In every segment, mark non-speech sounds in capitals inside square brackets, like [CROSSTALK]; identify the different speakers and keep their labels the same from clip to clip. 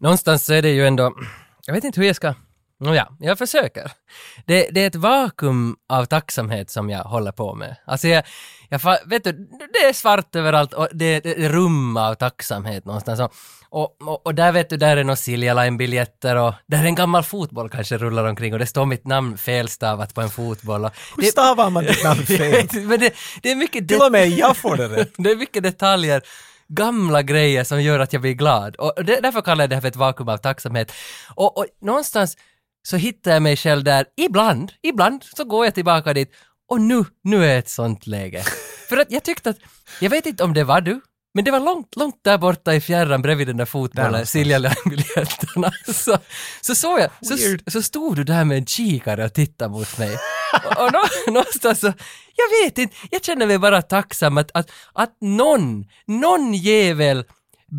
Speaker 1: någonstans så är det ju ändå, jag vet inte hur jag ska, ja, jag försöker. Det, det är ett vakuum av tacksamhet som jag håller på med. Alltså jag, jag fa- vet du, det är svart överallt och det, det är rum av tacksamhet någonstans. Och, och, och, och där vet du, där är några Silja Line-biljetter och där är en gammal fotboll kanske rullar omkring och det står mitt namn felstavat på en fotboll. Och
Speaker 2: Hur stavar man
Speaker 1: [LAUGHS]
Speaker 2: ditt namn fel?
Speaker 1: det, men det, det är mycket
Speaker 2: Till och med jag får det rätt.
Speaker 1: [LAUGHS] det är mycket detaljer, gamla grejer som gör att jag blir glad. Och det, därför kallar jag det här för ett vakuum av tacksamhet. Och, och någonstans så hittar jag mig själv där, ibland, ibland så går jag tillbaka dit och nu, nu är ett sånt
Speaker 2: [LAUGHS]
Speaker 1: läge. för att jag tyckte att, jag vet inte om det var du, men det var långt, långt där borta i fjärran bredvid den där fotbollen,
Speaker 2: någonstans.
Speaker 1: Silja Line-biljetterna. [LAUGHS] Så, så såg jag, så,
Speaker 2: Weird.
Speaker 1: så stod du där med en kikare och tittade mot mig. och och nå, [LAUGHS] någonstans så, jag vet inte, jag känner mig bara tacksam att, att, att någon, någon jävel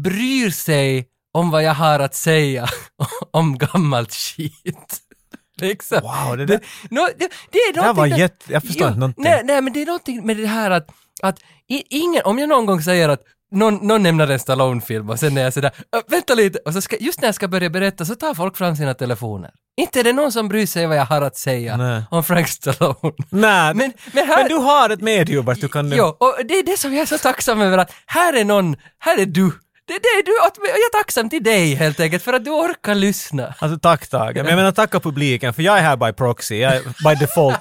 Speaker 1: bryr sig om vad jag har att säga [LAUGHS] om gammalt skit. [LAUGHS] Liksom.
Speaker 2: Wow, det där-
Speaker 1: nå, det, det är
Speaker 2: Det här var
Speaker 1: någonting där-
Speaker 2: jätte... Jag förstår
Speaker 1: Jo,
Speaker 2: inte någonting.
Speaker 1: Nej, nej, men det är någonting med det här att, att i, ingen, om jag någon gång säger att någon, någon nämner en Stallone-film och sen är jag sådär, "Ö, vänta lite, och så ska, just när jag ska börja berätta så tar folk fram sina telefoner. Inte är det någon som bryr sig vad jag har att säga
Speaker 2: Nej.
Speaker 1: om Frank Stallone.
Speaker 2: Nej,
Speaker 1: Men,
Speaker 2: men,
Speaker 1: men här...
Speaker 2: du har ett medium vart du kan...
Speaker 1: Jo, och det är det som jag är så tacksam över att här är någon, här är du. Det, det är du, åt mig, och jag är tacksam till dig helt enkelt för att du orkar lyssna.
Speaker 2: Alltså tack Tage, men jag menar tacka publiken för jag är här by proxy, jag är
Speaker 1: [LAUGHS]
Speaker 2: by default.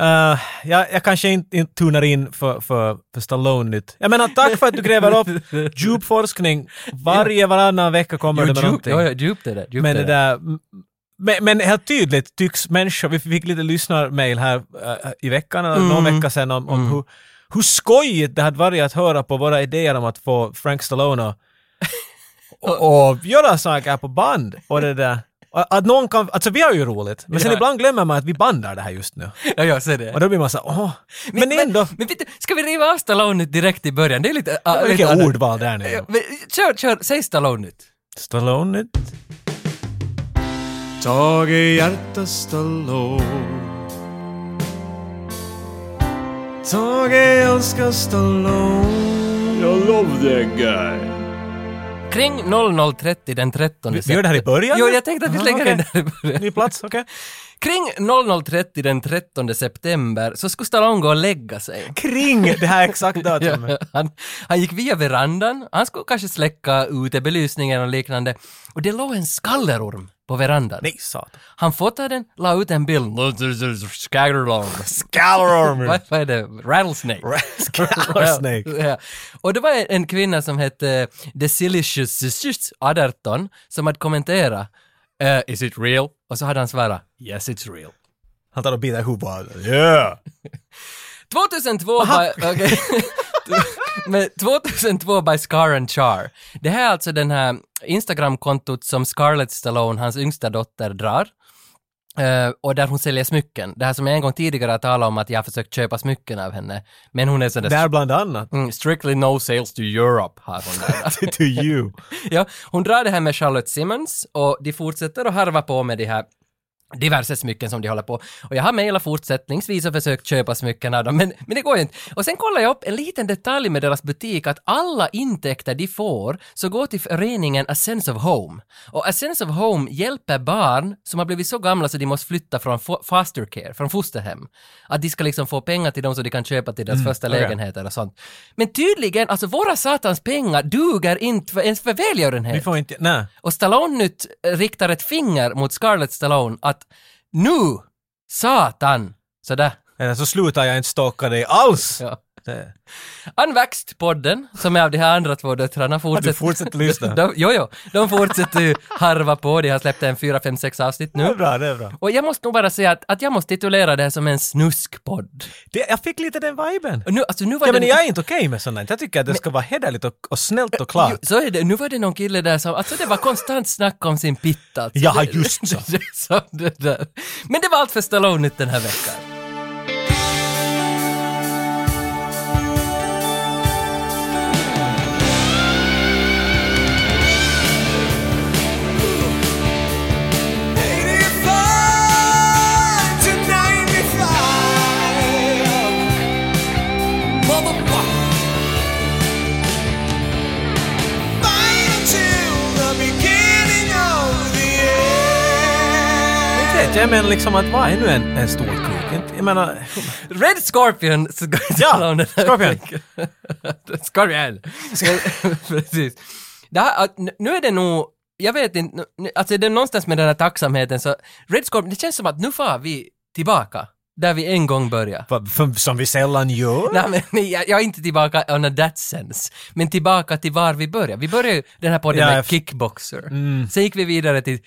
Speaker 2: Eh, jag, jag kanske inte, inte tunar in för, för, för Stallone-nytt. Jag menar tack för att du gräver
Speaker 1: [LAUGHS]
Speaker 2: upp djup forskning. Varje, varannan vecka kommer du med
Speaker 1: djupt
Speaker 2: någonting.
Speaker 1: jo, jo, djupt är det. Djupt
Speaker 2: Men
Speaker 1: är
Speaker 2: det där... m- Men, men helt tydligt tycks människor, vi fick lite lyssnarmail här eh, i veckan, eller någon
Speaker 1: Mm.
Speaker 2: vecka sedan, om, om hur, hur skojigt det hade varit att höra på våra idéer om att få Frank Stallone och, och, och göra saker på band. Och det där. Och Att någon kan, alltså vi har ju roligt, men sen
Speaker 1: Ja.
Speaker 2: ibland glömmer man att vi bandar det här just nu.
Speaker 1: Ja, jag ser det.
Speaker 2: Och då blir man så här, åh. Men, ändå,
Speaker 1: Men, men vet du, ska vi riva av Stallone ut direkt i början? Det är lite... ah, lite
Speaker 2: vilket
Speaker 1: annat.
Speaker 2: ordval där nu.
Speaker 1: Ja, Men, kör, kör, säg Stallone ut.
Speaker 2: Stallone,
Speaker 3: Tage Hjärta Stallone Tage älskar Stallone Jag love that guy
Speaker 1: Kring 00.30 den 13
Speaker 2: vi gör det här i början?
Speaker 1: Jo, jag tänkte att vi
Speaker 2: Aha,
Speaker 1: slänger in det
Speaker 2: okej.
Speaker 1: här i början.
Speaker 2: ny plats, okej.
Speaker 1: Kring 00.30 den 13 september så skulle Stallone gå och lägga sig.
Speaker 2: Kring det här exakt
Speaker 1: [LAUGHS]
Speaker 2: datumet.
Speaker 1: Han, han gick via verandan, han skulle kanske släcka utebelysningen och liknande. Och det låg en skallerorm på verandan.
Speaker 2: Nej, satan.
Speaker 1: Han fotade den, la ut en bild. Skallerorm.
Speaker 2: Gallerorm!
Speaker 1: Vad vad är det? Rattlesnake. [LAUGHS]
Speaker 2: Rattlesnake.
Speaker 1: Ja, ja. Och det var en kvinna som hette eh, Desilicious 18 som hade kommenterat eh, “Is it real?” och så hade han svarat “Yes, it's real”.
Speaker 2: Han tar och biter ihop och yeah!
Speaker 1: 2002 by, [LAUGHS] okay. Men 2002 by Scar and Char. Det här är alltså den här Instagram-kontot som Scarlett Stallone, hans yngsta dotter, drar. Eh, och där hon säljer smycken. Det här som jag en gång tidigare har talat om att jag har försökt köpa smycken av henne. Men hon är sådär...
Speaker 2: Där
Speaker 1: [LAUGHS]
Speaker 2: bland annat.
Speaker 1: Mm, strictly no sales to Europe har hon där.
Speaker 2: To you.
Speaker 1: ja, hon drar det här med Charlotte Simmons och de fortsätter att harva på med de här diverse smycken som de håller på. Och jag har mejlat fortsättningsvis och försökt köpa smycken av dem, men, men det går ju inte. Och sen kollar jag upp en liten detalj med deras butik, att alla intäkter de får så går till föreningen A Sense of Home. Och A Sense of Home hjälper barn som har blivit så gamla så de måste flytta från fo- foster care, från fosterhem. Att de ska liksom få pengar till dem så de kan köpa till deras första
Speaker 2: okej.
Speaker 1: lägenheter och sånt. Men tydligen, alltså våra satans pengar duger inte för, ens för
Speaker 2: Vi
Speaker 1: välgörenhet.
Speaker 2: får inte... Nej.
Speaker 1: Och Stallone nytt eh, riktar ett finger mot Scarlett Stallone att nu, satan, sådär.
Speaker 2: Eller Eh, så slutar jag inte stalka dig alls! Eh,
Speaker 1: Ja.
Speaker 2: Det-
Speaker 1: Unvaxxed-podden, som är av de här andra två döttrarna,
Speaker 2: Du
Speaker 1: fortsätter...
Speaker 2: fortsätter
Speaker 1: [LAUGHS]
Speaker 2: lyssna.
Speaker 1: De, jo, jo, de fortsätter ju harva på. De har släppt en fyra, fem, sex avsnitt
Speaker 2: Det är
Speaker 1: nu.
Speaker 2: bra, det är bra.
Speaker 1: Och jag måste nog bara säga att, att jag måste titulera det här som en snuskpodd.
Speaker 2: Det, jag fick lite den viben.
Speaker 1: Och nu, alltså nu var
Speaker 2: Ja,
Speaker 1: det...
Speaker 2: men jag är inte okej med sånt här. Jag tycker att det ska vara hederligt och, och snällt och klart.
Speaker 1: Så är det, nu var det någon kille där som, alltså det var konstant snack om sin pitta. Alltså.
Speaker 2: Jaha,
Speaker 1: Det-
Speaker 2: just så.
Speaker 1: [LAUGHS] det- så det där. Men det var allt för Stallone den här veckan.
Speaker 3: Motherfucker. Fight until the beginning.
Speaker 2: jag menar liksom att vad är nu en, en stor kuk? Inte- Jag menar...
Speaker 1: Red Scorpion ska jag [LAUGHS] tala om den här
Speaker 2: Scorpion.
Speaker 1: veckan. Scorpion! [LAUGHS] Precis. Det här, att n- nu är det nog, jag vet inte, nu- alltså är det någonstans med den här tacksamheten så, Red Scorpion, det känns som att nu far vi tillbaka, där vi en gång började.
Speaker 2: vad- för- Som vi sällan gör.
Speaker 1: Nej, men nej, jag, jag är inte tillbaka on a that sense, men tillbaka till var vi började. Vi började ju den här podden
Speaker 2: Ja,
Speaker 1: med
Speaker 2: jag f- Mm.
Speaker 1: Kickboxer. Sen gick vi vidare till, eh,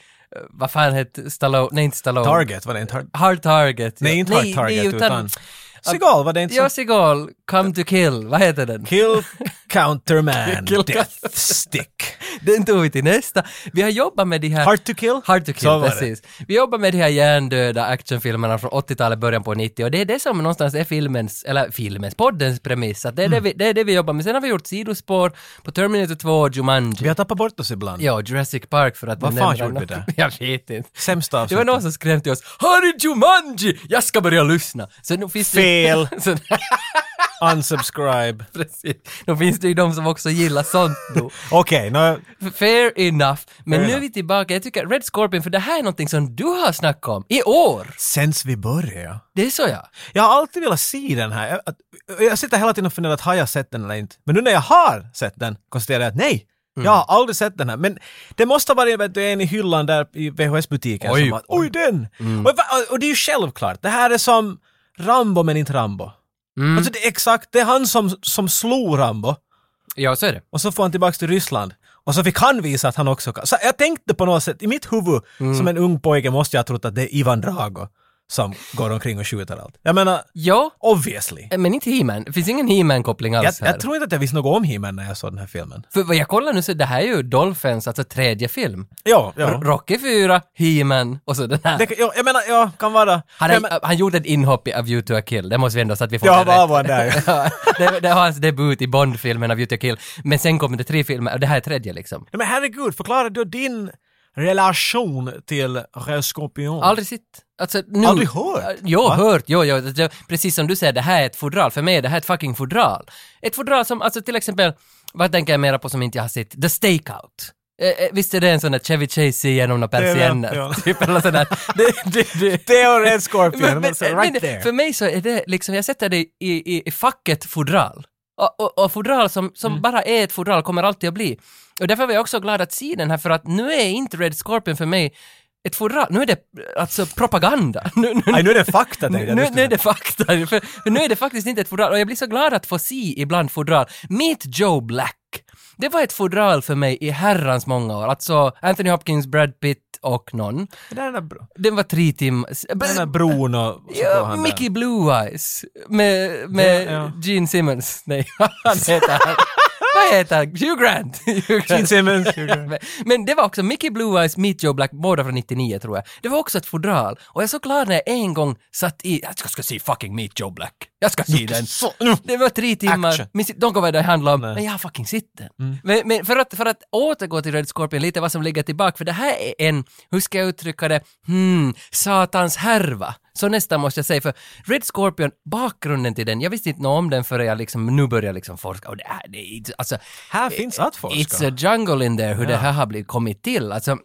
Speaker 1: vad fan hette Stallone, nej inte Stallone.
Speaker 2: Target, var det en target?
Speaker 1: Hard Target. ja.
Speaker 2: Nej, inte Hard Target,
Speaker 1: nej,
Speaker 2: utan... Segal, var det inte
Speaker 1: Ja,
Speaker 2: som...
Speaker 1: Seagal, Come to Kill, vad heter den?
Speaker 2: Kill
Speaker 1: [LAUGHS]
Speaker 2: Counterman,
Speaker 1: Kill-
Speaker 2: Death Stick.
Speaker 1: Den tog vi till nästa. Vi har jobbat med de här...
Speaker 2: Hard to kill?
Speaker 1: Hard to
Speaker 2: Så
Speaker 1: kill,
Speaker 2: var det.
Speaker 1: precis. Vi jobbar med de här hjärndöda actionfilmerna från 80-talet, början på 90 och det är det som någonstans är filmens, eller filmens, poddens premiss. Att det, är
Speaker 2: Mm.
Speaker 1: det, vi, det är det vi jobbar med. Sen har vi gjort sidospår på Terminator 2 och Jumanji.
Speaker 2: Vi har tappat bort oss ibland.
Speaker 1: Ja, Jurassic Park för att...
Speaker 2: Vad
Speaker 1: vi
Speaker 2: fan
Speaker 1: nämner
Speaker 2: gjorde vi
Speaker 1: något.
Speaker 2: där?
Speaker 1: [LAUGHS] Jag vet inte.
Speaker 2: Sämsta
Speaker 1: Det var
Speaker 2: avsnittet.
Speaker 1: någon som skrev till oss ”Här är Jumanji! Jag ska börja lyssna!” Så nu finns det-
Speaker 2: Fel.
Speaker 1: [LAUGHS] Så-
Speaker 2: Unsubscribe.
Speaker 1: Precis. Då finns det ju de som också gillar sånt
Speaker 2: [LAUGHS]
Speaker 1: då.
Speaker 2: Okej, nå...
Speaker 1: Fair enough. Men nu är
Speaker 2: enough.
Speaker 1: vi tillbaka. Jag tycker Red Scorpion, för det här är någonting som du har snackat om i år.
Speaker 2: Sens vi började.
Speaker 1: Det är så jag.
Speaker 2: Jag har alltid velat se den här. Jag, att- jag sitter hela tiden och funderar att har jag sett den eller inte? Men nu när jag har sett den konstaterar jag att nej, jag har aldrig sett den här. Men det måste ha varit vet du, en i hyllan där i VHS-butiken
Speaker 1: Oj,
Speaker 2: som att oj den! Och, va- och det är ju självklart, det här är som Rambo men inte Rambo. Alltså det är exakt, det är han som, som slog Rambo
Speaker 1: Ja, så är det.
Speaker 2: och så får han tillbaks till Ryssland. Och så fick han visa att han också kan. Så jag tänkte på något sätt, i mitt huvud, som en ung pojke måste jag ha trott att det är Ivan Drago som går omkring och skjuter allt. Jag menar,
Speaker 1: Ja,
Speaker 2: obviously.
Speaker 1: men inte He-Man. Det finns ingen He-Man-koppling
Speaker 2: Jag,
Speaker 1: alls här.
Speaker 2: jag tror inte att jag visste något om He-Man när jag såg den här filmen.
Speaker 1: För vad jag kollar nu så det här är ju Dolphins, alltså tredje film.
Speaker 2: Ja, ja.
Speaker 1: R- Rocky 4, He-Man och så den här.
Speaker 2: Det, kan- ja jag menar, ja, kan vara...
Speaker 1: Han,
Speaker 2: Nej,
Speaker 1: är,
Speaker 2: men-
Speaker 1: han gjorde ett inhopp i Av You to a Kill, det måste vi ändå så att vi får
Speaker 2: ja,
Speaker 1: det
Speaker 2: var
Speaker 1: rätt.
Speaker 2: var där.
Speaker 1: [LAUGHS] Ja, det, det var hans debut i Bond-filmen Av You to a Kill. Men sen kom det tre filmer, och det här är tredje liksom.
Speaker 2: Nej, men herregud, förklara då din relation till Röd Skorpion.
Speaker 1: Aldrig sett. Alltså, nu,
Speaker 2: Aldrig hört?
Speaker 1: Jo,
Speaker 2: Va?
Speaker 1: hört. Jo, jo, det- det- precis som du säger, det här är ett fodral. För mig är det här ett fucking fodral. Ett fodral som, alltså till exempel, vad tänker jag mera på som inte jag har sett? The Stakeout. Eh, eh, visst är det en sån där Chevy Chase genom några
Speaker 2: är väl-
Speaker 1: persienner?
Speaker 2: ja.
Speaker 1: Typ eller sådär. Det, det, det.
Speaker 2: [LAUGHS] Det är Röd Skorpion,
Speaker 1: Men- men-
Speaker 2: alltså,
Speaker 1: men
Speaker 2: right
Speaker 1: det-
Speaker 2: there.
Speaker 1: För mig så är det liksom, jag sätter det i, i, i facket fodral. Och, och, och fodral som, som
Speaker 2: Mm.
Speaker 1: bara är ett fodral kommer alltid att bli. Och därför var jag också glad att se den här för att nu är inte Red Scorpion för mig ett fodral, nu är det alltså propaganda. Nu, nu,
Speaker 2: Nej, nu är det fakta tänkte
Speaker 1: nu,
Speaker 2: jag.
Speaker 1: nu,
Speaker 2: Just
Speaker 1: nu är det fakta, för, för nu är det faktiskt inte ett fodral. Och jag blir så glad att få se ibland fodral. Meet Joe Black. Det var ett fodral för mig i herrans många år. Alltså Anthony Hopkins, Brad Pitt och någon.
Speaker 2: Det där är den där bro-
Speaker 1: Den var tre timmar...
Speaker 2: den där bron och... och så går
Speaker 1: Ja,
Speaker 2: han där.
Speaker 1: Mickey Blue Eyes med, med
Speaker 2: Ja, ja.
Speaker 1: Gene Simmons. Nej, [LAUGHS] han heter han. Vad heter han? Hugh Grant. [LAUGHS] Hugh
Speaker 2: Gene
Speaker 1: Grant.
Speaker 2: Simmons.
Speaker 1: Men det var också Mickey Blue Eyes, Meet Joe Black, båda från 99 tror jag. Det var också ett fodral. Och jag är så glad när jag en gång satt i, jag ska, ska se fucking Meet Joe Black. Jag ska se den.
Speaker 2: Så- nu.
Speaker 1: Det var tre
Speaker 2: Action.
Speaker 1: timmar, Minns inte- de kom vad det handlade om,
Speaker 2: Nej. Mm.
Speaker 1: men jag har fucking sett den. Men, men för, att, för att återgå till Red Scorpion lite vad som ligger tillbaka, för det här är en, hur ska jag uttrycka det, hmm, satans härva. Så nästan måste jag säga, för Red Scorpion, bakgrunden till den, jag visste inte något om den förrän jag liksom, nu börjar liksom forska. Och det här, det är, inte- alltså,
Speaker 2: Här finns att forska.
Speaker 1: It's a jungle in there, hur det här har blivit kommit till. Alltså,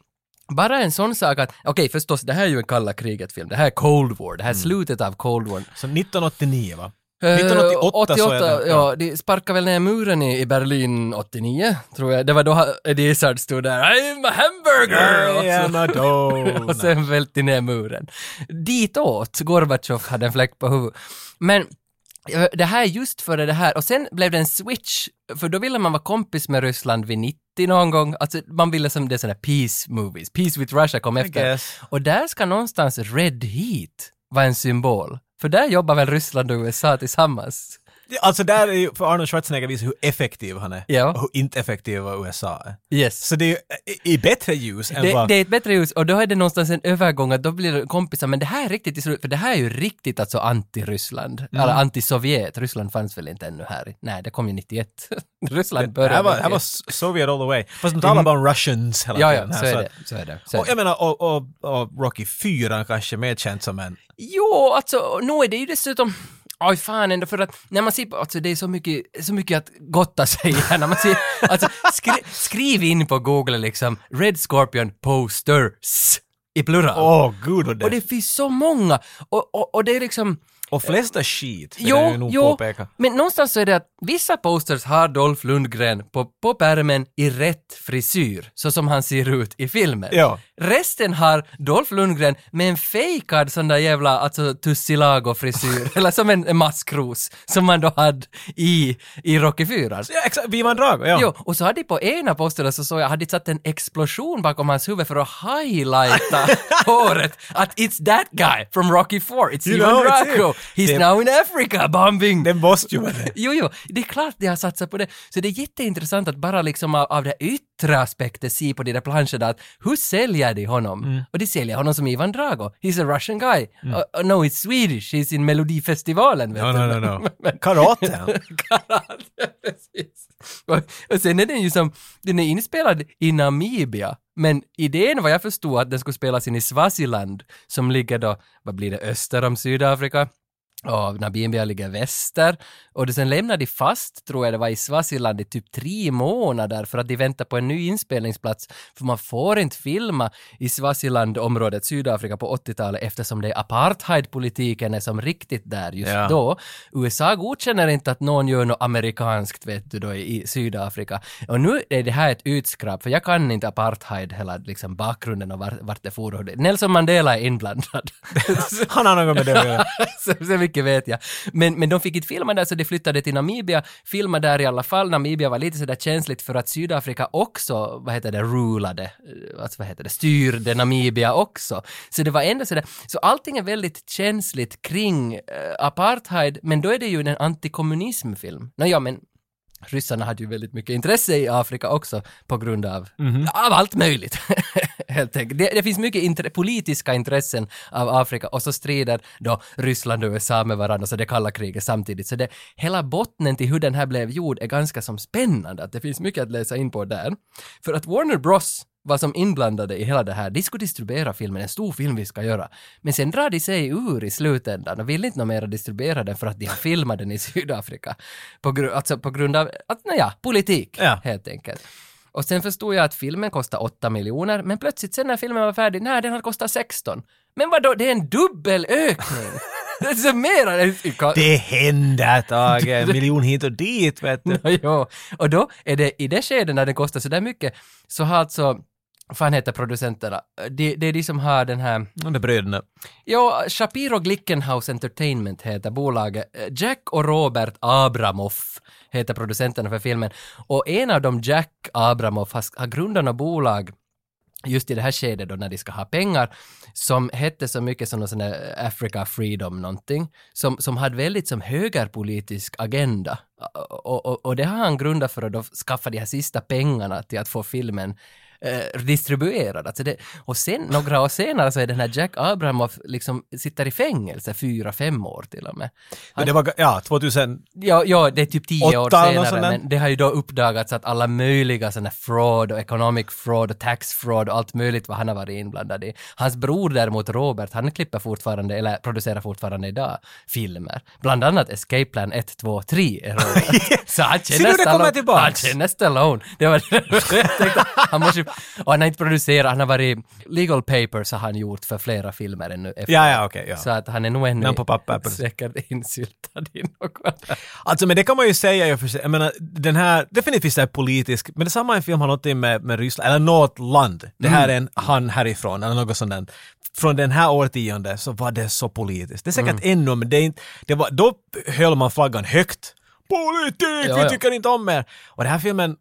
Speaker 1: bara en sån sak att, okej förstås, det här är ju en kalla kriget-film, det här är Cold War, det
Speaker 2: Mm.
Speaker 1: här är slutet av Cold War.
Speaker 2: Så 1989 va?
Speaker 1: Eh,
Speaker 2: 1988 så är det.
Speaker 1: ja. de sparkade väl ner muren i, i Berlin 89, tror jag. Det var då ha- Eddie Izzard stod där “I'm a hamburger!”
Speaker 2: I am a
Speaker 1: och, så, [LAUGHS] och
Speaker 2: donut.
Speaker 1: sen välte ner muren. Ditåt, Gorbatjov hade en fläck på huvudet. Men eh, det här är just före det här, och sen blev det en switch, för då ville man vara kompis med Ryssland vid 90 någon gång, alltså man ville som det är sådana peace movies, peace with Russia kom efter.
Speaker 2: guess.
Speaker 1: Och där ska någonstans Red Heat vara en symbol. För där jobbar väl Ryssland och USA tillsammans?
Speaker 2: Alltså där är ju, för Arnold Schwarzenegger visar hur effektiv han är.
Speaker 1: Ja.
Speaker 2: Och hur inte effektiv USA är.
Speaker 1: Yes.
Speaker 2: Så det är ju i, i bättre ljus än
Speaker 1: Det,
Speaker 2: vad...
Speaker 1: det är ett bättre ljus och då är det någonstans en övergång att då blir det kompisar men det här är riktigt, i slut- för det här är ju riktigt alltså anti-Ryssland, eller anti-Sovjet, Ryssland fanns väl inte ännu här, nej det kom ju 91. [LAUGHS] Ryssland
Speaker 2: det
Speaker 1: började
Speaker 2: här var, det
Speaker 1: 91.
Speaker 2: här var S- Sovjet all the way. Fast de talar bara om Russians hela
Speaker 1: Mhm. Ja,
Speaker 2: tiden.
Speaker 1: ja, så
Speaker 2: här,
Speaker 1: är
Speaker 2: att-
Speaker 1: det. Så är det. Så är
Speaker 2: och
Speaker 1: det.
Speaker 2: jag menar, och, och, och Rocky 4 kanske mer känt som en...
Speaker 1: Jo, alltså, nu är det ju dessutom Oj fan ändå för att när man ser på, alltså det är så mycket, så mycket att gotta sig här när man ser, alltså skri, skriv in på Google liksom Red Scorpion posters i plural.
Speaker 2: Åh gud och det.
Speaker 1: Och det finns så många. Och, och, och det är liksom...
Speaker 2: Och flesta skit, vill jag ju
Speaker 1: Jo,
Speaker 2: nog
Speaker 1: jo,
Speaker 2: påpeka.
Speaker 1: men någonstans så är det att vissa posters har Dolph Lundgren på, på pärmen i rätt frisyr, så som han ser ut i filmen.
Speaker 2: Ja.
Speaker 1: Resten har Dolph Lundgren med en fejkad sån där jävla alltså, Tussilago-frisyr, [LAUGHS] eller som en en maskros, som man då hade i, i Rocky 4.
Speaker 2: Ja, exakt, Biman Drago, ja.
Speaker 1: Jo, och så hade de på ena posten så såg jag, hade de satt en explosion bakom hans huvud för att
Speaker 2: [LAUGHS]
Speaker 1: highlighta håret. Att it's that guy from Rocky 4, it's
Speaker 2: You
Speaker 1: Ivan
Speaker 2: know, it's him.
Speaker 1: Draco, he's
Speaker 2: Det-
Speaker 1: now in Africa bombing.
Speaker 2: Det måste ju
Speaker 1: [LAUGHS]
Speaker 2: vara det.
Speaker 1: Jo, jo, det är klart de har satsat på det. Så det är jätteintressant att bara liksom av, av det yttre aspekten se på de där planscherna att hur säljer de honom?
Speaker 2: Mm.
Speaker 1: Och de säljer honom som Ivan Drago. He's a Russian guy. Uh, uh, no, he's Swedish. He's in Melodifestivalen. Vet
Speaker 2: No,
Speaker 1: du.
Speaker 2: no, no, no. Karate.
Speaker 1: [LAUGHS] Karate, precis. Och, och sen är den ju som, den är inspelad i Namibia, men idén vad jag förstod att den skulle spelas in i Swaziland, som ligger då, vad blir det, öster om Sydafrika? Och Namibia ligger väster. Och det sen lämnade de fast, tror jag det var, i Swaziland i typ tre månader för att de väntar på en ny inspelningsplats. För man får inte filma i Swaziland-området, Sydafrika, på 80-talet eftersom det är apartheidpolitiken är som riktigt där just
Speaker 2: Ja.
Speaker 1: då då. USA godkänner inte att någon gör något amerikanskt, vet du, då i i Sydafrika. Och nu är det här ett utskrap, för jag kan inte apartheid, hela liksom bakgrunden och vart, vart det for. och det- Nelson Mandela är inblandad.
Speaker 2: Han har något med det
Speaker 1: [LAUGHS]
Speaker 2: att göra.
Speaker 1: så, så mycket vet jag. Men, men de fick inte filma där, så de flyttade till Namibia, filmade där i alla fall. Namibia var lite sådär känsligt för att Sydafrika också, vad heter det, rulade, eh, alltså vad heter det, styrde Namibia också. Så det var ändå sådär, så allting är väldigt känsligt kring eh, apartheid, men då är det ju en antikommunismfilm. Nåja, men ryssarna hade ju väldigt mycket intresse i Afrika också på grund av, av allt möjligt. [LAUGHS] Helt enkelt. Det, det finns mycket intre, politiska intressen av Afrika och så strider då Ryssland och USA med varandra, så det kalla kriget samtidigt. Så det, hela bottnen till hur den här blev gjord är ganska som spännande, att det finns mycket att läsa in på där. För att Warner Bros var som inblandade i hela det här. De skulle distribuera filmen, en stor film vi ska göra. Men sen drar de sig ur i slutändan och vill inte nå mera distribuera den för att de har filmat den i Sydafrika. På, gru- alltså på grund av, att, nåja, politik
Speaker 2: Ja.
Speaker 1: helt enkelt. Och sen förstod jag att filmen kostade 8 miljoner, men plötsligt sen när filmen var färdig, nej den hade kostat 16. Men vadå, det är en dubbel ökning!
Speaker 2: [LAUGHS]
Speaker 1: det är så mer än...
Speaker 2: Det händer
Speaker 1: [LAUGHS]
Speaker 2: Tage, en miljon hit och dit vet
Speaker 1: Mm.
Speaker 2: du.
Speaker 1: Ja, och då är det i det skedet när den kostar så där mycket så har alltså, vad fan heter producenterna? Det, det är de som har den här,
Speaker 2: Och det är bröderna.
Speaker 1: ja, Shapiro Glickenhaus Entertainment heter bolaget. Jack och Robert Abramoff heter producenterna för filmen. Och en av dem, Jack Abramoff, har, har grundat något bolag just i det här skedet då när de ska ha pengar, som hette så mycket som någon sån där eh, Africa Freedom någonting, som, som hade väldigt som högerpolitisk agenda. Och, och, och det har han grundat för att då skaffa de här sista pengarna till att få filmen eh, distribuerad. Alltså det, och sen, några år senare så är den här Jack Abramoff liksom sitter i fängelse fyra, fem år till och med.
Speaker 2: Men det var, ja, 2000,
Speaker 1: Ja, ja, det är typ tio år
Speaker 2: Åtta eller
Speaker 1: senare,
Speaker 2: något sånt där.
Speaker 1: men det har ju då uppdagats att alla möjliga sådana fraud och economic fraud och tax fraud och allt möjligt vad han har varit inblandad i. Hans bror däremot, Robert, han klipper fortfarande, eller producerar fortfarande idag, filmer. Bland annat Escape Plan 1, 2, 3 är
Speaker 2: [LAUGHS]
Speaker 1: Robert. Så han
Speaker 2: Ser du,
Speaker 1: känner
Speaker 2: det kommer
Speaker 1: Stallone.
Speaker 2: tillbaks.
Speaker 1: Han känner Stallone. Det var det jag tänkte. Han måste ju- Och han har inte producerat, han har varit... Legal Papers har han gjort för flera filmer ännu. efter.
Speaker 2: ja ja okej. ja.
Speaker 1: Så att han är nog ännu
Speaker 2: Namn på papper, precis.
Speaker 1: säkert insyltad i något.
Speaker 2: Alltså men det kan man ju säga, jag, för, jag menar den här, definitivt det här politisk, men det är samma en film har någonting med, med Ryssland, eller något land. Det
Speaker 1: Mm.
Speaker 2: här är en han härifrån eller något sånt där. Från den här årtionde så var det så politiskt. Det är säkert
Speaker 1: Mm.
Speaker 2: ännu, men det är inte, det var, då höll man flaggan högt. Politik,
Speaker 1: Ja,
Speaker 2: vi
Speaker 1: ja.
Speaker 2: tycker inte om er! Och den här filmen,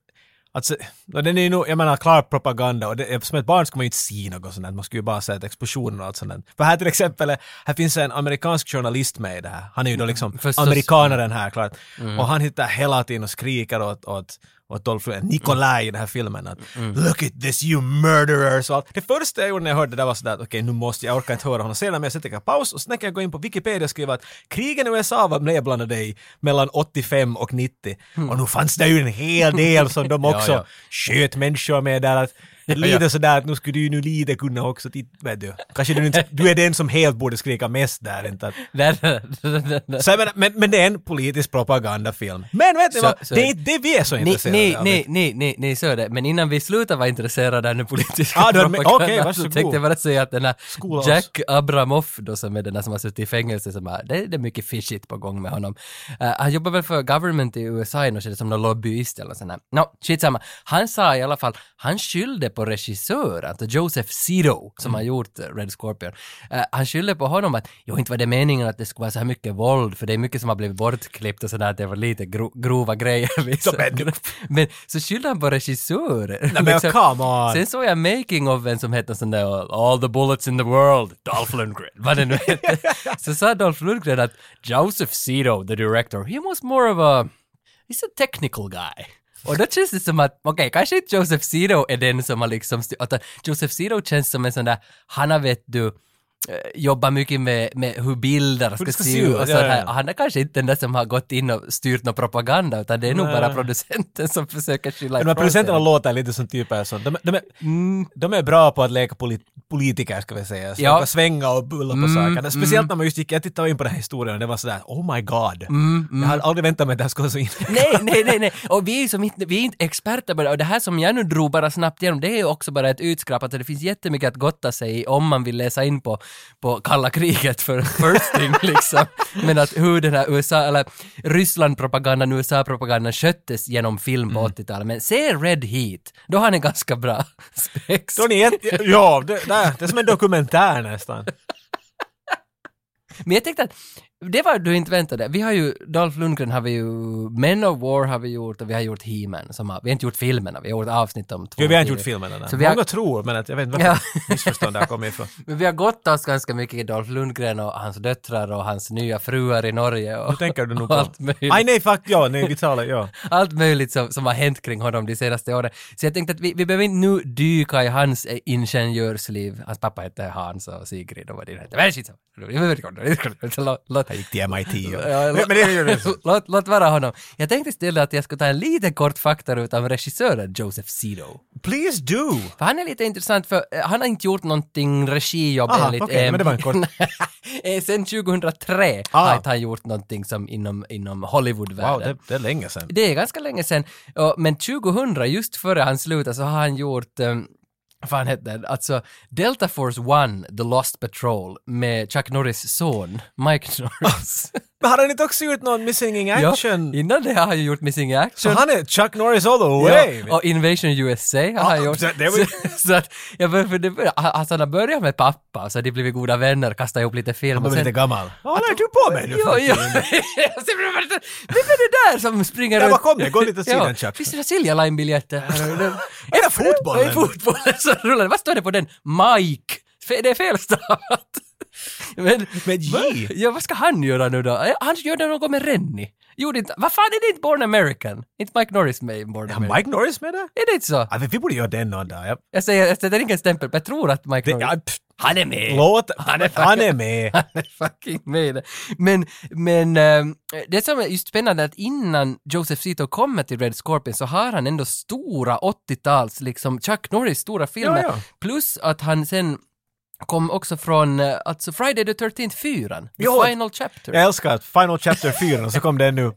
Speaker 2: Alltså, no, den är ju nog, jag menar klar propaganda och det, som ett barn ska man ju inte se något sånt där. man skulle ju bara se att explosioner och allt sånt där. För här till exempel, eh, här finns en amerikansk journalist med i det här. Han är ju då liksom
Speaker 1: Mm. förstås.
Speaker 2: amerikanaren här klart.
Speaker 1: Mm.
Speaker 2: Och han hittar hela tiden och skriker åt, åt åt Dolph Lundgren, Nikolaj i den här filmen att
Speaker 1: Mm.
Speaker 2: “Look at this you murderers” och allt. Det första jag gjorde när jag hörde det där var sådär att okej nu måste jag, jag orkar inte höra honom senare men jag sätter en paus och sen kan jag gå in på Wikipedia och skriva att krigen i USA var nedblandade i mellan 85 och 90 och nu fanns det ju en hel del som de
Speaker 1: Mm. [LAUGHS] Ja,
Speaker 2: också
Speaker 1: ja. [LAUGHS]
Speaker 2: sköt människor med där. Att Lite sådär att nu skulle du ju nu lite kunna också titta, vet du. Kanske du inte, du är den som helt borde skrika mest där inte att,
Speaker 1: Nej, nej, nej, nej.
Speaker 2: så jag menar, men, men det är en politisk propagandafilm. Men vet ni
Speaker 1: Så-
Speaker 2: vad,
Speaker 1: så-
Speaker 2: det är inte det vi är så
Speaker 1: Nej,
Speaker 2: intresserade
Speaker 1: nej,
Speaker 2: av.
Speaker 1: nej, nej, nej, nej, så är det. Men innan vi slutar vara intresserade av den politiska
Speaker 2: Ah,
Speaker 1: [LAUGHS]
Speaker 2: du har-
Speaker 1: propagandan
Speaker 2: okej,
Speaker 1: så
Speaker 2: varsågod.
Speaker 1: tänkte jag bara säga att den här
Speaker 2: Skola oss.
Speaker 1: Jack Abramoff då som är den där som har suttit i fängelse som har, det, det är mycket fishigt på gång med honom. Eh, han jobbar väl för government i USA i något skede som någon lobbyist eller något sånt där. No, skitsamma. Han sa i alla fall, han skyllde på regissören, alltså Joseph Zito som
Speaker 2: Mm.
Speaker 1: har gjort eh, Red Scorpion. Eh, han skyllde på honom att, jo inte var det meningen att det skulle vara så här mycket våld för det är mycket som har blivit bortklippt och sådär, att det var lite gro- grova grejer. Liksom.
Speaker 2: men-
Speaker 1: [LAUGHS] Men så skyllde han på regissören.
Speaker 2: Nej,
Speaker 1: [LAUGHS]
Speaker 2: men come on.
Speaker 1: Sen såg jag making of en som hette sån där All the bullets in the world, Dolph Lundgren, vad det nu
Speaker 2: [LAUGHS]
Speaker 1: hette. Så sa Dolph Lundgren att Joseph Zito, the director, he was more of a, he's a technical guy. Och då känns det som att, okej, kanske inte Joseph Zito är den som har liksom, styr- utan Joseph Zito känns som en sån där, han har vet du, eh, jobbar mycket med, med hur bilder ska,
Speaker 2: det ska
Speaker 1: se
Speaker 2: se
Speaker 1: ut
Speaker 2: ut,
Speaker 1: och
Speaker 2: ja,
Speaker 1: sådär.
Speaker 2: ja.
Speaker 1: Han är kanske inte den där som har gått in och styrt någon propaganda, utan det är nog
Speaker 2: Nej.
Speaker 1: bara producenten som försöker skylla
Speaker 2: Men de här
Speaker 1: ifrån sig.
Speaker 2: producenterna låter lite som typer som, de, de, är, de är bra på att leka polit, politiker ska vi säga. Så
Speaker 1: Mm. Ja. Mm,
Speaker 2: de kan svänga och bulla på sakerna. Speciellt när man just gick, jag tittade in på den här historien och det var sådär oh my god.
Speaker 1: Mm,
Speaker 2: Jag hade aldrig väntat mig att det här skulle vara så in. [LAUGHS]
Speaker 1: Nej, nej, nej, nej. Och vi är, ju som inte, vi är inte experter på det. Och det här som jag nu drog bara snabbt igenom, det är ju också bara ett utskrapat. Så det finns jättemycket att gotta sig i om man vill läsa in på, på kalla kriget för first thing [LAUGHS] liksom. Men att hur den här USA, eller Ryssland-propagandan, USA-propagandan sköttes genom film på
Speaker 2: Mm.
Speaker 1: 80-talet. Men se Red Heat, då har ni ganska bra [LAUGHS] spex.
Speaker 2: Då är ni
Speaker 1: [LAUGHS]
Speaker 2: jätte- ja, det, där, det är som en dokumentär nästan.
Speaker 1: Men jag tänkte att det var du inte väntade. Vi har ju, Dolph Lundgren har vi ju, Men of War har vi gjort och vi har gjort He-Man. Som har, vi har inte gjort filmerna, vi har gjort avsnitt om två
Speaker 2: Jo, vi har inte
Speaker 1: timmar.
Speaker 2: gjort filmen än.
Speaker 1: Så
Speaker 2: Många
Speaker 1: vi har-
Speaker 2: tror, men att, jag vet inte
Speaker 1: Ja.
Speaker 2: varför missförstånd det här kommer ifrån.
Speaker 1: Men vi har gått oss ganska mycket i Dolph Lundgren och hans döttrar och hans nya fruar i Norge och
Speaker 2: Då tänker du nog
Speaker 1: och
Speaker 2: på...
Speaker 1: [LAUGHS] allt möjligt.
Speaker 2: Aj nej, fuck ja, nej vi talar, ja.
Speaker 1: allt möjligt som, som har hänt kring honom de senaste åren. Så jag tänkte att vi, vi behöver inte nu dyka i hans eh, ingenjörsliv. Hans pappa hette Hans och Sigrid och vad det nu hette. Men skitsamma. Vi behöver inte gå där. Vi behöver inte gå där. Låt- låt-
Speaker 2: Han gick till MIT. Ja.
Speaker 1: Ja,
Speaker 2: Men, men det gör det så.
Speaker 1: Låt, låt vara honom. Jag tänkte istället att jag skulle ta en liten kort faktaruta om regissören Joseph Zito.
Speaker 2: Please do!
Speaker 1: För han är lite intressant för eh, han har inte gjort någonting regijobb
Speaker 2: Aha,
Speaker 1: enligt...
Speaker 2: okej,
Speaker 1: eh,
Speaker 2: men det var en kort.
Speaker 1: [LAUGHS] eh, Sen 2003 har
Speaker 2: Ah.
Speaker 1: inte han gjort någonting som inom, inom
Speaker 2: Wow,
Speaker 1: Hollywoodvärlden.
Speaker 2: det, det är länge sedan.
Speaker 1: det... är ganska länge sedan. Ja, Men 2000, just före han slutade, så har han gjort um, vad fan hette den? Alltså Delta Force One, The Lost Patrol med Chuck Norris son, Mike [LAUGHS] Norris.
Speaker 2: Men har han inte också gjort någon Missing in
Speaker 1: Ja,
Speaker 2: Alltså, Action?
Speaker 1: innan det har han ju gjort Missing in
Speaker 2: så
Speaker 1: Action.
Speaker 2: han är Chuck Norris all the way!
Speaker 1: Ja, och Invasion USA har han
Speaker 2: Ah,
Speaker 1: gjort.
Speaker 2: så det var ju-
Speaker 1: [LAUGHS] Så, så att, jag bör, för det bör, alltså han har börjat med pappa, så de blev goda vänner, kastade ihop lite film.
Speaker 2: Han var
Speaker 1: och sen-
Speaker 2: lite gammal. Vad håller du på med nu?
Speaker 1: Jo, jo. [LAUGHS] Och sen blev det- Vem är det där som springer
Speaker 2: Ja, vad kom det? Gå lite åt sidan, Chuck.
Speaker 1: Finns det några Silja
Speaker 2: [LAUGHS]
Speaker 1: Line-biljetter här? Och den-
Speaker 2: Är det fotbollen?
Speaker 1: I fotbollen så rullar det. Vad står det på den? Mike. Fe- Det är felstavat. Men,
Speaker 2: Med J.
Speaker 1: Va- Ja, vad ska han göra nu då? Eh, Han gör något med Rennie. Gjorde inte... Vad fan, är det inte Born American? Inte Mike Norris med i Born
Speaker 2: Är
Speaker 1: American?
Speaker 2: Mike Norris med det?
Speaker 1: Är det inte så?
Speaker 2: Ja, men vi borde göra den någon dag. Ja.
Speaker 1: Jag säger, jag sätter ingen stämpel, men jag tror att Mike
Speaker 2: Det,
Speaker 1: Norris...
Speaker 2: ja, pff,
Speaker 1: Han är med!
Speaker 2: låt,
Speaker 1: Han är-
Speaker 2: [LAUGHS] han är med.
Speaker 1: [LAUGHS] Han är fucking med i det. Men, men ehm, det som är just spännande är att innan Joseph Zito kommer till Red Scorpion så har han ändå stora 80-tals, liksom Chuck Norris stora filmer.
Speaker 2: Ja, ja.
Speaker 1: Plus att han sen kom också från, eh, alltså Friday the 13th 4 The
Speaker 2: Jo.
Speaker 1: Final Chapter.
Speaker 2: Jag älskar att Final Chapter 4, och så kom den nu.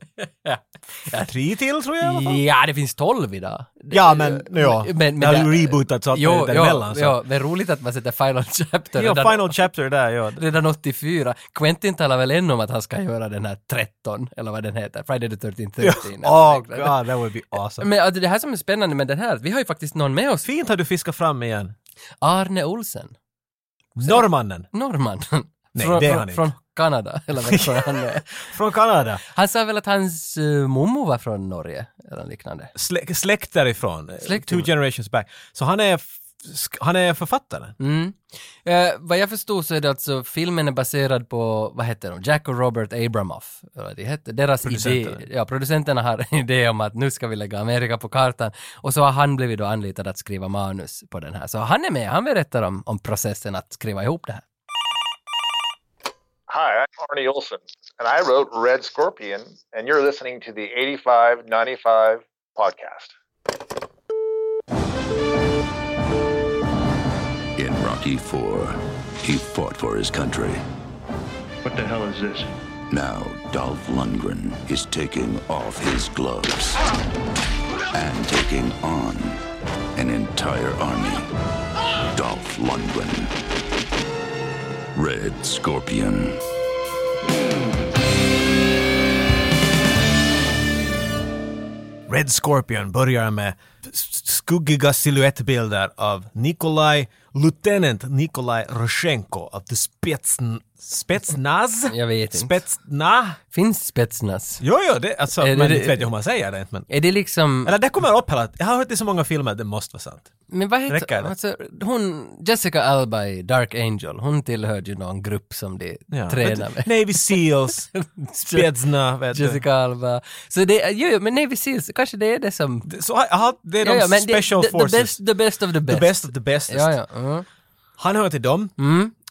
Speaker 2: Tre till tror jag i alla fall.
Speaker 1: Ja, det finns 12 idag.
Speaker 2: Ja, men nu ja.
Speaker 1: Men- men
Speaker 2: det har
Speaker 1: det-
Speaker 2: ju rebootat allt
Speaker 1: Jo, jo,
Speaker 2: däremellan. så.
Speaker 1: jo, men roligt att man sätter Final Chapter.
Speaker 2: Ja,
Speaker 1: redan-
Speaker 2: Final Chapter där, ja.
Speaker 1: redan 84. Quentin talar väl ännu om att han ska göra den här 13, eller vad den heter, Friday the 13th 13.
Speaker 2: Oh god, that would be awesome.
Speaker 1: Men alltså, det här som är spännande med den här, vi har ju faktiskt någon med oss.
Speaker 2: Fint har du fiskat fram igen.
Speaker 1: Arne Olsen,
Speaker 2: Norrmannen
Speaker 1: norrman.
Speaker 2: Nej,
Speaker 1: från,
Speaker 2: det är han
Speaker 1: från,
Speaker 2: inte.
Speaker 1: från Kanada, eller vad tror jag han
Speaker 2: [LAUGHS]
Speaker 1: är.
Speaker 2: från Kanada.
Speaker 1: Han sa väl att hans uh, mommo var från Norge, eller liknande.
Speaker 2: Slä, släkt därifrån.
Speaker 1: Släkt.
Speaker 2: Two generations back. Så han är, f- sk- han är författaren.
Speaker 1: Mm. Eh, vad jag förstod så är det alltså, filmen är baserad på, vad heter de, Jack och Robert Abramoff. Eller vad Det hette, deras idé,
Speaker 2: Producenterna.
Speaker 1: ja producenterna har [LAUGHS] en idé om att nu ska vi lägga Amerika på kartan. Och så har han blivit då anlitad att skriva manus på den här. Så han är med, han berättar om, om processen att skriva ihop det här.
Speaker 4: Hi, I'm Arnie Olson, and I wrote Red Scorpion, and you're listening to the 8595 podcast.
Speaker 5: Rocky IV, he fought for his country.
Speaker 6: What the hell is this?
Speaker 5: Now Dolph Lundgren is taking off his gloves and taking on an entire army. Dolph Lundgren, Red Scorpion.
Speaker 2: Red Scorpion börjar med s- skuggiga silhuettbilder av Nikolaj, Lieutenant Nikolaj Roshenko av The Spetsn... Spetsnaz?
Speaker 1: Jag vet inte.
Speaker 2: Spetsna?
Speaker 1: Finns Spetsnaz?
Speaker 2: Jo, jo, det, alltså,
Speaker 1: Är det-
Speaker 2: men inte vet jag hur man säger det. Men,
Speaker 1: Är det liksom...
Speaker 2: eller det kommer upp hela Jag har hört i så många filmer att det måste vara sant.
Speaker 1: Men vad heter
Speaker 2: Räcker det?
Speaker 1: alltså, hon? Jessica Alba i Dark Angel, hon tillhörde ju någon grupp som de
Speaker 2: Ja.
Speaker 1: tränade med. [LAUGHS]
Speaker 2: Navy Seals, Spetsna, vet du.
Speaker 1: Jessica Alba. Så det, är- jo, jo, men Navy Seals, kanske det är det som...
Speaker 2: Så, aha, det är de
Speaker 1: Ja, ja, men det-
Speaker 2: Special
Speaker 1: the,
Speaker 2: Forces.
Speaker 1: The best, the best of the best.
Speaker 2: The best of the bestest.
Speaker 1: Ja, Mm. ja. Mm.
Speaker 2: Han hör till dem.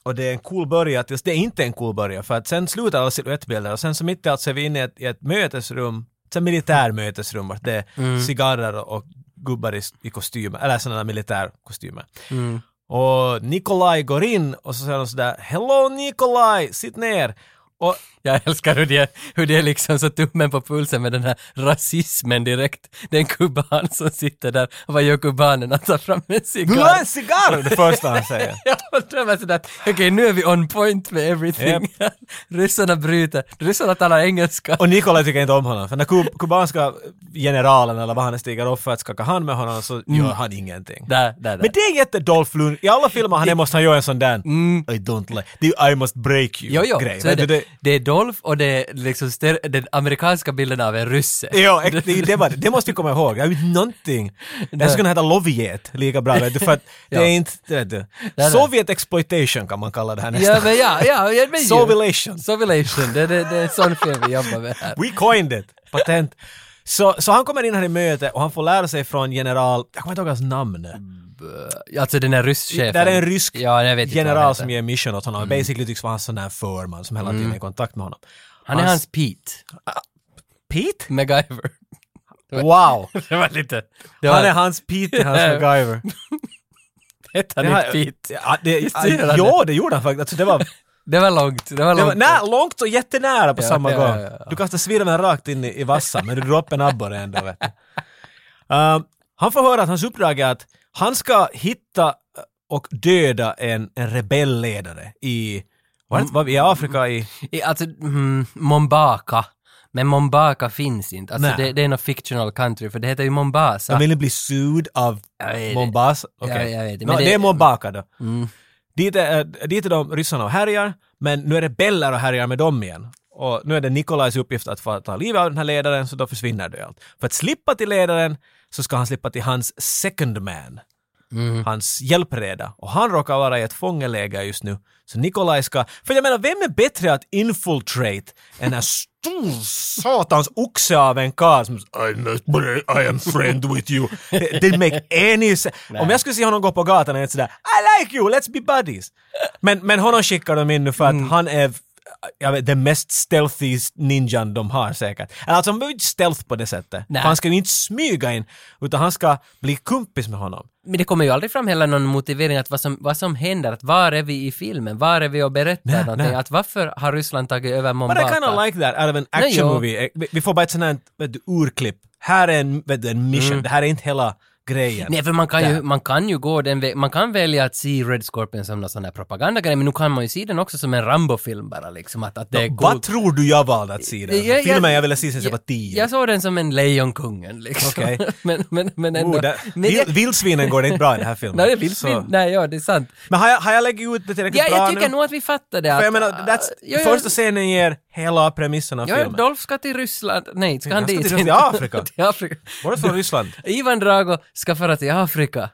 Speaker 2: Och det är en cool början tills det är inte är en cool början för att sen slutar alla silhuettbilder och sen så mitt i allt så är vi inne i ett, i ett mötesrum, ett militärmötesrum vart det är
Speaker 1: Mm.
Speaker 2: cigarrer och gubbar i, i kostymer, eller sådana där militärkostymer.
Speaker 1: Mm.
Speaker 2: Och Nikolaj går in och så säger de sådär ”Hello Nikolaj, sitt ner!” och
Speaker 1: Jag älskar hur det är, hur det är liksom så tummen på pulsen med den här rasismen direkt. Det är en kuban som sitter där och vad gör kubanerna? Tar fram en
Speaker 2: ”Vill du ha
Speaker 1: cigarr.
Speaker 2: en cigarr?” det första han säger.
Speaker 1: Ja, och då var sådär, okej nu är vi on point med everything. [LAUGHS] Ryssarna bryter, ryssarna talar engelska.
Speaker 2: Och Nikolaj tycker inte om honom, för när kub- kubanska generalen eller vad han är stiger upp för att skaka hand med honom så
Speaker 1: Mm.
Speaker 2: gör han ingenting.
Speaker 1: Där, där, där.
Speaker 2: Men det är jätte Dolph Lund. I alla filmer han är måste han göra en sån där I don't like, det är ju I must break you
Speaker 1: Jo, jo,
Speaker 2: grej.
Speaker 1: Mm. så är
Speaker 2: Vet du,
Speaker 1: det. Det är Dolph och det är liksom ster- den amerikanska bilden av en rysse.
Speaker 2: Jo, ex- det, är ju det, var det. det måste vi komma ihåg. Jag vet någonting. Det här skulle kunna heta Loviet lika bra, vet du, för att
Speaker 1: [LAUGHS]
Speaker 2: det
Speaker 1: Ja.
Speaker 2: är inte... Vet du.
Speaker 1: nej.
Speaker 2: Sovjet exploitation kan man kalla det här nästan.
Speaker 1: Ja,
Speaker 2: [LAUGHS]
Speaker 1: men ja, ja, ja men ju.
Speaker 2: Sovilation.
Speaker 1: Sovilation, det, det, det är en sån film vi jobbar med här.
Speaker 2: We coined it! Patent. Så, så han kommer in här i mötet och han får lära sig från general, jag kommer inte ihåg hans namn.
Speaker 1: Alltså den där rysschefen.
Speaker 2: Där är en rysk
Speaker 1: ja, jag vet inte vad han
Speaker 2: general
Speaker 1: heter.
Speaker 2: som ger mission åt honom. Basically tycks vara hans sån här förman som hela tiden är i kontakt med honom.
Speaker 1: Han är
Speaker 2: Hans- Ah,
Speaker 1: hans Pete.
Speaker 2: Pete?
Speaker 1: MacGyver.
Speaker 2: Wow!
Speaker 1: [LAUGHS] Det var lite... Det var,
Speaker 2: Han
Speaker 1: [LAUGHS]
Speaker 2: är hans Pete, hans MacGyver.
Speaker 1: Hette han
Speaker 2: Det
Speaker 1: inte
Speaker 2: här-
Speaker 1: Pete?
Speaker 2: Ja, det,
Speaker 1: Visst gör han
Speaker 2: ja, det gjorde han faktiskt. Alltså, det var,
Speaker 1: Det var långt, det var
Speaker 2: det var
Speaker 1: långt.
Speaker 2: nä, långt och jättenära på
Speaker 1: Ja,
Speaker 2: samma
Speaker 1: ja,
Speaker 2: gång.
Speaker 1: ja, ja.
Speaker 2: Du kastar svirveln rakt in i, i vassan, men du drar upp en abborre ändå. Vet du. Ehm, han får höra att hans uppdrag är att han ska hitta eh, och döda en, en rebellledare i, var
Speaker 1: Mm.
Speaker 2: det, var vi i Afrika i...
Speaker 1: I- Alltså, mm, Mombaka. Men Mombaka finns inte. Alltså
Speaker 2: Nej.
Speaker 1: det, det är någon fictional country, för det heter ju Mombasa.
Speaker 2: De ville bli sued av
Speaker 1: Jag vet det.
Speaker 2: Mombasa. Okej.
Speaker 1: jag vet det,
Speaker 2: Nå,
Speaker 1: men
Speaker 2: det,
Speaker 1: det- Mm.
Speaker 2: är Mombaka då. Dit, är, eh, dit är de ryssarna och härjar, men nu är det beller och härjar med dem igen. Och nu är det Nikolajs uppgift att få ta livet av den här ledaren, så då försvinner det allt. För att slippa till ledaren så ska han slippa till hans second man, hans hjälpreda. Och han råkar vara i ett fångeläger just nu. Så Nikolaj ska... För jag menar, vem är bättre att infiltrate än en stor satans oxe av en karl som I, must break, I am friend with you. Det det make any sense. Om jag skulle se honom gå på gatan och inte sådär I like you, let's be buddies. Men, men honom skickar de in nu för att han är jag vet, den mest stealthy ninjan de har säkert. Eller Alltså han behöver inte stealth på det sättet.
Speaker 1: Nej.
Speaker 2: För han ska ju inte smyga in, utan han ska bli kumpis med honom.
Speaker 1: Men det kommer ju aldrig fram heller någon motivering att vad som, vad som händer, att var är vi i filmen, var är vi och berättar
Speaker 2: Nej,
Speaker 1: någonting,
Speaker 2: nej.
Speaker 1: att varför har Ryssland tagit över
Speaker 2: But I
Speaker 1: Mombasa?
Speaker 2: kinda like that out of an
Speaker 1: Nej,
Speaker 2: action
Speaker 1: jo.
Speaker 2: movie. Eh, Vi- Vi får bara ett sånt här vet du, urklipp. Här är en, vet du, en mission, det här är inte hela grejen.
Speaker 1: Mm. Nej, för man kan, ju,
Speaker 2: Där.
Speaker 1: man kan ju gå den vägen, man kan välja att se Red Scorpion som någon sån här propagandagrej, men nu kan man ju se den också som en Rambo-film bara liksom, att, att det är
Speaker 2: Vad tror du jag valde att se den?
Speaker 1: Jag- jag-
Speaker 2: Filmen jag ville se sen jag var
Speaker 1: jag,
Speaker 2: tio.
Speaker 1: jag såg den som en Lejonkungen liksom.
Speaker 2: Okej.
Speaker 1: [LAUGHS] men, men, men ändå.
Speaker 2: Oh, där-
Speaker 1: nej,
Speaker 2: vil,
Speaker 1: jag-
Speaker 2: vildsvinen går det inte bra i den
Speaker 1: [LAUGHS]
Speaker 2: här filmen.
Speaker 1: nej, det vill vi-
Speaker 2: Så-
Speaker 1: nej, ja, det är sant.
Speaker 2: Men har jag, har jag lagt ut det tillräckligt
Speaker 1: Ja,
Speaker 2: bra
Speaker 1: jag tycker
Speaker 2: nu?
Speaker 1: nog att vi fattar det. Att,
Speaker 2: För jag menar, that's,
Speaker 1: ja, ja,
Speaker 2: första scenen ger hela premisserna av
Speaker 1: Ja, ja,
Speaker 2: filmen.
Speaker 1: Dolph ska till Ryssland. Nej, ska han
Speaker 2: Han ska
Speaker 1: dit? [LAUGHS]
Speaker 2: till Ryssland, till Afrika.
Speaker 1: till Afrika.
Speaker 2: Var det från Ryssland?
Speaker 1: Ivan Drago ska föra till Afrika.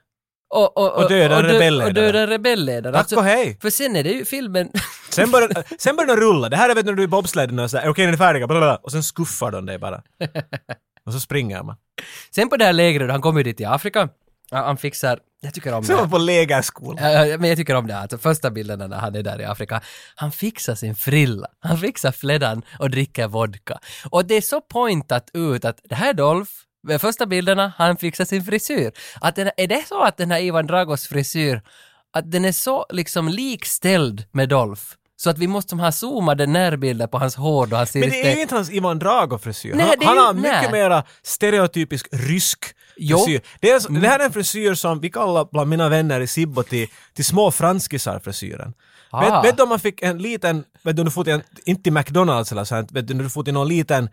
Speaker 1: Och, och,
Speaker 2: Och döda en
Speaker 1: dö-
Speaker 2: rebellledare.
Speaker 1: Och döda en rebellledare.
Speaker 2: Tack och hej.
Speaker 1: För sen är det ju filmen... [LAUGHS]
Speaker 2: Sen börjar, sen börjar den rulla. Det här är vet du när du är i bobsledden och sådär, okej okay, ni är färdiga, bla, bla, bla. Och sen skuffar de dig bara. Och så springer man.
Speaker 1: sen på det här lägret, han kommer ju dit till Afrika. Ja, Han fixar... Jag tycker om det
Speaker 2: Sen var
Speaker 1: här.
Speaker 2: man på lägerskola.
Speaker 1: Ja, ja, Men jag tycker om det här, alltså första bilderna när han är där i Afrika. Han fixar sin frilla, han fixar flädan och dricker vodka. Och det är så pointat ut att det här är Dolph, med första bilderna, han fixar sin frisyr. Att den, är det så att den här Ivan Dragos frisyr att den är så liksom likställd med Dolph, så att vi måste som ha zoomade närbilder på hans hår då han ser
Speaker 2: Men
Speaker 1: lite...
Speaker 2: det är ju inte hans Ivan Drago-frisyr.
Speaker 1: Nej,
Speaker 2: Han,
Speaker 1: det är
Speaker 2: han
Speaker 1: ju-
Speaker 2: har
Speaker 1: nej.
Speaker 2: mycket mera stereotypisk rysk
Speaker 1: Jo. Mm.
Speaker 2: frisyr. Det, är, så- det här är en frisyr som vi kallar bland mina vänner i Sibbo till, till små franskisar-frisyren.
Speaker 1: Ah.
Speaker 2: Vet, vet du om man fick en liten, vet du, om du får till en, inte till McDonalds eller sånt, vet du, när du får till någon liten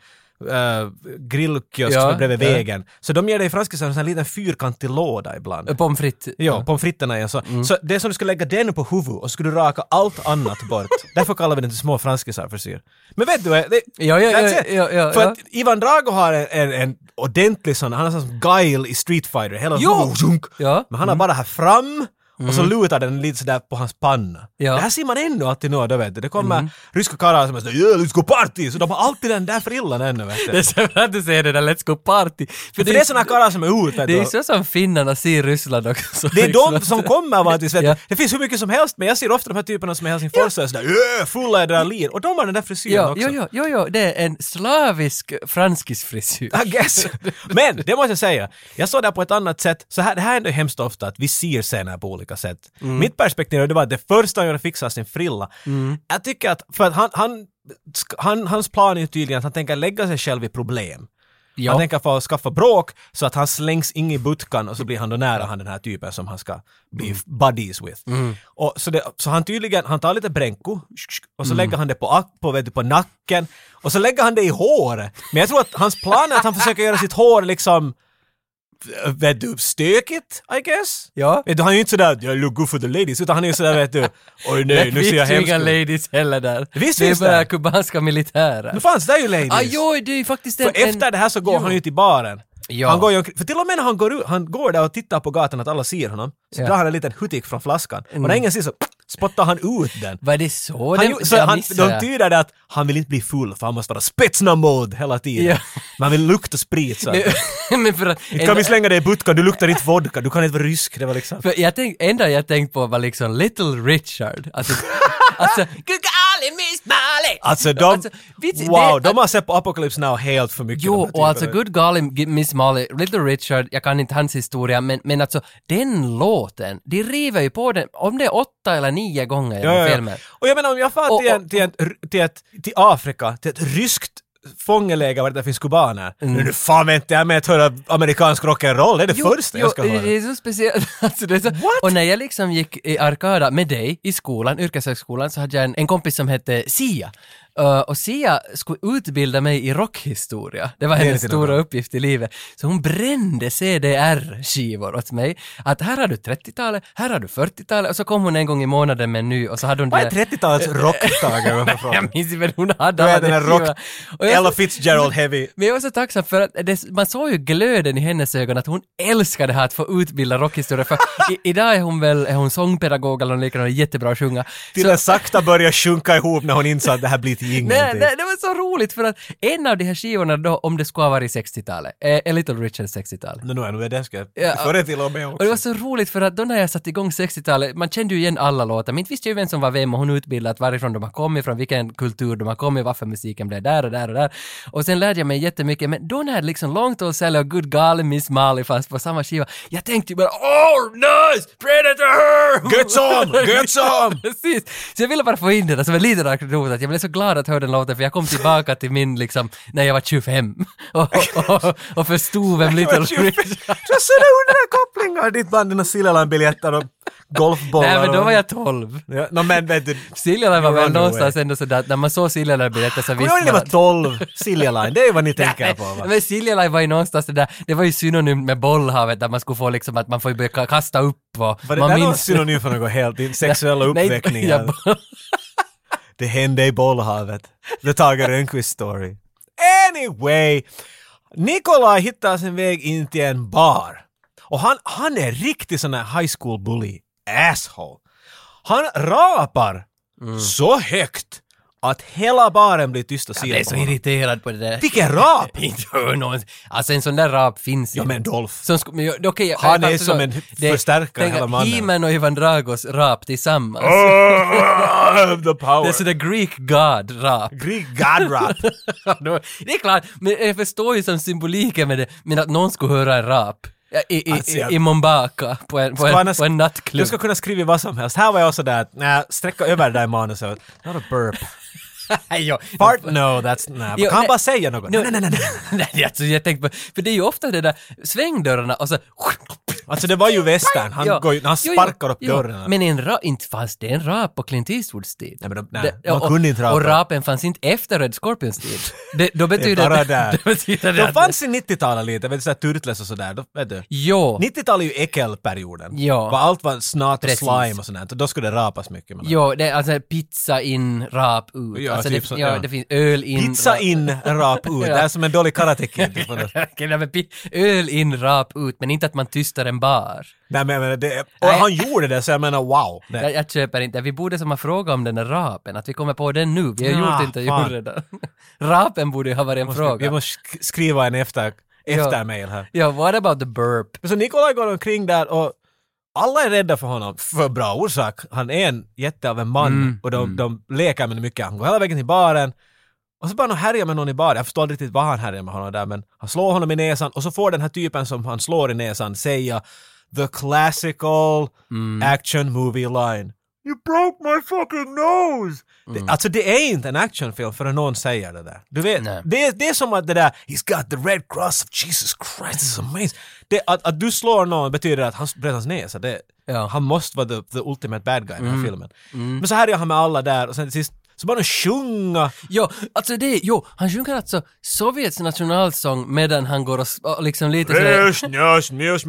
Speaker 2: eh, grillkiosk
Speaker 1: Ja,
Speaker 2: som är bredvid
Speaker 1: ja.
Speaker 2: vägen. Så de ger dig franskisar en sån här liten fyrkantig låda ibland.
Speaker 1: Pommes frites.
Speaker 2: Ja, pommes fritterna är så.
Speaker 1: Mm.
Speaker 2: Så det är som du skulle lägga den på huvudet och skulle raka allt annat bort.
Speaker 1: [LAUGHS]
Speaker 2: Därför kallar vi den till små franskisar frisyr. Men vet du, eh, det,
Speaker 1: Ja, ja, ja,
Speaker 2: that's it.
Speaker 1: ja, ja,
Speaker 2: För
Speaker 1: ja.
Speaker 2: att Ivan Drago har en, en, en ordentlig sån, han är sån som Guile i Street Fighter. Hela
Speaker 1: Jo!
Speaker 2: Zunk.
Speaker 1: Ja. Mm.
Speaker 2: Men han har bara här fram och så lutar den lite sådär på hans panna.
Speaker 1: Ja. Mm.
Speaker 2: Det här ser man ännu alltid nu, då vet du. Det kommer ryska karlar som är sådär yeah, let's go party! Så de har alltid den där frillan ännu vet du.
Speaker 1: Det är så bra att du säger det där Let's Go Party.
Speaker 2: För det är såna karlar som är ute.
Speaker 1: Det är
Speaker 2: då.
Speaker 1: ju så som finnarna ser Ryssland också.
Speaker 2: Det är de
Speaker 1: liksom.
Speaker 2: som kommer vanligtvis, vet
Speaker 1: Ja.
Speaker 2: du. Det finns hur mycket som helst, men jag ser ofta de här typerna som är helsingforsare sådär "Öh, fulla adrenalin. Och de har den där frisyren
Speaker 1: Ja,
Speaker 2: också.
Speaker 1: jo, jo, jo, jo, det är en slavisk franskisk frisyr.
Speaker 2: I guess. [LAUGHS] Men det måste jag säga, jag såg det här på ett annat sätt. Så här, det här är ändå hemskt ofta att vi ser scener på olika sätt.
Speaker 1: Mm.
Speaker 2: Mitt perspektiv det var att det första han gjorde fixade sin frilla. Jag tycker att, för att han, han, sk- han, hans plan är ju tydligen att han tänker lägga sig själv i problem.
Speaker 1: Ja.
Speaker 2: Han tänker få skaffa bråk så att han slängs in i butkan och så blir han då nära han den här typen som han ska bli
Speaker 1: Mm.
Speaker 2: buddies with. Och så, det, så han tydligen, han tar lite bränko och
Speaker 1: Mm.
Speaker 2: så lägger han det på, ack- på, vet du, på nacken och så lägger han det i håret. Men jag tror att hans plan är att han försöker göra sitt hår liksom äh, Vet du, stökigt, I guess?
Speaker 1: Ja.
Speaker 2: Vet du, han är ju inte sådär “jag look good for the ladies” utan han är ju sådär vet du “oj nej,
Speaker 1: Det
Speaker 2: nu ser jag
Speaker 1: finns ju
Speaker 2: hemskt
Speaker 1: inga
Speaker 2: ut”.
Speaker 1: ladies heller där.
Speaker 2: Visst
Speaker 1: det är
Speaker 2: finns
Speaker 1: bara
Speaker 2: det.
Speaker 1: kubanska militärer.
Speaker 2: Nu fanns det ju ladies!
Speaker 1: ah, jo, det är ju faktiskt
Speaker 2: För efter det här så går han ut i baren.
Speaker 1: Ja.
Speaker 2: Han går ju, omkring- för till och med när han går, ut, han går där och tittar på gatan att alla ser honom, så
Speaker 1: Ja. Mm.
Speaker 2: drar han en liten hutik från flaskan. Och när ingen ser så spottar han ut den.
Speaker 1: Var det så?
Speaker 2: Han,
Speaker 1: den,
Speaker 2: ju- så
Speaker 1: jag
Speaker 2: han,
Speaker 1: missade
Speaker 2: de
Speaker 1: det.
Speaker 2: tyder det att han vill inte bli full för han måste vara spetsnamod hela tiden.
Speaker 1: Ja.
Speaker 2: Men han vill lukta sprit så att,
Speaker 1: [LAUGHS] Men för att...
Speaker 2: Inte kan vi slänga dig i butkan, du luktar inte vodka, du kan inte vara rysk. Det var liksom...
Speaker 1: För jag tänk, enda jag tänkt på var liksom Little Richard.
Speaker 2: [LAUGHS]
Speaker 1: Alltså, alltså, Gugali Miss Mali!
Speaker 2: Alltså de,
Speaker 1: vits- det-
Speaker 2: wow, de har sett på Apocalypse Now helt för mycket. de här
Speaker 1: Jo, och alltså
Speaker 2: typerna.
Speaker 1: Good Golly G- Miss Molly, Little Richard, jag kan inte hans historia, men, men alltså den låten, de river ju på den, om det är åtta eller nio gånger genom
Speaker 2: Ja, ja, ja.
Speaker 1: filmen.
Speaker 2: Och jag menar om jag far
Speaker 1: Och-
Speaker 2: till, en,
Speaker 1: och-
Speaker 2: till, en, till, ett, till Afrika, till ett ryskt fångeläger var det finns kubaner.
Speaker 1: Mm.
Speaker 2: Nu fan väntar jag med att höra amerikansk rock'n'roll, det är det första jag ska
Speaker 1: det-
Speaker 2: höra.
Speaker 1: Det är så speciellt. [LAUGHS] Alltså, det är så...
Speaker 2: What?
Speaker 1: Och när jag liksom gick i Arkada med dig i skolan, yrkeshögskolan, så hade jag en, en kompis som hette Sia. Uh, och Sia skulle utbilda mig i rockhistoria. Det var
Speaker 2: Det är
Speaker 1: hennes
Speaker 2: lite
Speaker 1: stora
Speaker 2: bra.
Speaker 1: uppgift i livet. Så hon brände CDR-skivor åt mig. Att här har du 30-talet, här har du 40-talet och så kom hon en gång i månaden med en ny och så hade hon
Speaker 2: Vad
Speaker 1: det
Speaker 2: är
Speaker 1: där-
Speaker 2: 30-talets
Speaker 1: eh,
Speaker 2: rockdagar? varför
Speaker 1: [LAUGHS]
Speaker 2: frågar
Speaker 1: jag minns inte, men hon hade
Speaker 2: Du är
Speaker 1: alla
Speaker 2: den här
Speaker 1: skivorna.
Speaker 2: rock-
Speaker 1: Och jag
Speaker 2: Ella
Speaker 1: så-
Speaker 2: Fitzgerald Heavy.
Speaker 1: men jag var så tacksam för att det, man såg ju glöden i hennes ögon att hon älskade det här att få utbilda rockhistoria. För i, idag är hon väl är hon sångpedagog eller något liknande, jättebra att sjunga.
Speaker 2: Till
Speaker 1: Så-
Speaker 2: den sakta börjar sjunka ihop när hon insåg att det här blir
Speaker 1: [LAUGHS]
Speaker 2: till
Speaker 1: Nej,
Speaker 2: ingenting.
Speaker 1: nej, det var så roligt för att en av de här skivorna då, om det skulle ha varit 60-talet, är är Little Richard 60-tal.
Speaker 2: Nå, nu är det- det ska
Speaker 1: Ja.
Speaker 2: jag... För det till och med
Speaker 1: Och det var
Speaker 2: också.
Speaker 1: så roligt för att då när jag satte igång 60-talet, man kände ju igen alla låtar, men inte visste jag ju vem som var vem och hon utbildat varifrån de har kommit från, vilken kultur de har kommit, varför musiken blev där och där och där. Och sen lärde jag mig jättemycket, men då när liksom Long Tall Sally och Good Golly Miss Molly fanns på samma skiva, jag tänkte ju bara “Oh, nice! Predator!”
Speaker 2: Get some!
Speaker 1: [LAUGHS]
Speaker 2: Get some!
Speaker 1: Precis! Så jag ville bara få in det där som en liten anekdot, att jag blev så glad att höra den låten, för jag kom tillbaka till min liksom, när jag var 25 [LAUGHS] och, och, och, och förstod vem Little [LAUGHS] Richard...
Speaker 2: Du har sådana hundra kopplingar! Ditt band, dina Silalan-biljetter och golfbollar.
Speaker 1: Nej men då
Speaker 2: och-
Speaker 1: var jag 12.
Speaker 2: Ja, nå, men vet du,
Speaker 1: Siljalan var
Speaker 2: You
Speaker 1: väl
Speaker 2: run away.
Speaker 1: någonstans ändå sådär, att när man såg Siljalan berätta så
Speaker 2: Kommer du ihåg
Speaker 1: visste
Speaker 2: när
Speaker 1: man
Speaker 2: ni var
Speaker 1: att...
Speaker 2: 12? Silja Line, det är vad ni tänker på va?
Speaker 1: Men Siljalan var ju någonstans det där, det var ju synonymt med bollhavet där man skulle få liksom att man får ju börja kasta upp och
Speaker 2: Var det
Speaker 1: man
Speaker 2: där någon synonym för något helt? Din sexuella
Speaker 1: [LAUGHS] Nej,
Speaker 2: uppväckning?
Speaker 1: ja,
Speaker 2: eller? det hände i bollhavet. The Tage Rönnqvist story. Anyway! Nikolaj hittar sin väg in till en bar. Och han, han är riktigt sån här high school bully. Asshole. Han rapar
Speaker 1: Mm.
Speaker 2: så högt att hela baren blir tyst och
Speaker 1: jag
Speaker 2: ser
Speaker 1: är så irriterad på det där. [LAUGHS]
Speaker 2: Vilken rap!
Speaker 1: Inte hör någon. Alltså en sån där rap finns
Speaker 2: Ja
Speaker 1: inte.
Speaker 2: men
Speaker 1: [LAUGHS]
Speaker 2: Dolph.
Speaker 1: Som sku- men jag- okej, jag-
Speaker 2: Han
Speaker 1: jag
Speaker 2: är
Speaker 1: fattar
Speaker 2: som
Speaker 1: så.
Speaker 2: en förstärkare,
Speaker 1: tänk
Speaker 2: hela
Speaker 1: att
Speaker 2: mannen. Oh!
Speaker 1: He-Man och Ivan Dragos rap tillsammans.
Speaker 2: the
Speaker 1: Det är
Speaker 2: power.
Speaker 1: sådär Greek God-rap.
Speaker 2: Greek god rap.
Speaker 1: [LAUGHS] Ja, då- det är klart, men jag förstår ju som symboliken med det, men att någon skulle höra en rap. Ja, I, i,
Speaker 2: Alltså,
Speaker 1: i,
Speaker 2: jag-
Speaker 1: i Mombaka på en, på
Speaker 2: Ska
Speaker 1: en,
Speaker 2: annars-
Speaker 1: på en nattklubb. [LAUGHS]
Speaker 2: Du ska kunna skriva vad som helst. Här var jag sådär att nä, sträcka över det där i manuset. Not a burp.
Speaker 1: jo,
Speaker 2: Fart no, that's... nä.
Speaker 1: Jo,
Speaker 2: Kan han
Speaker 1: nej.
Speaker 2: bara säga något? Nej, nej, nej, nej.
Speaker 1: [LAUGHS] nej. Alltså, jag tänkte på, för det är ju ofta det där svängdörrarna och så... [LAUGHS]
Speaker 2: Alltså det var ju västern. Han,
Speaker 1: Ja.
Speaker 2: går ju, han
Speaker 1: Jo, jo,
Speaker 2: sparkar upp
Speaker 1: jo.
Speaker 2: dörren.
Speaker 1: Men en ra, inte fanns det en rap på Clint Eastwoods tid.
Speaker 2: Nej, men de- nej,
Speaker 1: Det-
Speaker 2: man
Speaker 1: och-
Speaker 2: kunde inte rapa.
Speaker 1: Och rapen fanns inte efter Red Scorpions
Speaker 2: [LAUGHS]
Speaker 1: tid. Det, då betyder [LAUGHS]
Speaker 2: bara där.
Speaker 1: det betyder det
Speaker 2: De
Speaker 1: att-
Speaker 2: fanns i 90-talet lite, vet du, sådär Turtles och sådär. Då, vet du.
Speaker 1: Jo,
Speaker 2: 90-talet är ju äckelperioden.
Speaker 1: Ja.
Speaker 2: Var allt var snart och
Speaker 1: Precis.
Speaker 2: slime och sådant. Då skulle det rapas mycket. Men
Speaker 1: jo, det är alltså pizza in, rap ut.
Speaker 2: Ja,
Speaker 1: alltså,
Speaker 2: typ
Speaker 1: det,
Speaker 2: så,
Speaker 1: ja,
Speaker 2: ja.
Speaker 1: det finns öl in.
Speaker 2: Pizza
Speaker 1: rap-
Speaker 2: in, rap ut. Det är som en dålig karate kid.
Speaker 1: [LAUGHS] Okej, nej, men pi- öl in, rap ut, men inte att man tystar en bar.
Speaker 2: Nej men jag menar, det, och han gjorde det så jag menar wow. Det-
Speaker 1: Jag, jag köper inte, vi borde som ha frågat om den där rapen, att vi kommer på den nu. Vi har
Speaker 2: Ah,
Speaker 1: gjort inte
Speaker 2: fan.
Speaker 1: gjort det där. [LAUGHS] Rapen borde ju ha varit en
Speaker 2: måste,
Speaker 1: fråga.
Speaker 2: Vi måste sk- skriva en efter, eftermail här.
Speaker 1: Ja, what about the burp?
Speaker 2: Men Så Nikolaj går omkring där och alla är rädda för honom, för bra orsak. Han är en jätte av en man
Speaker 1: Mm,
Speaker 2: och de, de leker med honom mycket. Han går hela vägen till baren och så bara han härjar med någon i baren. Jag förstår inte riktigt vad han härjar med honom där men han slår honom i näsan och så får den här typen som han slår i näsan säga the classical
Speaker 1: Mm.
Speaker 2: action movie line. You broke my fucking nose!
Speaker 1: Mm.
Speaker 2: Det, alltså det är inte en actionfilm förrän någon säger det där. Du vet,
Speaker 1: Nej.
Speaker 2: det, är- det är som att det där “He's got the red cross of Jesus Christ, it's amazing”. Det, att, att du slår någon betyder att han bröt hans näsa. Det,
Speaker 1: Ja. Mm.
Speaker 2: Han måste vara the, the ultimate bad guy i den här filmen. Men så här är han med alla där och sen till sist så bara de sjunga.
Speaker 1: Jo, alltså det, jo, han sjunger alltså Sovjets nationalsång medan han går och, s- och liksom lite sådär,
Speaker 2: Njös, njös,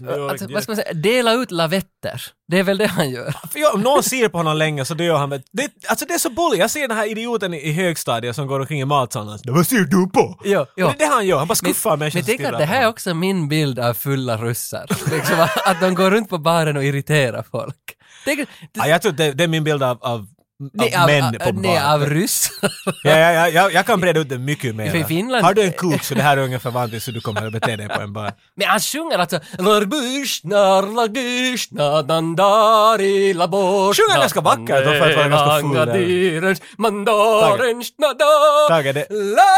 Speaker 2: njös,
Speaker 1: alltså, vad ska man säga, dela ut lavetter. Det är väl det han gör.
Speaker 2: För jag, om någon ser på honom länge så då gör han väl... Det, alltså det är så bully. Jag ser den här idioten i, i högstadiet som går omkring i matsalen. Vad ser du på?
Speaker 1: Ja, ja.
Speaker 2: Och Det är det han gör. Han bara skuffar
Speaker 1: Men
Speaker 2: människor som
Speaker 1: tänk
Speaker 2: stirrar
Speaker 1: att det här
Speaker 2: på
Speaker 1: är
Speaker 2: honom.
Speaker 1: också min bild av fulla ryssar. [LAUGHS] Liksom, att- att de går runt på baren och irriterar folk. Tänk,
Speaker 2: Ja, jag tror det, det är min bild av, av, av
Speaker 1: nej, av,
Speaker 2: män på
Speaker 1: av, nej,
Speaker 2: bar.
Speaker 1: av ryssar. [LAUGHS]
Speaker 2: Ja, ja, ja, jag, jag kan breda ut det mycket mer.
Speaker 1: För i Finland-
Speaker 2: Har du en kuk så det här är ungefär vanligt så du kommer att bete dig på en bar.
Speaker 1: Men han sjunger alltså Larbushna, larbushna, dandari, laborshna
Speaker 2: Sjunger ganska vackert, då får jag vara ganska full där.
Speaker 1: Mandadirens, mandarens, nadar
Speaker 2: Tage, det-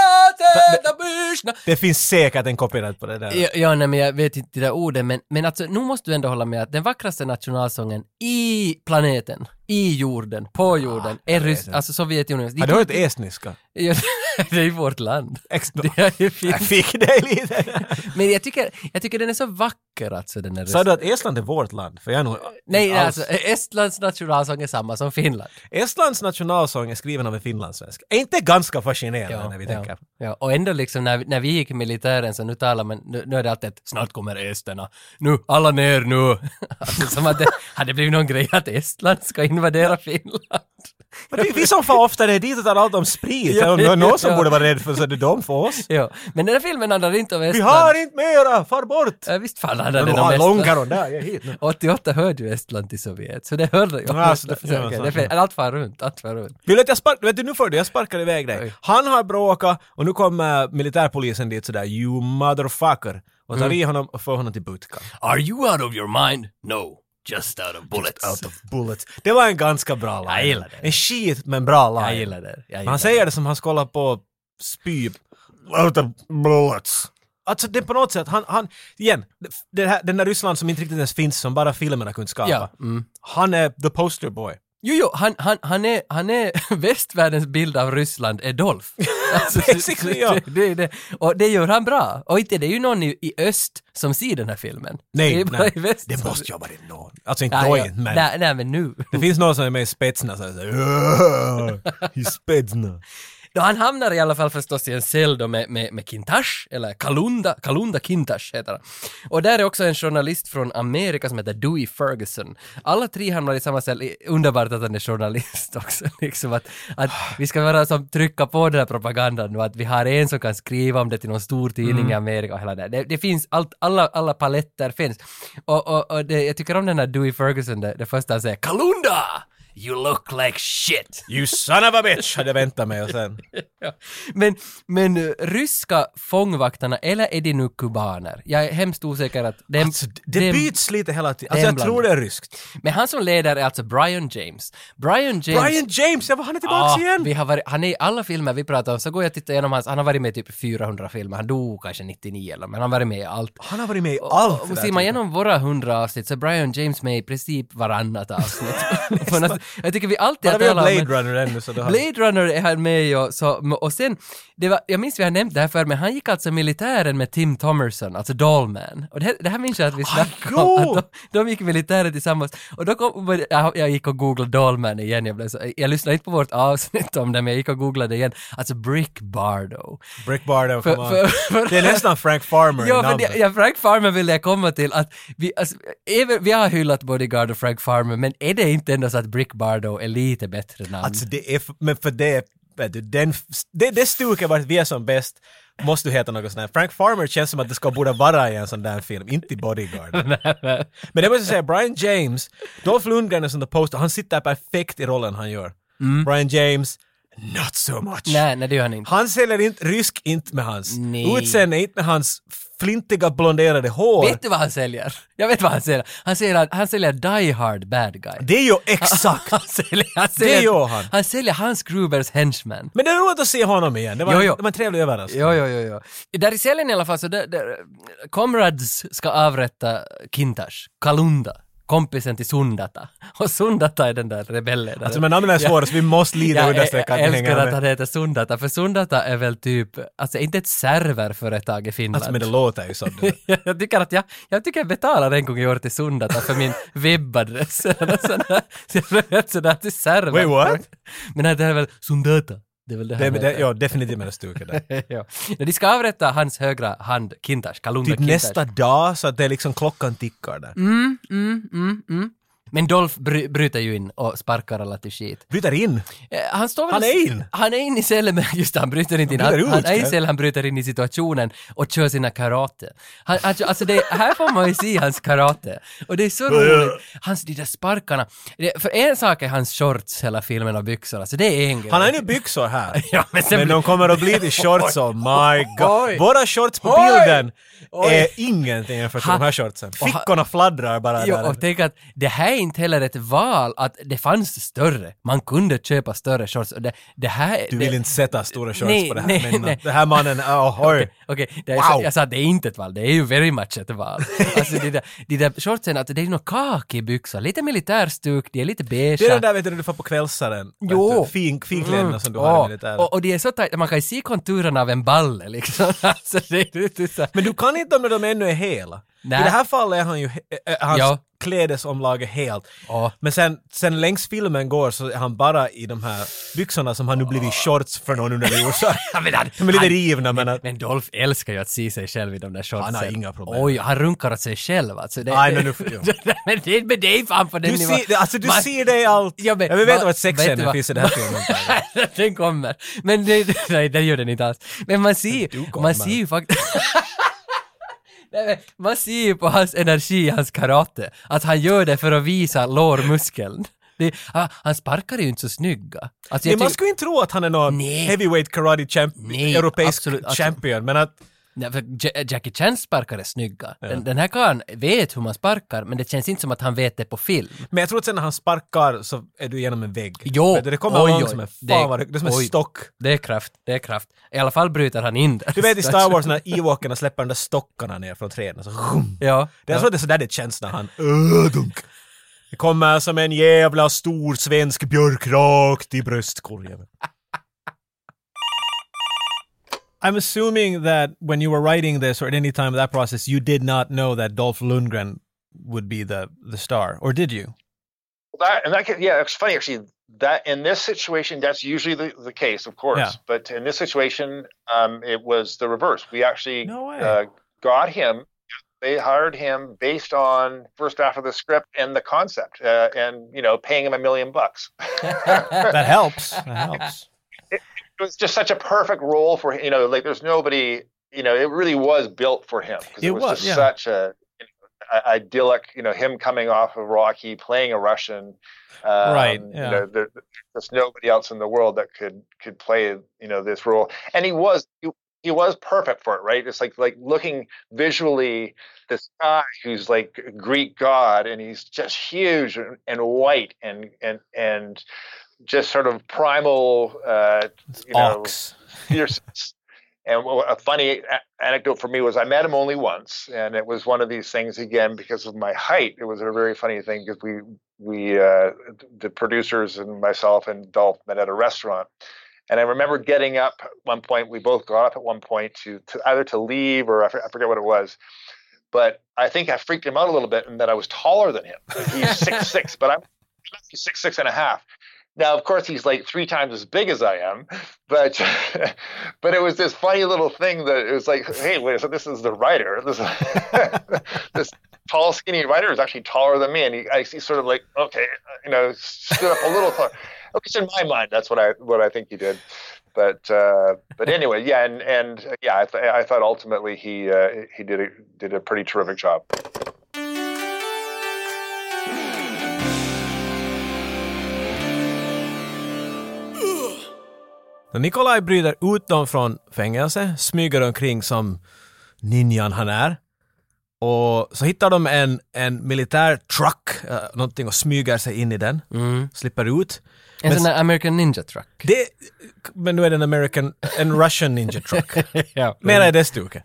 Speaker 1: Late, labushna
Speaker 2: Det finns säkert en copyright på det där.
Speaker 1: Ja, ja, nej men jag vet inte det där orden, men, men alltså nu måste du ändå hålla med att den vackraste nationalsången i planeten, i jorden, på jorden, är ryss, alltså Sovjetunionen.
Speaker 2: Ah, Har
Speaker 1: Det-
Speaker 2: du hört estniska?
Speaker 1: [LAUGHS] Ja, det är ju vårt land. [LAUGHS]
Speaker 2: Ex-
Speaker 1: Det är ju fint.
Speaker 2: [LAUGHS] Jag fick dig lite.
Speaker 1: [LAUGHS] Men jag tycker, jag tycker den är så vacker alltså den där
Speaker 2: Sa du att Estland är vårt land? För jag är nog...
Speaker 1: Nej,
Speaker 2: inte alls-
Speaker 1: alltså Estlands nationalsång är samma som Finland.
Speaker 2: Estlands nationalsång är skriven av en finlandssvensk. Är inte ganska fascinerande när vi tänker
Speaker 1: ja,
Speaker 2: på
Speaker 1: ja. Och ändå liksom när, när vi gick i militären så nu talar man, nu, nu är det alltid att snart kommer esterna, nu, alla ner nu. [LAUGHS] Alltså som att det hade blivit någon grej att Estland ska invadera Finland. [LAUGHS]
Speaker 2: Men det är vi som får ofta det dit och tar allt om sprit.
Speaker 1: Ja,
Speaker 2: Om det är någon som
Speaker 1: ja.
Speaker 2: borde vara rädd för så är det de för oss.
Speaker 1: Ja, men den här filmen handlar inte om
Speaker 2: Vi
Speaker 1: Estland.
Speaker 2: har inte mera, far bort!
Speaker 1: Ja, visst fan handlar
Speaker 2: Men
Speaker 1: den
Speaker 2: du
Speaker 1: om
Speaker 2: har en lång
Speaker 1: Estland.
Speaker 2: karon där, jag är hit nu.
Speaker 1: 88 hörde ju Estland till Sovjet, så det hörde jag.
Speaker 2: Ja, så det-
Speaker 1: Så, okej,
Speaker 2: ja, så-
Speaker 1: det är fel. Allt far runt, allt far runt.
Speaker 2: Vill du att jag sparkar, vet du nu får du, jag sparkar iväg dig.
Speaker 1: Oj.
Speaker 2: Han har bråkat och nu kommer militärpolisen dit sådär you motherfucker och
Speaker 1: Mm.
Speaker 2: tar i honom och får honom till bootcamp.
Speaker 1: Are you out of your mind? No, just out of bullets.
Speaker 2: Out of bullets. Det var en ganska bra line.
Speaker 1: Alltså. Jag gillar det.
Speaker 2: En shit men bra line.
Speaker 1: Jag gillar det. Jag
Speaker 2: Men
Speaker 1: gillar
Speaker 2: han säger det som han ska hålla på och spy. Out of bullets. Alltså det är på något sätt, han, han igen, det här, den där Ryssland som inte riktigt ens finns, som bara filmerna kunde skapa.
Speaker 1: Ja, mm.
Speaker 2: Han är the
Speaker 1: [LAUGHS]
Speaker 2: poster boy.
Speaker 1: Jo, jo, han, han, han, är, han är [LAUGHS] västvärldens bild av Ryssland är
Speaker 2: [LAUGHS]
Speaker 1: Dolph. Alltså,
Speaker 2: Basically, ja.
Speaker 1: [LAUGHS] det, det, det, och det gör han bra. Och inte det är ju någon i, i öst som ser den här filmen. det
Speaker 2: Nej,
Speaker 1: är bara
Speaker 2: nej.
Speaker 1: i väst.
Speaker 2: Det
Speaker 1: som-
Speaker 2: måste ju ha varit någon. Alltså inte
Speaker 1: Ja,
Speaker 2: då,
Speaker 1: ja.
Speaker 2: inte, men.
Speaker 1: Nej, nej, men nu.
Speaker 2: Det finns någon som är med i spetsna så här, så här, [LAUGHS] i spetsna.
Speaker 1: Då han hamnar i alla fall förstås i en cell då med, med, med Kintash, eller Kalunda, Kalunda Kintash heter han. Och där är också en journalist från Amerika som heter Dewey Ferguson. Alla tre hamnar i samma cell, I- underbart att han är journalist [LAUGHS] också, liksom att, att vi ska vara som trycka på den här propagandan nu, att vi har en som kan skriva om det till någon stor tidning i Amerika och hela det. Det, det finns allt, alla, alla paletter finns. Och, och, och det, jag tycker om den här Dewey Ferguson, det, det första han säger, Kalunda! You look like shit! [LAUGHS]
Speaker 2: You son of a bitch! Hade jag väntat mig och sen...
Speaker 1: Ja. Men, men eh, ryska fångvaktarna, eller är de nu kubaner? Jag är hemskt osäker att... Dem,
Speaker 2: Alltså, det
Speaker 1: dem-
Speaker 2: byts lite hela tiden. Alltså
Speaker 1: dem
Speaker 2: jag tror det är ryskt.
Speaker 1: Men han som leder är alltså Brian James. Brian James...
Speaker 2: Brian James, ja, han är tillbaka
Speaker 1: Ah,
Speaker 2: igen!
Speaker 1: vi har varit, han är i alla filmer vi pratar om, så går jag och tittar igenom hans, han har varit med i typ 400 filmer, han dog kanske 99 eller men han har varit med i allt.
Speaker 2: Han har varit med i allt
Speaker 1: Och
Speaker 2: det där
Speaker 1: ser man
Speaker 2: tiden.
Speaker 1: igenom våra 100 avsnitt så är Brian James med i princip varannat
Speaker 2: [LAUGHS]
Speaker 1: avsnitt. [LAUGHS] På nästan- jag tycker vi alltid
Speaker 2: Bara
Speaker 1: har
Speaker 2: vi har
Speaker 1: talat om-
Speaker 2: Blade Runner ännu så då har...
Speaker 1: Blade Runner är han med i och, så, och sen, det var, jag minns vi har nämnt det här förr, men han gick alltså i militären med Tim Thomerson, alltså Dollman. Och det, här- det här minns jag att vi snackade
Speaker 2: jo!
Speaker 1: om, att de, de gick i militären tillsammans. Och då kom, jag, jag gick och googlade Dollman igen, jag, blev så, jag lyssnade inte på vårt avsnitt om det, men jag gick och googlade igen. Alltså Brick Bardo.
Speaker 2: Brick Bardo,
Speaker 1: För-
Speaker 2: come
Speaker 1: för-
Speaker 2: on.
Speaker 1: för-
Speaker 2: Det är nästan Frank Farmer i
Speaker 1: Ja, men
Speaker 2: namnet.
Speaker 1: det, ja, Frank Farmer ville jag komma till att vi, alltså, även, vi har hyllat Bodyguard och Frank Farmer, men är det inte ändå så att Brick Bardo är lite bättre namn?
Speaker 2: Alltså det är, f- men för det, vet du, den, det, det stuket vart vi är som bäst måste du heta något sånt här. Frank Farmer känns som att det ska borde vara i en sån där film, inte
Speaker 1: [LAUGHS]
Speaker 2: i Bodyguard. men det måste jag säga, Brian James, Dolph Lundgren är sån där poster, han sitter perfekt i rollen han gör. Brian James, not so much.
Speaker 1: Mm. nej, nej, det gör han inte.
Speaker 2: Han säljer inte, rysk inte med hans.
Speaker 1: Nej.
Speaker 2: Utseende inte med hans flintiga blonderade hår.
Speaker 1: Vet du vad han säljer? Jag vet vad han säljer. Han säljer, att- han säljer Die Hard Bad Guy.
Speaker 2: Det är ju
Speaker 1: [LAUGHS]
Speaker 2: exakt!
Speaker 1: han säljer, han säljer,
Speaker 2: gör han.
Speaker 1: Han säljer Hans Grubers Henchman.
Speaker 2: Men det är roligt att se honom igen, det var,
Speaker 1: Jo, jo.
Speaker 2: Det var en trevlig överraskning.
Speaker 1: Jo, jo, jo, jo. Där i cellen i alla fall så där, där, Comrades ska avrätta Kintash, Kalunda, kompisen till Sundata. [LAUGHS] Och Sundata är den där rebellen. där.
Speaker 2: Alltså men namnen är svåra så vi måste lite
Speaker 1: jag, jag,
Speaker 2: understrecka att vi hänger
Speaker 1: älskar att
Speaker 2: med.
Speaker 1: han heter Sundata, för Sundata är väl typ, alltså inte ett serverföretag i Finland.
Speaker 2: Alltså men det låter
Speaker 1: [LAUGHS]
Speaker 2: ju som det.
Speaker 1: jag tycker att jag, jag tycker jag betalar en gång i år till Sundata för
Speaker 2: [LAUGHS]
Speaker 1: min webbadress [LAUGHS] eller sådär. Så jag blev helt sådär till server.
Speaker 2: Wait, what?
Speaker 1: Men det här är väl Sundata? Det är väl det
Speaker 2: det,
Speaker 1: här
Speaker 2: det ja, definitivt med det stuket där.
Speaker 1: [LAUGHS] ja. Nej, De ska avrätta hans högra hand, Kintash, Kalunda
Speaker 2: Typ
Speaker 1: Kintash.
Speaker 2: nästa dag så att det är liksom klockan tickar där.
Speaker 1: Mm, mm, mm, mm. Men Dolph bry- bryter ju in och sparkar alla till skit.
Speaker 2: Bryter in.
Speaker 1: Eh, Han står väl...
Speaker 2: Han är in!
Speaker 1: Han är in i cellen, men just det, han bryter inte in.
Speaker 2: Han bryter
Speaker 1: Han,
Speaker 2: ut,
Speaker 1: han är i
Speaker 2: ja.
Speaker 1: cellen, han bryter in i situationen och kör sina karate. Han, han, kör- alltså det, här får man ju se hans karate. Och det är så roligt. Hans, de där sparkarna. Det, för en sak är hans shorts hela filmen och byxorna, så det är en grej.
Speaker 2: Han har ju nu byxor här.
Speaker 1: [LAUGHS] Ja, men sen
Speaker 2: Men de kommer att bli till
Speaker 1: [LAUGHS]
Speaker 2: shorts, oh my
Speaker 1: Oj.
Speaker 2: god. Våra shorts på
Speaker 1: Oj.
Speaker 2: bilden är
Speaker 1: Oj.
Speaker 2: ingenting jämfört med
Speaker 1: Ha-
Speaker 2: de här shortsen. Fickorna fladdrar bara
Speaker 1: Jo,
Speaker 2: där.
Speaker 1: och tänk att det här är inte heller ett val att det fanns större. Man kunde köpa större shorts. Och Det, det här,
Speaker 2: Du
Speaker 1: det,
Speaker 2: vill inte sätta stora shorts
Speaker 1: Nej,
Speaker 2: på det här
Speaker 1: nej,
Speaker 2: männen.
Speaker 1: nej.
Speaker 2: Det här mannen, oh, oj.
Speaker 1: Okej, [LAUGHS] det är så-
Speaker 2: Wow.
Speaker 1: jag sa att det är inte ett val, det är ju very much ett
Speaker 2: [LAUGHS]
Speaker 1: val. Alltså de där, de där shortsen, att det är ju något kakig byxor, lite militärstuk, det är lite beige.
Speaker 2: Det är det där vet du när du får på kvällsaren. vet
Speaker 1: Jo.
Speaker 2: du, Fin, finkläderna som du
Speaker 1: Mm,
Speaker 2: har
Speaker 1: ja.
Speaker 2: i militären.
Speaker 1: och, och det är så tajt, man kan ju se konturerna av en balle liksom. [LAUGHS] Alltså, det är lite så här-
Speaker 2: Men du kan inte om de ännu är hela.
Speaker 1: Nej.
Speaker 2: I det här fallet är han ju, he- äh, hans
Speaker 1: Ja.
Speaker 2: klädesomlag är helt.
Speaker 1: Ja.
Speaker 2: Men sen, sen längs filmen går så är han bara i de här byxorna som han nu blivit shorts för någon underlig
Speaker 1: [LAUGHS]
Speaker 2: orsak.
Speaker 1: men han-
Speaker 2: De är lite
Speaker 1: han-
Speaker 2: rivna men att...
Speaker 1: Men Dolph älskar ju att se sig själv i de där shortsen.
Speaker 2: Han har inga problem.
Speaker 1: Oj, han runkar åt sig själv alltså. Det,
Speaker 2: Aj, men nu-
Speaker 1: [LAUGHS] men det är med dig fan på den
Speaker 2: Du ser, alltså du ser det i allt.
Speaker 1: Ja, men-
Speaker 2: jag vill veta
Speaker 1: va-
Speaker 2: vad
Speaker 1: vet du
Speaker 2: sexscenen
Speaker 1: vad-
Speaker 2: finns i
Speaker 1: [LAUGHS]
Speaker 2: den här filmen.
Speaker 1: den kommer. Men det, nej, den gör den inte alls. Men man ser,
Speaker 2: kommer.
Speaker 1: man ser ju faktiskt... [LAUGHS] Nej, men man ser ju på hans energi, hans karate, att han gör det för att visa lårmuskeln. Det, han, han sparkar ju inte så snygga. Alltså,
Speaker 2: Nej,
Speaker 1: jag
Speaker 2: man
Speaker 1: tycker-
Speaker 2: skulle inte tro att han är någon
Speaker 1: Nej.
Speaker 2: heavyweight karate champ,
Speaker 1: Nej,
Speaker 2: europeisk
Speaker 1: absolut, absolut.
Speaker 2: champion, men att
Speaker 1: Nej, för Ja- Jackie Chan sparkar är snygga. Den, den här karln vet hur man sparkar, men det känns inte som att han vet det på film.
Speaker 2: Men jag tror att sen när han sparkar så är du igenom en vägg.
Speaker 1: Jo.
Speaker 2: Vet du, Det kommer
Speaker 1: Oj,
Speaker 2: någon
Speaker 1: oj.
Speaker 2: som är
Speaker 1: Det-
Speaker 2: fan vad det, det är som
Speaker 1: oj.
Speaker 2: en stock.
Speaker 1: Det är kraft, det är kraft. I alla fall bryter han in där. [LAUGHS]
Speaker 2: Du vet i Star Wars när Ewokerna släpper de där stockarna ner från träden. Så, vroom.
Speaker 1: Ja.
Speaker 2: det är så det är sådär det känns när han... Öh, dunk. Det kommer som en jävla stor svensk björk rakt i bröstkorgen. [LAUGHS] I'm assuming that when you were writing this or at any time of that process you did not know that Dolph Lundgren would be the, the star. Or did you?
Speaker 4: That, and that, ca- yeah, it's funny actually. That in this situation, that's usually the, the case, of course.
Speaker 2: Yeah.
Speaker 4: But in this situation, um, it was the reverse. We actually
Speaker 2: No way.
Speaker 4: uh, got him. They hired him based on first draft of the script and the concept, uh, and you know, paying him a million bucks.
Speaker 2: [LAUGHS]
Speaker 4: [LAUGHS]
Speaker 2: That helps. That helps.
Speaker 4: it was just such a perfect role for him. You know, like there's nobody. You know, it really was built for him because it,
Speaker 2: It
Speaker 4: was,
Speaker 2: was,
Speaker 4: just
Speaker 2: yeah.
Speaker 4: such a. i- idyllic, you know, him coming off of Rocky, playing a Russian. Um,
Speaker 2: Right,
Speaker 4: You
Speaker 2: yeah.
Speaker 4: know, there, there's nobody else in the world that could could play, you know, this role, and he was. He, he was perfect for it, right? It's like like looking visually, this guy who's like Greek god, and he's just huge and, and white and and and just sort of primal, uh, you know,
Speaker 2: Ox.
Speaker 4: [LAUGHS] fierceness. And wha- a funny a- anecdote for me was I met him only once, and it was one of these things again because of my height. It was a very funny thing because we we uh, the producers and myself and Dolph met at a restaurant, and I remember getting up at one point. We both got up at one point to, to either to leave or I for- I forget what it was. But I think I freaked him out a little bit, and that I was taller than him. Like, He's six six, but I'm six six and a half. Now, of course, he's like three times as big as I am, but [LAUGHS] but it was this funny little thing that it was like, hey, wait, so this is the writer. [LAUGHS] This this tall, skinny writer is actually taller than me, and he, I, he's sort of like, okay, you know, stood up a little taller. At least in my mind, that's what I what I think he did. But uh, but anyway, yeah, and and uh, yeah, I, th- I thought ultimately he uh, he did a, did a pretty terrific job.
Speaker 2: När Nikolaj bryter ut dem från fängelse, smyger omkring som ninjan han är. Och så hittar de en, en militär truck, eh, någonting och smyger sig in i den, slipper ut.
Speaker 1: En sån där American Ninja Truck.
Speaker 2: Det, men nu är det en American, en Russian Ninja Truck.
Speaker 1: ja.
Speaker 2: Mera i det stuket.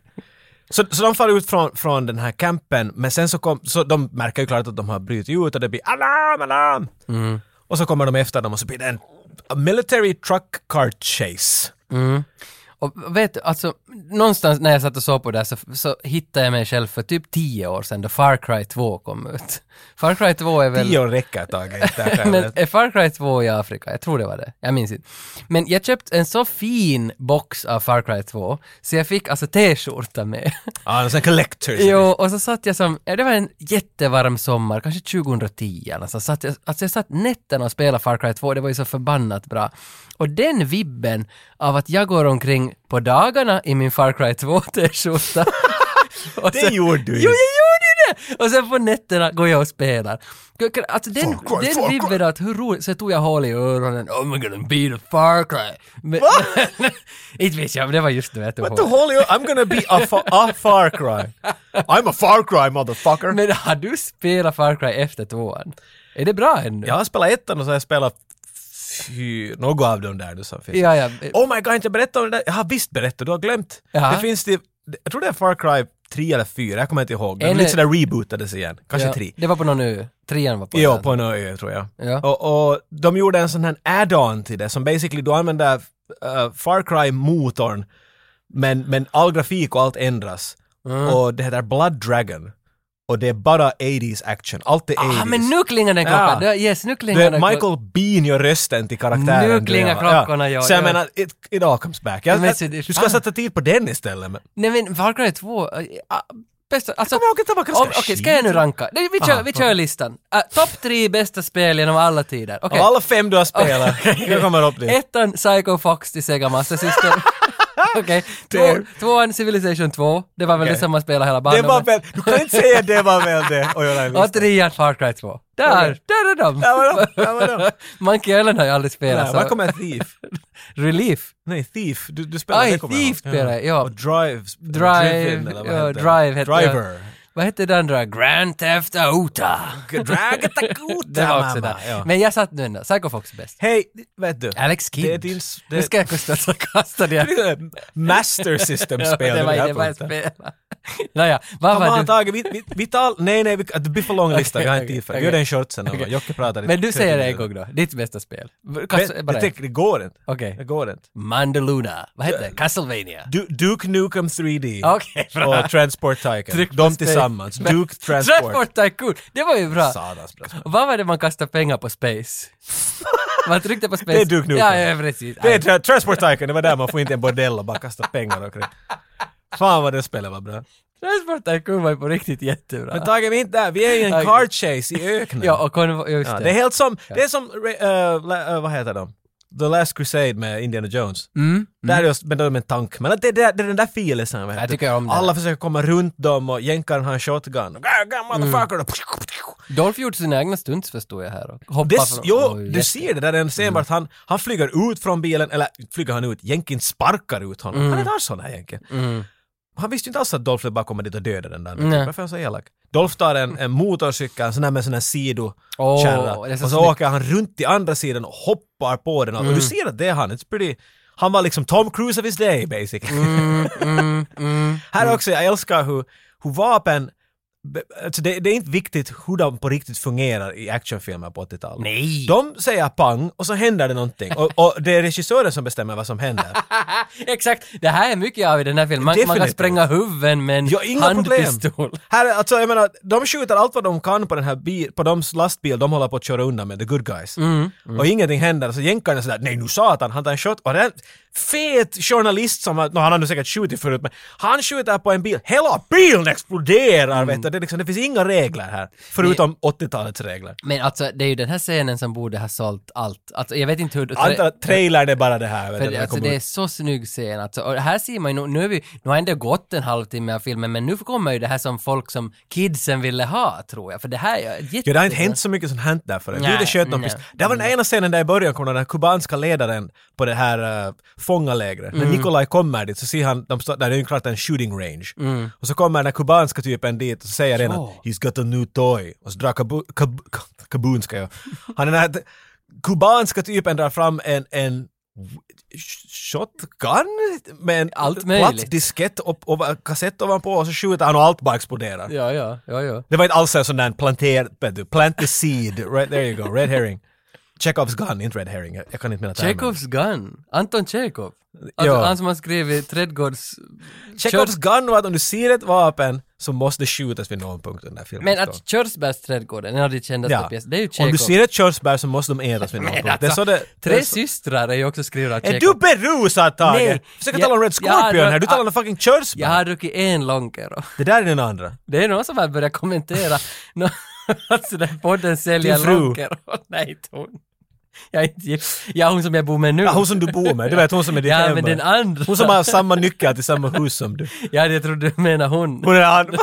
Speaker 2: Så, så de far ut från, från den här campen, men sen så kom, så de märker ju klart att de har brutit ut och det blir alarm, alarm! Och så kommer de efter dem och så blir det en a military truck car chase.
Speaker 1: Och vet du, alltså, någonstans när jag satt och såg på det här så, så hittade jag mig själv för typ tio år sedan då Far Cry 2 kom ut. [LAUGHS] Far Cry 2 är väl...
Speaker 2: Tio år räcker ett tag. inte det
Speaker 1: [LAUGHS]
Speaker 2: här
Speaker 1: Men
Speaker 2: skälet.
Speaker 1: är Far Cry 2 i Afrika? Jag tror det var det. Jag minns inte. Men jag köpte en så fin box av Far Cry 2 så jag fick alltså t-skjorta med. [LAUGHS]
Speaker 2: Ja, det är en collectors.
Speaker 1: Jo, och så satt jag som, ja, det var en jättevarm sommar, kanske 2010 eller så satt jag, alltså jag satt nätterna och spelade Far Cry 2, det var ju så förbannat bra. Och den vibben av att jag går omkring på dagarna i min Far Cry 2 [LAUGHS]
Speaker 2: [LAUGHS]
Speaker 1: t-skjorta. Och
Speaker 2: Det
Speaker 1: sen-
Speaker 2: gjorde du
Speaker 1: Jo,
Speaker 2: ju.
Speaker 1: jag gjorde ju det! Och sen på nätterna går jag och spelar. Alltså den,
Speaker 2: Far Cry, Far
Speaker 1: den
Speaker 2: Cry.
Speaker 1: vibben att hur roligt, så tog jag hål i öronen, oh my god, I'm beat a Far Cry. Men, [LAUGHS] inte vet jag, men det var just det jag tog
Speaker 2: What the
Speaker 1: hål.
Speaker 2: holy... I'm gonna be a, fa- a far cry. I'm a far cry
Speaker 1: [LAUGHS]
Speaker 2: motherfucker.
Speaker 1: Men har du spelat Far Cry efter tvåan? Är det bra ännu?
Speaker 2: Jag har spelat ettan och så har jag spelat fy, något av dem där du sa finns.
Speaker 1: Ja, ja.
Speaker 2: Oh my god, inte berätta om det där. Jag har visst berättat, du har glömt.
Speaker 1: Jaha.
Speaker 2: Det finns det, jag tror det är Far Cry 3 eller 4, jag kommer inte ihåg. Det
Speaker 1: Eller-
Speaker 2: lite sådär rebootades igen, kanske
Speaker 1: ja,
Speaker 2: 3.
Speaker 1: Det var på någon ö. Trean var på
Speaker 2: Ja,
Speaker 1: en
Speaker 2: på en ö tror jag.
Speaker 1: Ja.
Speaker 2: Och, och de gjorde en sån här add-on till det som basically du använder eh, Far Cry-motorn men, men all grafik och allt ändras.
Speaker 1: Mm.
Speaker 2: Och det heter Blood Dragon. Och det är bara 80s action. Allt är 80s.
Speaker 1: Ah, men nu klingar den klockan!
Speaker 2: Ja.
Speaker 1: Ja. Yes, nu
Speaker 2: Det
Speaker 1: klingar
Speaker 2: är
Speaker 1: den klockan.
Speaker 2: Michael Bean gör rösten till karaktären.
Speaker 1: Nu klingar
Speaker 2: Dreva.
Speaker 1: klockorna, ja,
Speaker 2: Så jag
Speaker 1: ja.
Speaker 2: menar, it, it all comes back. Jag,
Speaker 1: Men
Speaker 2: jag,
Speaker 1: så det är
Speaker 2: du ska
Speaker 1: fan-
Speaker 2: sätta tid på den istället. Men,
Speaker 1: Nej men Far Cry 2, äh, äh, bästa, alltså...
Speaker 2: Kom ihåg att det var ganska
Speaker 1: Om- Okej, ska jag nu
Speaker 2: skit. Ah,
Speaker 1: ranka? Nej, vi kör,
Speaker 2: Aha,
Speaker 1: vi kör listan. Äh, Topp tre bästa spel genom alla tider. Okej.
Speaker 2: Av alla fem du har spelat, jag kommer upp dit.
Speaker 1: Ettan, Psycho Fox till Sega Master
Speaker 2: [LAUGHS]
Speaker 1: System. Okej. Två,
Speaker 2: Det-
Speaker 1: tvåan, Civilization 2. Det var väl
Speaker 2: Okej.
Speaker 1: det som man spelade hela
Speaker 2: Det
Speaker 1: banan
Speaker 2: var
Speaker 1: med.
Speaker 2: väl, du kan inte säga det var väl det. Och göra en lista.
Speaker 1: Och trean, Far Cry 2. Där!
Speaker 2: Okej.
Speaker 1: Där är de!
Speaker 2: Där var de, där var de.
Speaker 1: Monkey Island har jag aldrig spelat,
Speaker 2: Nej, var
Speaker 1: så...
Speaker 2: kommer Thief?
Speaker 1: Relief.
Speaker 2: Nej, Thief. Du, du spelar
Speaker 1: Aj,
Speaker 2: det kommer jag ihåg.
Speaker 1: Thief spelar jag, ja.
Speaker 2: Och Drive. eh,
Speaker 1: Drive,
Speaker 2: Driven, eller vad
Speaker 1: ja,
Speaker 2: heter
Speaker 1: Drive
Speaker 2: det?
Speaker 1: heter jag.
Speaker 2: Driver.
Speaker 1: Vad hette det andra? Grand Theft Auto. [LAUGHS] Det
Speaker 2: Dragatakuta,
Speaker 1: var också
Speaker 2: mamma.
Speaker 1: där.
Speaker 2: Ja.
Speaker 1: Men jag satt nu ändå. Psycho Fox är bäst.
Speaker 2: Hej, vet du?
Speaker 1: Alex Kidd.
Speaker 2: Det är din... s-
Speaker 1: Nu
Speaker 2: Det,
Speaker 1: ska jag kosta så kasta
Speaker 2: [LAUGHS]
Speaker 1: det.
Speaker 2: det är
Speaker 1: [LAUGHS]
Speaker 2: Master System-spel.
Speaker 1: det var
Speaker 2: här
Speaker 1: det var jag
Speaker 2: punkten.
Speaker 1: spelade. [LAUGHS] Nåja, vad
Speaker 2: Kom
Speaker 1: var
Speaker 2: an
Speaker 1: du?
Speaker 2: Tage, vi, vi, vi tar... Nej, nej, vi, det blir
Speaker 1: [LAUGHS]
Speaker 2: för lång lista, vi har inte tid för det. Vi gör
Speaker 1: okej.
Speaker 2: den short sen. Okay. Jocke pratar i
Speaker 1: Men du
Speaker 2: 30
Speaker 1: säger det en
Speaker 2: minuter.
Speaker 1: gång då. Ditt bästa spel. Kasta-
Speaker 2: Men,
Speaker 1: bara
Speaker 2: det,
Speaker 1: ett.
Speaker 2: det går inte.
Speaker 1: Okej.
Speaker 2: Det går inte.
Speaker 1: Mandaluna. Vad hette det? Castlevania.
Speaker 2: Du, Duke Nukem 3D
Speaker 1: Okej, bra.
Speaker 2: och Transport Tycoon.
Speaker 1: Tryck på
Speaker 2: De
Speaker 1: spel.
Speaker 2: tillsammans. Duke Transport.
Speaker 1: Transport Tycoon. Det var ju bra.
Speaker 2: Satans bra spel.
Speaker 1: Vad var det man kastade pengar på
Speaker 2: [LAUGHS]
Speaker 1: Space? Man tryckte på Space.
Speaker 2: Det är Duke Nukem.
Speaker 1: Ja, ja, precis.
Speaker 2: Det är tra- Transport Tycoon, det var där man får inte en bordell och bara kasta pengar omkring. Fan vad det spelet var bra.
Speaker 1: Transport Tycoon var ju på riktigt jättebra.
Speaker 2: Men Tage, vi är inte där. Vi är i en
Speaker 1: Okej.
Speaker 2: car chase i öknen.
Speaker 1: Ja, och konvo- just
Speaker 2: Ja,
Speaker 1: det.
Speaker 2: det är helt som, det är som, eh, eh, la- eh, vad heter de? The Last Crusade med Indiana Jones.
Speaker 1: Mm.
Speaker 2: Där är just, men då är de en tank. Men att det, är där- det är den där filisen. vet
Speaker 1: Jag
Speaker 2: du.
Speaker 1: tycker om det.
Speaker 2: Alla försöker komma runt dem och jänkaren har en shotgun. Gah, gah, motherfucker!
Speaker 1: Mm. Dolph gjorde sina egna stunts förstod jag här. och
Speaker 2: Det,
Speaker 1: hoppade från-
Speaker 2: jo,
Speaker 1: Oj, Mm.
Speaker 2: du ser det där den ser bara att han, han flyger ut från bilen, eller flyger han ut, jänken sparkar ut honom. Han är en arsson här jänken.
Speaker 1: Mm.
Speaker 2: Han visste ju inte alls att Dolph bara kommer dit och dödar den där.
Speaker 1: Nej.
Speaker 2: Varför är han så elak? Dolph tar en, en motorcykel, en sån där med en sån här sido
Speaker 1: Åh,
Speaker 2: kärra.
Speaker 1: det är så
Speaker 2: och så
Speaker 1: snyggt. Mm.
Speaker 2: åker han runt till andra sidan och hoppar på den. Och du ser att det är han. It's pretty... Han var liksom Tom Cruise of his day basically.
Speaker 1: Mm, mm, mm.
Speaker 2: [LAUGHS] Här också, jag älskar hur, hur vapen... be- Alltså det, det är inte viktigt hur de på riktigt fungerar i actionfilmer på 80-talet.
Speaker 1: Nej.
Speaker 2: De säger pang och så händer det någonting. Och, och det är regissören som bestämmer vad som händer.
Speaker 1: Exakt, det här är mycket av i den här filmen. Man, man kan
Speaker 2: Definitivt.
Speaker 1: spränga huvuden med en
Speaker 2: Ja, inga problem.
Speaker 1: handpistol.
Speaker 2: Här, är- alltså, jag menar, de skjuter allt vad de kan på den här bil, på deras lastbil de håller på att köra undan med, the good guys.
Speaker 1: Mm,
Speaker 2: Och ingenting händer, så jänkaren är sådär, nej nu satan, han tar en shot. Och den fet journalist som, har- nå, han har nu säkert skjutit förut, men han skjuter på en bil, hela bilen exploderar vet du. Det, är liksom, det finns inga regler här, förutom 80-talets regler.
Speaker 1: Men alltså, det är ju den här scenen som borde ha sålt allt. Alltså, jag vet inte hur...
Speaker 2: Jag Antar att trailern är bara det här. Vet du,
Speaker 1: För
Speaker 2: när
Speaker 1: det,
Speaker 2: den
Speaker 1: alltså,
Speaker 2: kommer
Speaker 1: det är
Speaker 2: ut.
Speaker 1: så snygg scen alltså. Och här ser man ju, nu, nu, är vi, nu har ändå gått en halvtimme av filmen, men nu kommer ju det här som folk som kidsen ville ha, tror jag. För det här är jätte...
Speaker 2: Ja, det har inte hänt så mycket sånt hänt där förut.
Speaker 1: Nej,
Speaker 2: Nej, det sköt någon
Speaker 1: nej.
Speaker 2: pist- Det var den ena scenen där i början kom den här kubanska ledaren på det här uh, fångalägret.
Speaker 1: Mm.
Speaker 2: När Nikolaj kommer dit så ser han, de står, där det är ju klart en shooting range.
Speaker 1: Mm.
Speaker 2: Och så kommer den här kubanska typen dit och så säger den att “He's got a new toy” och så drar kabu, kab, kab, kabunska jag. Han är den här t- kubanska typen drar fram en, en sh- shotgun med en
Speaker 1: Allt möjligt.
Speaker 2: platt diskett och, och kassett ovanpå och så skjuter han och allt bara exploderar.
Speaker 1: Ja, ja, ja, ja.
Speaker 2: Det var inte alls en sån där planter... vet du, Plant the seed. Right, there you go. Red herring. Chekhovs gun, inte red herring. Jag, jag kan inte mina termer.
Speaker 1: Chekhovs gun. Anton Chekhov. Alltså,
Speaker 2: Ja.
Speaker 1: Han som har skrivit Trädgårds...
Speaker 2: Chekhovs gun var att om du ser ett vapen så måste det skjutas vid någon punkt i den där filmen.
Speaker 1: Men
Speaker 2: står.
Speaker 1: att Körsbärsträdgården, en av de kändaste
Speaker 2: Ja.
Speaker 1: pjäserna, det är ju Chekhov.
Speaker 2: Om
Speaker 1: [LAUGHS]
Speaker 2: du ser ett körsbär så måste de ätas vid någon punkt. det är så det...
Speaker 1: Tre
Speaker 2: det är så-
Speaker 1: systrar är ju också skrivna av
Speaker 2: Är
Speaker 1: Chekhov.
Speaker 2: du berusad Tage?
Speaker 1: Nej.
Speaker 2: Försöker
Speaker 1: Jag-
Speaker 2: tala om Red
Speaker 1: jag har
Speaker 2: Scorpion här, du
Speaker 1: rört-
Speaker 2: talar om fucking körsbär.
Speaker 1: Jag har druckit en Lonkero.
Speaker 2: Det där är den andra.
Speaker 1: [LAUGHS] Det är någon som har börjat kommentera. [LAUGHS] Nå- alltså den podden säljer
Speaker 2: Din fru.
Speaker 1: Lonkero. [LAUGHS] Nej, inte hon. Jag är inte gift. Ja, hon som jag bor med nu.
Speaker 2: Ja, hon som du bor med, du vet hon som är ditt
Speaker 1: Ja,
Speaker 2: hem.
Speaker 1: men den andra.
Speaker 2: Hon som har samma nyckel till samma hus som du.
Speaker 1: [LAUGHS] Ja, jag trodde du menade hon.
Speaker 2: Hon är han. [LAUGHS] Okej,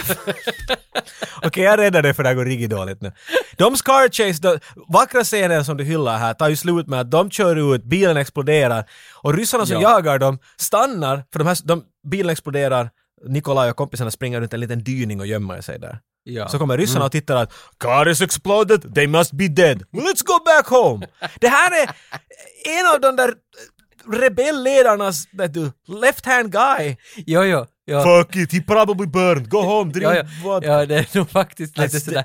Speaker 2: jag räddar dig för det här går riktigt dåligt nu. De Scar Chase, de vackra scener som du hyllar här tar ju slut med att de kör ut, bilen exploderar och ryssarna som
Speaker 1: Ja.
Speaker 2: jagar dem stannar, för de här, de, bilen exploderar, Nikolaj och kompisarna springer runt en liten dyning och gömmer sig där.
Speaker 1: Ja. Mm.
Speaker 2: Så kommer ryssarna och tittar att “Car is exploded, they must be dead, let's go back home”. Det här är en av de där rebellledarnas, vet du, left hand guy.
Speaker 1: Jo, jo, jo.
Speaker 2: Fuck it, he probably burned, go home, drink
Speaker 1: Ja, ja,
Speaker 2: vodka.
Speaker 1: ja, det är nog faktiskt lite
Speaker 2: Alltså,
Speaker 1: sådär...
Speaker 2: det-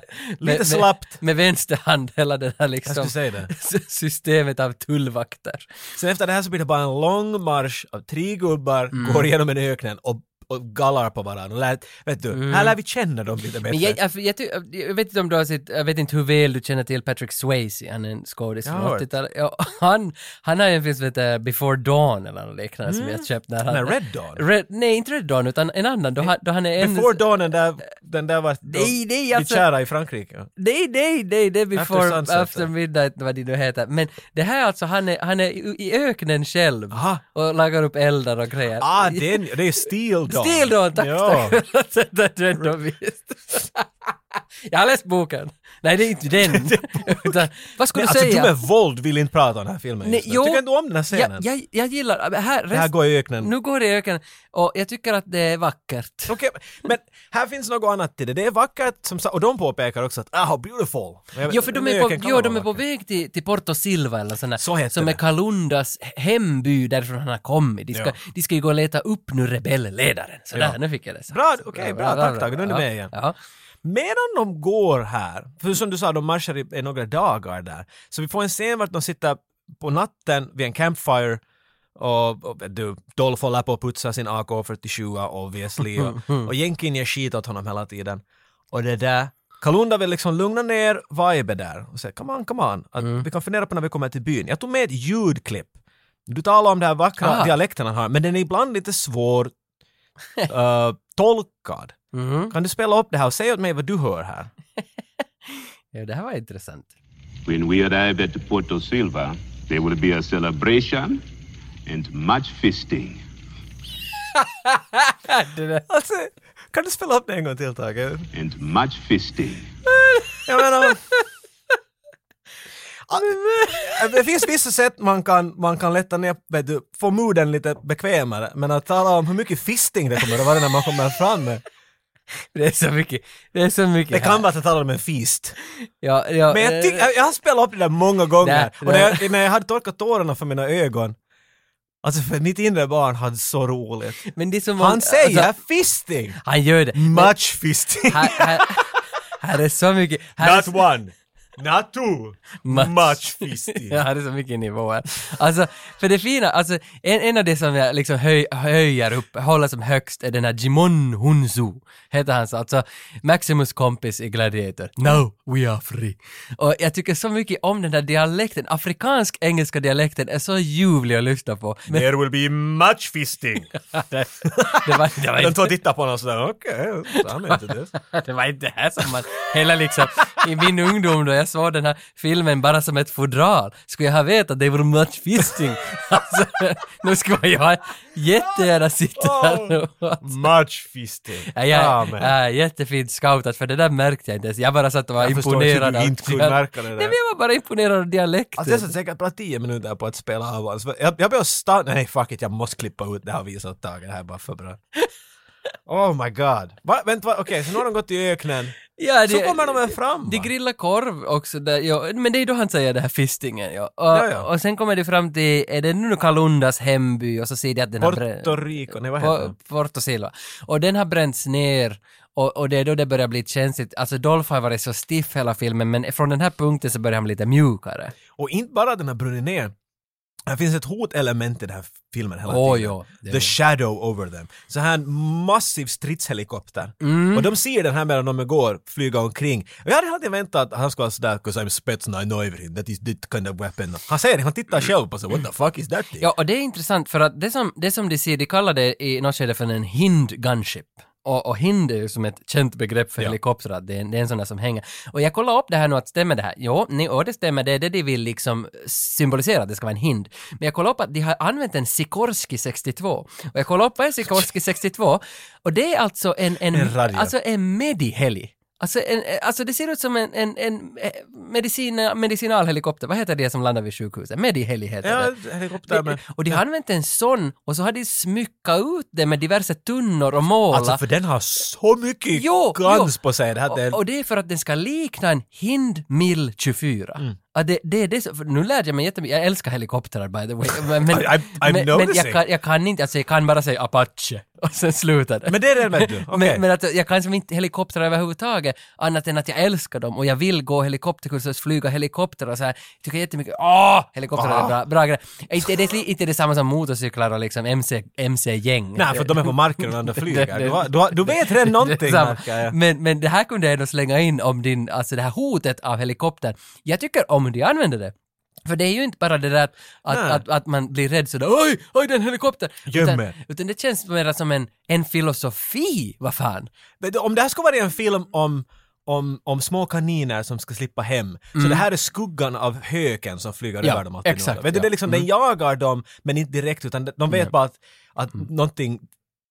Speaker 2: lite slappt.
Speaker 1: Med, med vänster hand, hela det här liksom...
Speaker 2: skulle säga
Speaker 1: [LAUGHS]
Speaker 2: det.
Speaker 1: Systemet av tullvakter.
Speaker 2: Sen efter det här så blir det bara en lång marsch av tre gubbar
Speaker 1: Mm.
Speaker 2: går genom en öknen och, och gallar på varandra. Och lär, vet du, här lär vi känna dem lite bättre.
Speaker 1: Mm. Men jag, jag, jag, ty- jag vet inte om du har sett, jag vet inte hur väl du känner till Patrick Swayze, han är en skådis
Speaker 2: Jag
Speaker 1: från
Speaker 2: har hört.
Speaker 1: 80-talet. Ja, han, han har ju en film som heter Before Dawn eller något liknande som jag köpte när han...
Speaker 2: Nej, Mm. Red Dawn.
Speaker 1: Red, nej, inte Red Dawn utan en annan, då, han- då han är en...
Speaker 2: Before Dawn, den där, den där var
Speaker 1: Nej, nej, alltså-
Speaker 2: kära i Frankrike.
Speaker 1: Nej, nej, nej, det är Before
Speaker 2: Sunset,
Speaker 1: After,
Speaker 2: ja.
Speaker 1: Midnight, vad det nu heter. Men det här alltså, han är, han är i- i öknen själv
Speaker 2: Aha.
Speaker 1: och lagar upp eldar och grejer.
Speaker 2: Ah, den, det är Steel Dawn.
Speaker 1: Stil då, tack,
Speaker 2: ja.
Speaker 1: tack. [LAUGHS] Alltså, Sätta den då visst. [LAUGHS] Jag har läst boken. Nej, det är inte
Speaker 2: [LAUGHS]
Speaker 1: den. [LAUGHS] Utan, vad skulle
Speaker 2: Men
Speaker 1: du
Speaker 2: alltså du
Speaker 1: säga?
Speaker 2: med våld vill inte prata om den här filmen
Speaker 1: Nej,
Speaker 2: just nu.
Speaker 1: jo.
Speaker 2: Tycker inte om den här scenen.
Speaker 1: jag, jag, jag gillar, men här,
Speaker 2: det här
Speaker 1: rest-
Speaker 2: går i öknen.
Speaker 1: nu går det i öknen och jag tycker att det är vackert.
Speaker 2: Okej, men här finns något annat till det. Det är vackert som sa- och de påpekar också att ah, how beautiful. Men jag vet-
Speaker 1: Jo, för de
Speaker 2: en
Speaker 1: är på,
Speaker 2: öken kan
Speaker 1: jo,
Speaker 2: vara
Speaker 1: de är på
Speaker 2: vacker.
Speaker 1: väg till, till Porto Silva eller sådär,
Speaker 2: Så heter
Speaker 1: som är
Speaker 2: det.
Speaker 1: Kalundas hemby därifrån han har kommit. De ska,
Speaker 2: Ja.
Speaker 1: de ska ju gå och leta upp nu rebellledaren. Sådär,
Speaker 2: Ja.
Speaker 1: nu fick jag det. sagt.
Speaker 2: Bra, okej, bra, tack, tack. Nu är du med igen.
Speaker 1: Ja.
Speaker 2: Medan de går här, för som du sa, de marschar i, i några dagar där, så vi får en scen vart de sitter på natten vid en campfire och, och du, Dolph håller på att putsa sin AK47 obviously och, och Jenkin ger skit åt honom hela tiden. Och det där, Kalunda vill liksom lugna ner vibe där och säga come on, come on, att vi kan fundera på när vi kommer till byn. Jag tog med ett ljudklipp. Du talar om den här vackra
Speaker 1: Ah.
Speaker 2: dialekten han har, men den är ibland lite svår eh, tolkad.
Speaker 1: Mhm.
Speaker 2: Kan du spela upp det här och säga åt mig vad du hör här?
Speaker 1: ja, det här var intressant.
Speaker 7: When we arrived at Porto Silva, There will be a celebration and much fisting.
Speaker 2: Alltså, kan du spela upp det en gång till, Tage?
Speaker 7: And much fisting.
Speaker 2: Jag menar... Ja, [LAUGHS] Det finns vissa sätt man kan, man kan lätta ner, vet du, få mooden lite bekvämare, men att tala om hur mycket fisting det kommer att vara när man kommer fram med.
Speaker 1: Det är så mycket, det är så mycket
Speaker 2: Det
Speaker 1: här.
Speaker 2: kan vara att jag talar om en fist.
Speaker 1: Ja, ja, eh,
Speaker 2: Men jag, tyck, jag, jag har spelat upp det där många gånger.
Speaker 1: Nej,
Speaker 2: och när
Speaker 1: nej.
Speaker 2: jag, när jag hade torkat tårarna från mina ögon, alltså för mitt inre barn hade så roligt.
Speaker 1: men det är så många-
Speaker 2: Han säger
Speaker 1: alltså,
Speaker 2: fisting!
Speaker 1: han gör det. Men
Speaker 2: Much fisting!
Speaker 1: Här, här, här är så mycket... Här är
Speaker 2: Not
Speaker 1: så,
Speaker 2: one, not two,
Speaker 1: Much.
Speaker 2: much fisting.
Speaker 1: [LAUGHS] Ja, det är så mycket nivåer. Alltså, för det fina, alltså, en, en av det som jag liksom höj, höjer upp, håller som högst är den här Jimon Hunsu, heter han så, alltså Maximus kompis i Gladiator. No, we are free. Och jag tycker så mycket om den där dialekten, afrikansk-engelska dialekten är så ljuvlig att lyssna på. Men
Speaker 2: There will be much fisting.
Speaker 1: det [LAUGHS] var, [LAUGHS] det var
Speaker 2: De
Speaker 1: inte
Speaker 2: två tittar på honom sådär, okej, så han mente
Speaker 1: [LAUGHS]
Speaker 2: det.
Speaker 1: det var inte det här Äh, som man, hela liksom, i min ungdom då jag såg den här filmen bara som ett fodral, skulle jag ha vetat det var much fisting. [LAUGHS] Alltså, nu skulle jag jättegärna sitta här och
Speaker 2: Much fisting.
Speaker 1: [LAUGHS] Ja, Äh, jag,
Speaker 2: men.
Speaker 1: ja, jättefint scoutat, för det där märkte jag inte ens. Jag bara satt och var
Speaker 2: Jag förstår inte hur
Speaker 1: imponerad.
Speaker 2: du
Speaker 1: av
Speaker 2: inte kunde
Speaker 1: dialek-
Speaker 2: märka det där.
Speaker 1: Nej, men jag var bara imponerad av dialekten.
Speaker 2: Alltså jag satt säkert bara tio minuter på att spela av alltså, Jag, jag blev stanna, nej fuck it, jag måste klippa ut det här och visa åt Tage, det här är bara
Speaker 1: [LAUGHS]
Speaker 2: för bra. Oh my god. Va, vänta, va, okej, så nu har de gått i öknen.
Speaker 1: ja,
Speaker 2: så kommer de väl fram?
Speaker 1: De
Speaker 2: va?
Speaker 1: grillar korv också, där, ja, men det är då han säger det här fistingen. Ja. Och,
Speaker 2: Ja, ja.
Speaker 1: och sen kommer de fram till, är det nu Kalundas hemby och så ser de att den har brä-
Speaker 2: Porto Rico, nej vad heter
Speaker 1: Po- Porto Silva. Och den har bränts ner och, och det är då det börjar bli känsligt. Alltså Dolph har varit så stiff hela filmen men från den här punkten så börjar han bli lite mjukare.
Speaker 2: Och inte bara den har brunnit ner. Det finns ett hotelement i den här filmen hela
Speaker 1: Åh,
Speaker 2: tiden.
Speaker 1: ja. Det är
Speaker 2: The
Speaker 1: det.
Speaker 2: shadow over them. Så här en massiv stridshelikopter.
Speaker 1: Mm.
Speaker 2: Och de ser den här medan de går flyga omkring. Och jag hade alltid väntat att han skulle vara sådär “Cause I'm spets and I know everything, that is that kind of weapon”. Han säger det, han tittar själv på sig “What the fuck is that thing?”
Speaker 1: Ja, och det är intressant för att det som, det som de ser, de kallar det i något skede för en hind gunship. Och, och hind är ju som ett känt begrepp för helikoptrar, det är, en- det är en sån där som hänger. Och jag kollar upp det här nu, att stämmer det här? Jo, ni, och det stämmer, det är det de vill liksom symbolisera, att det ska vara en hind. Men jag kollar upp att de har använt en Sikorsky 62. Och jag kollar upp vad är Sikorsky 62? Och det är alltså en, en,
Speaker 2: En radio.
Speaker 1: alltså en mediheli. Alltså, en, alltså det ser ut som en, en, en eh, medicin, medicinalhelikopter, vad heter det som landar vid sjukhuset? Mediheli heter det.
Speaker 2: Ja, helikopter men...
Speaker 1: Och de har använt en sån och så har de smyckat ut det med diverse tunnor och målar.
Speaker 2: Alltså för den har så mycket
Speaker 1: Jo,
Speaker 2: gans
Speaker 1: jo.
Speaker 2: på sig. Det här, det är,
Speaker 1: och, och det är för att den ska likna en Hind Mil 24.
Speaker 2: Mm.
Speaker 1: Ja, det, det, är det, som- för nu lärde jag mig jättemycket, jag älskar helikoptrar by the way. Men, men,
Speaker 2: [LAUGHS] I- I'm
Speaker 1: men, men
Speaker 2: noticing.
Speaker 1: jag, kan, jag kan inte, alltså jag kan bara säga Apache och sen slutar det.
Speaker 2: men det är det, vet du. Okej.
Speaker 1: Men, men att jag kan som inte helikoptrar överhuvudtaget, annat än att jag älskar dem och jag vill gå helikopterkurser, flyga helikoptrar och så här. Tycker jättemycket, åh, helikoptrar är bra, bra grejer. Inte, det är li- inte detsamma som motorcyklar och liksom MC, MC-gäng.
Speaker 2: Nej, för de är på marken och de andra
Speaker 1: [LAUGHS]
Speaker 2: flyger.
Speaker 1: Det-
Speaker 2: Du,
Speaker 1: det-
Speaker 2: har- du, har- du vet redan
Speaker 1: [LAUGHS] Det är
Speaker 2: någonting,
Speaker 1: samma.
Speaker 2: märker jag.
Speaker 1: men, men det här kunde jag ändå slänga in om din, alltså det här hotet av helikoptern. Jag tycker om hur de använder det. För det är ju inte bara det där att, att,
Speaker 2: Nej.
Speaker 1: att, att man blir rädd sådär oj, oj det är en helikopter.
Speaker 2: Göm
Speaker 1: Utan,
Speaker 2: er.
Speaker 1: utan det känns mer som en, en filosofi, vad fan.
Speaker 2: Men Om det här skulle vara en film om, om, om små kaniner som ska slippa hem, så det här är skuggan av höken som flyger
Speaker 1: Mm. Ja,
Speaker 2: över dem. alltid nu.
Speaker 1: exakt,
Speaker 2: Vet
Speaker 1: ja.
Speaker 2: du, det är
Speaker 1: Mm.
Speaker 2: liksom, Den jagar dem, men inte direkt, utan de- de vet bara att, att någonting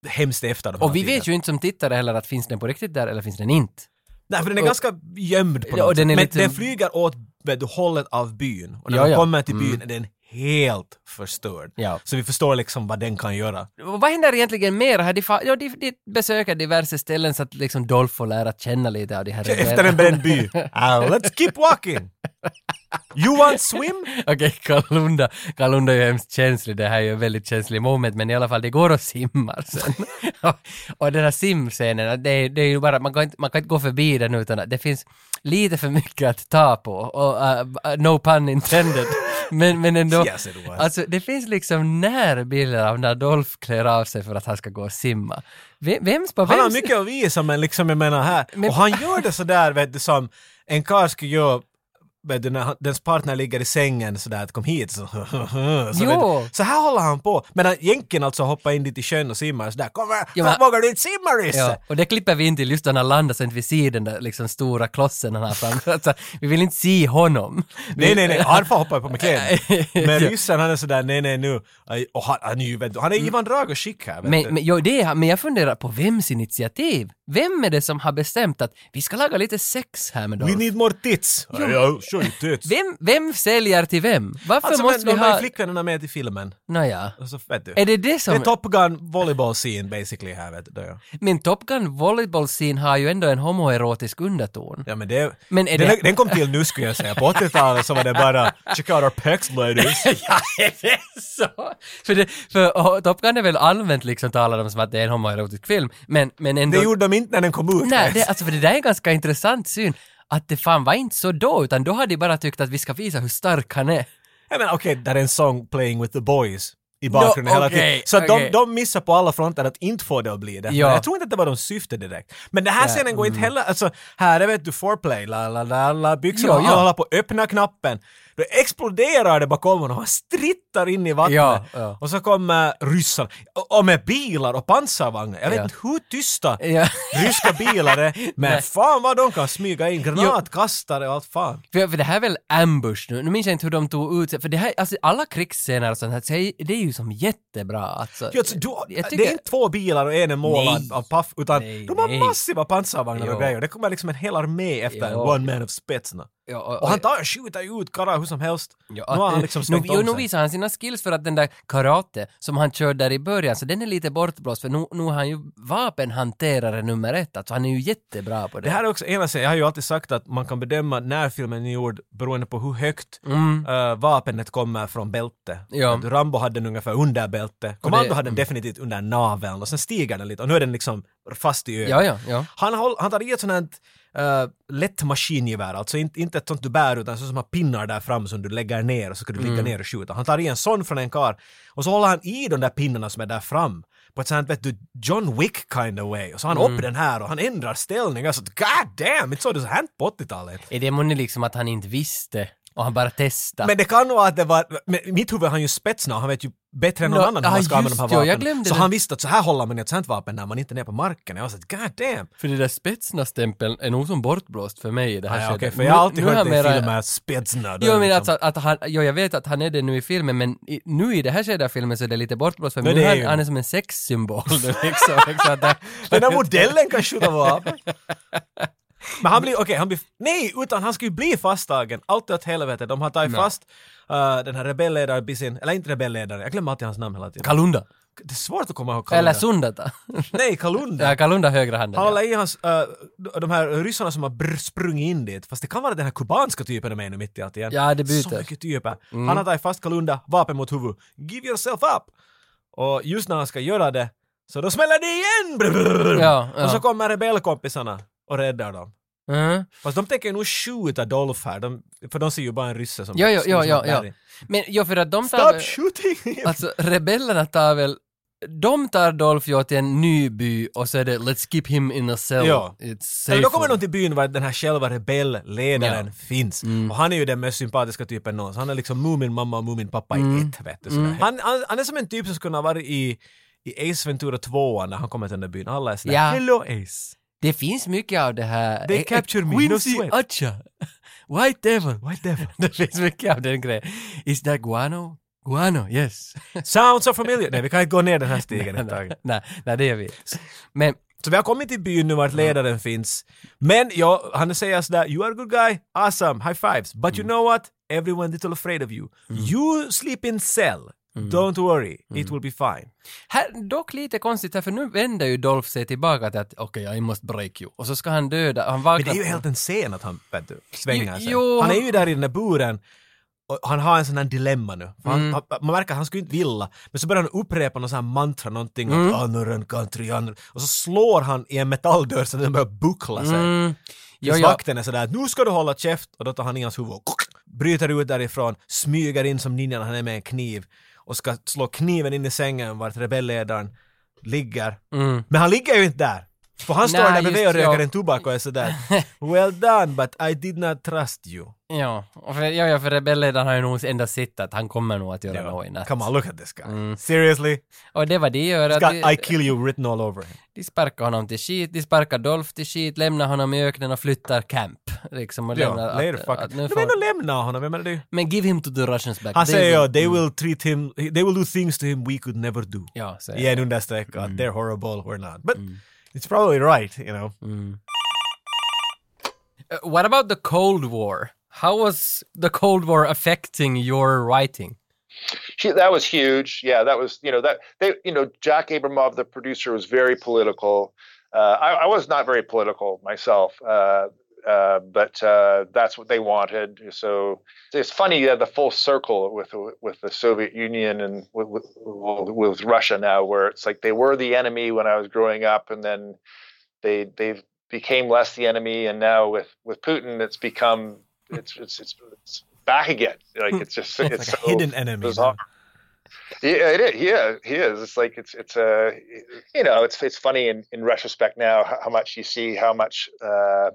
Speaker 2: hemskt är efter dem.
Speaker 1: Mm. Och vi vet ju inte som tittare heller att finns den på riktigt där eller finns den inte.
Speaker 2: Nej, för den är
Speaker 1: och-
Speaker 2: ganska gömd på
Speaker 1: Ja,
Speaker 2: något
Speaker 1: och den är
Speaker 2: sätt. Men
Speaker 1: lite-
Speaker 2: den flyger åt vet du, hållet av byn. Och när
Speaker 1: Ja,
Speaker 2: de
Speaker 1: ja. Mm.
Speaker 2: kommer till byn är den helt förstörd.
Speaker 1: Ja.
Speaker 2: Så vi förstår liksom vad den kan göra.
Speaker 1: Och vad händer egentligen mer? Har de, fa- ja, de, de besöker diverse ställen så att liksom Dolph får lära känna lite av de här
Speaker 2: Efter en bränd
Speaker 1: [LAUGHS]
Speaker 2: by. Ah, let's keep walking! You want swim?
Speaker 1: Okej, [LAUGHS] Kalunda. Kalunda är ju hemskt känslig. Det här är ju ett väldigt känsligt moment, men i alla fall, det går och simmar sen. [LAUGHS] Och- och den här simscenen, det, är- det är ju bara, man kan, inte, man kan inte gå förbi den utan att det finns lite för mycket att ta på. Och, uh, uh, no pun intended. [LAUGHS] Men, men ändå,
Speaker 2: Yes, it was.
Speaker 1: alltså det finns liksom närbilder av när Dolph klär av sig för att han ska gå och simma. Vem, vems på
Speaker 2: Han har
Speaker 1: vems?
Speaker 2: mycket att visa men liksom jag menar här,
Speaker 1: Men-
Speaker 2: och han gör det sådär vet du som en karl skulle göra vet du, när han- dens partner ligger i sängen sådär att kom hit så, [LAUGHS] så, vet du.
Speaker 1: Jo.
Speaker 2: så här håller han på. Medan jänken alltså hoppar in dit i sjön och simmar sådär kom här,
Speaker 1: Ja,
Speaker 2: fan,
Speaker 1: men-
Speaker 2: vågar du inte simma Risse?
Speaker 1: Ja, och det klipper vi in till just när han landar sen vid sidan där liksom stora klossen han har framför. Alltså, vi vill inte se honom. Vi-
Speaker 2: Nej, nej, nej, Arfa hoppar ju på
Speaker 1: [LAUGHS]
Speaker 2: med kläderna. Men ryssen han är sådär, nej, nej, nu. Aj, Och han, han är ju, vet du, han är Ivan Dragos skick här. Vet du.
Speaker 1: Mm. Men, men, jo, det är, men jag funderar på vems initiativ? Vem är det som har bestämt att vi ska laga lite sex här med
Speaker 2: We
Speaker 1: dem?
Speaker 2: need more tits! Ja, ja, show you tits.
Speaker 1: Vem, vem säljer till vem? Varför
Speaker 2: Alltså,
Speaker 1: måste
Speaker 2: men, de
Speaker 1: vi
Speaker 2: har ju
Speaker 1: ha...
Speaker 2: flickvännerna med i filmen.
Speaker 1: Nåja.
Speaker 2: Alltså, vet du.
Speaker 1: Är det det som...
Speaker 2: Det är Top Gun volleyball scene basically här vet du. Ja,
Speaker 1: Min Top Gun volleyball scene har ju ändå en homoerotisk
Speaker 2: [LAUGHS]
Speaker 1: underton.
Speaker 2: ja men det...
Speaker 1: Men är
Speaker 2: den,
Speaker 1: det-
Speaker 2: den kom till nu skulle jag säga. På 80-talet så var det bara “Check out our pecs ladies”.
Speaker 1: ja, är det så? För, det, för och, Top Gun är väl allmänt liksom talad om som att det är en homoerotisk film, men, men ändå...
Speaker 2: Det gjorde de inte när den kom ut.
Speaker 1: Nej,
Speaker 2: vet du.
Speaker 1: det, alltså för det där är en ganska intressant syn. Att det fan var inte så då, utan då hade de bara tyckt att vi ska visa hur stark han är.
Speaker 2: Jag menar okej, där är en sång “Playing with the boys” i bakgrunden hela
Speaker 1: okej,
Speaker 2: tiden. Så att
Speaker 1: okej.
Speaker 2: de, de missar på alla fronter att inte få det att bli
Speaker 1: Ja.
Speaker 2: det.
Speaker 1: mm.
Speaker 2: Men Jag tror inte att det var de syfte direkt. Men den här scenen går inte heller, alltså här är vet du foreplay, la la la la, byxorna,
Speaker 1: Ja, ja.
Speaker 2: alla håller på att öppna knappen. Då exploderar det bakom honom, han strittar in i vattnet.
Speaker 1: Ja, ja.
Speaker 2: Och så kommer ryssarna, och, och med bilar och pansarvagnar. Jag vet
Speaker 1: Ja.
Speaker 2: inte hur tysta
Speaker 1: [LAUGHS] Ja.
Speaker 2: ryska bilar är, men fan vad de kan smyga in granatkastare och allt fan.
Speaker 1: För, för det här är väl ambush nu? Nu minns jag inte hur de tog ut sig, för det här, alltså alla krigsscener och sånt här, så är- det är ju som jättebra alltså.
Speaker 2: Ja, alltså, du,
Speaker 1: jag
Speaker 2: Det
Speaker 1: tycker-
Speaker 2: är inte två bilar och en är målad
Speaker 1: Nej.
Speaker 2: av paff, utan
Speaker 1: Nej,
Speaker 2: de har
Speaker 1: nej.
Speaker 2: massiva pansarvagnar
Speaker 1: Jo.
Speaker 2: och grejer. Det kommer liksom en hel armé efter
Speaker 1: Jo.
Speaker 2: One Man of Spetsna.
Speaker 1: Ja, och,
Speaker 2: Och han tar och skjuter ut karlar hur som helst.
Speaker 1: Ja,
Speaker 2: nu har
Speaker 1: att-
Speaker 2: han liksom
Speaker 1: nu,
Speaker 2: stängt
Speaker 1: jo, nu
Speaker 2: om sig.
Speaker 1: visar han sina skills för att den där karate som han körde där i början, så den är lite bortblåst för nu, nu är han ju vapenhanterare nummer ett, alltså han är ju jättebra på det.
Speaker 2: Det här är också ena sidan, jag har ju alltid sagt att man kan bedöma när filmen är gjord beroende på hur högt
Speaker 1: Mm.
Speaker 2: eh, vapnet kommer från bälte.
Speaker 1: Ja.
Speaker 2: Att Rambo hade den ungefär under bälte, Commando hade den definitivt under naveln och sen stiger den lite och nu är den liksom fast i ögat.
Speaker 1: Ja, ja, ja.
Speaker 2: Han, håll, han tar i ett sånt här eh, lätt maskingevär, alltså inte, inte ett sånt du bär utan så som har pinnar där fram som du lägger ner och så ska du
Speaker 1: Mm.
Speaker 2: ligga ner och skjuta. Han tar i en sån från en kar och så håller han i de där pinnarna som är där fram på ett sånt här, vet du, John Wick kind of way. Och så har han
Speaker 1: Mm.
Speaker 2: upp den här och han ändrar ställning. Alltså, god damn, inte såg det så här på 80-talet.
Speaker 1: Är det månne liksom att han inte visste och han bara testade?
Speaker 2: Men det kan vara att det var, men i mitt huvud har han ju spetsna och han vet ju bättre än någon
Speaker 1: Nå,
Speaker 2: annan hur
Speaker 1: ah,
Speaker 2: man ska använda
Speaker 1: just
Speaker 2: de här
Speaker 1: det, jag
Speaker 2: vapnen.
Speaker 1: glömde
Speaker 2: Så
Speaker 1: det.
Speaker 2: han visste att så här håller man i ett sånt vapen när man inte är ner på marken. Jag var så att, god damn.
Speaker 1: För det där spetsna-stämpeln är nog som bortblåst för mig i det här
Speaker 2: Ah, ja,
Speaker 1: skedet.
Speaker 2: okej, för jag har alltid
Speaker 1: Alltså, Nu- nu
Speaker 2: hört det
Speaker 1: har
Speaker 2: i
Speaker 1: mera-
Speaker 2: filmer, spetsna. då är
Speaker 1: Jo,
Speaker 2: det
Speaker 1: men
Speaker 2: liksom-
Speaker 1: alltså att han, jo, jag vet att han är det nu i filmen, men i, nu i det här skedet av filmen så är det lite bortblåst för
Speaker 2: Men
Speaker 1: nu
Speaker 2: det är
Speaker 1: han,
Speaker 2: ju-
Speaker 1: han är som en sexsymbol nu liksom. liksom att det,
Speaker 2: Den där modellen kan
Speaker 1: [LAUGHS]
Speaker 2: skjuta vapen. Men han blir, okej, han blir, nej, utan han ska ju bli fasttagen. Allt åt helvete, de har tagit fast eh, den här rebellledaren Bisin, eller inte rebellledaren, jag glömmer alltid hans namn hela tiden.
Speaker 1: Kalunda.
Speaker 2: det är svårt att komma ihåg Kalunda.
Speaker 1: Eller Sundata.
Speaker 2: Nej, Kalunda.
Speaker 1: ja, Kalunda högra handen.
Speaker 2: Han
Speaker 1: ja.
Speaker 2: håller i hans, eh, de här ryssarna som har brr, sprungit in dit, fast det kan vara den här kubanska typen de är nu mitt i allt igen.
Speaker 1: Ja, det
Speaker 2: Så
Speaker 1: byter. Mm.
Speaker 2: mycket typer. Han har tagit fast Kalunda, vapen mot huvud. Give yourself up! Och just när han ska göra det, så då smäller det igen! Brr, brr, brr.
Speaker 1: Ja, ja.
Speaker 2: Och så kommer rebellkompisarna och räddar dem.
Speaker 1: Mm.
Speaker 2: Fast de tänker nog skjuta Dolph här, de, för de ser ju bara en rysse som...
Speaker 1: Ja, ja, ja,
Speaker 2: som
Speaker 1: ja,
Speaker 2: ett
Speaker 1: ja.
Speaker 2: berg.
Speaker 1: Men jo, för att de tar
Speaker 2: Stop
Speaker 1: väl,
Speaker 2: shooting! him!
Speaker 1: alltså rebellerna tar väl, de tar Dolph Joe till en ny by och så är det “Let's keep him in a cell,
Speaker 2: Ja.
Speaker 1: it's safe”.
Speaker 2: Eller då kommer de till byn var den här själva rebellledaren
Speaker 1: Ja. Mm.
Speaker 2: finns. Och han är ju den mest sympatiska typen någonsin. Han är liksom Mumin-mamma och Mumin-pappa i
Speaker 1: Mm.
Speaker 2: ett, vet du. sådär. Han, han, han är som en typ som skulle ha varit i, i Ace Ventura 2 när han kommer till den där byn. Alla är sådär
Speaker 1: Ja.
Speaker 2: “Hello Ace”.
Speaker 1: Det finns mycket av det här.
Speaker 2: They
Speaker 1: Eh, eh,
Speaker 2: capture me, no
Speaker 1: Quincy
Speaker 2: sweat.
Speaker 1: Acha. White Devil.
Speaker 2: What the fuck?
Speaker 1: [LAUGHS] Det finns mycket av den grejen. Is that guano? Guano, yes. [LAUGHS]
Speaker 2: Sounds so familiar. Nej, vi kan inte gå ner den här stigen ett tag.
Speaker 1: nej, nej, det gör vi. Men,
Speaker 2: Så vi har kommit till byn nu vart ledaren finns. Men ja, han säger sådär “You are a good guy, awesome, high fives, but
Speaker 1: Mm.
Speaker 2: you know what? Everyone little afraid of you. You sleep in cell.
Speaker 1: Mm.
Speaker 2: Don't worry, it will be fine.”
Speaker 1: här, dock lite konstigt här, för nu vänder ju Dolph sig tillbaka till att okej, I must break you. Och så ska han döda, och han vaknar.
Speaker 2: Men det är ju helt en scen att han vet du, svänger sig.
Speaker 1: Jo,
Speaker 2: han är
Speaker 1: han-
Speaker 2: ju där i den där buren och han har en sån här dilemma nu. För
Speaker 1: Mm.
Speaker 2: Han, han, man märker att han skulle inte vilja, men så börjar han upprepa någon sån här mantra, någonting mm. att "Anurren country, anurren", och så slår han i en metalldörr så den börjar buckla sig.
Speaker 1: Mm. Jo,
Speaker 2: Tills
Speaker 1: jo.
Speaker 2: vakten är sådär att nu ska du hålla käft och då tar han i hans huvud och kuck, bryter ut därifrån, smyger in som ninjan han är med en kniv och ska slå kniven in i sängen vart rebellledaren ligger. Men han ligger ju inte där. För han står
Speaker 1: Mm. Nej,
Speaker 2: där bredvid
Speaker 1: just,
Speaker 2: och röker
Speaker 1: ja.
Speaker 2: en tobak och
Speaker 1: [LAUGHS]
Speaker 2: är sådär “Well done, but I did not trust you”.
Speaker 1: Ja, och för, ja, ja, för rebellledaren har ju nog endast sett att han kommer nog att göra något i natt.
Speaker 2: Come on, look at this guy. Seriously?
Speaker 1: Och Mm. det var de gör, att
Speaker 2: Got
Speaker 1: de,
Speaker 2: I kill you written all over him.
Speaker 1: de sparkar honom till skit, de sparkar Dolph till skit, lämnar honom i öknen och flyttar camp. Liksom och
Speaker 2: Ja,
Speaker 1: lämnar
Speaker 2: later fuck.
Speaker 1: att,
Speaker 2: it. Men
Speaker 1: nu
Speaker 2: ändå
Speaker 1: får,
Speaker 2: lämna honom, jag menar det är ju-
Speaker 1: Men give him to the Russians back.
Speaker 2: Han
Speaker 1: They
Speaker 2: säger
Speaker 1: will-
Speaker 2: ju “They will treat him, they will do things to him we could never do”.
Speaker 1: Mm. Ja, så
Speaker 2: I en understreck
Speaker 1: Mm.
Speaker 2: att “They're horrible, we're not”. But it's probably right, you know.
Speaker 1: Uh, Mm. what about the Cold War? How was the Cold War affecting your writing?
Speaker 4: She, that was huge. Yeah, that was you know that they you know Jack Abramov, the producer, was very political. Uh, I, I was not very political myself, uh, uh, but uh, that's what they wanted. So it's funny uh, the full circle with with the Soviet Union and with, with, with Russia now, where it's like they were the enemy when I was growing up, and then they they became less the enemy, and now with with Putin, it's become it's it's it's, it's back again. Like it's just it's,
Speaker 2: Hmm. Like a
Speaker 4: so
Speaker 2: hidden enemy.
Speaker 4: bizarre. Yeah, it is. Yeah, he is. It's like it's it's uh, you know it's it's funny in, in retrospect now how, how much you see how much uh,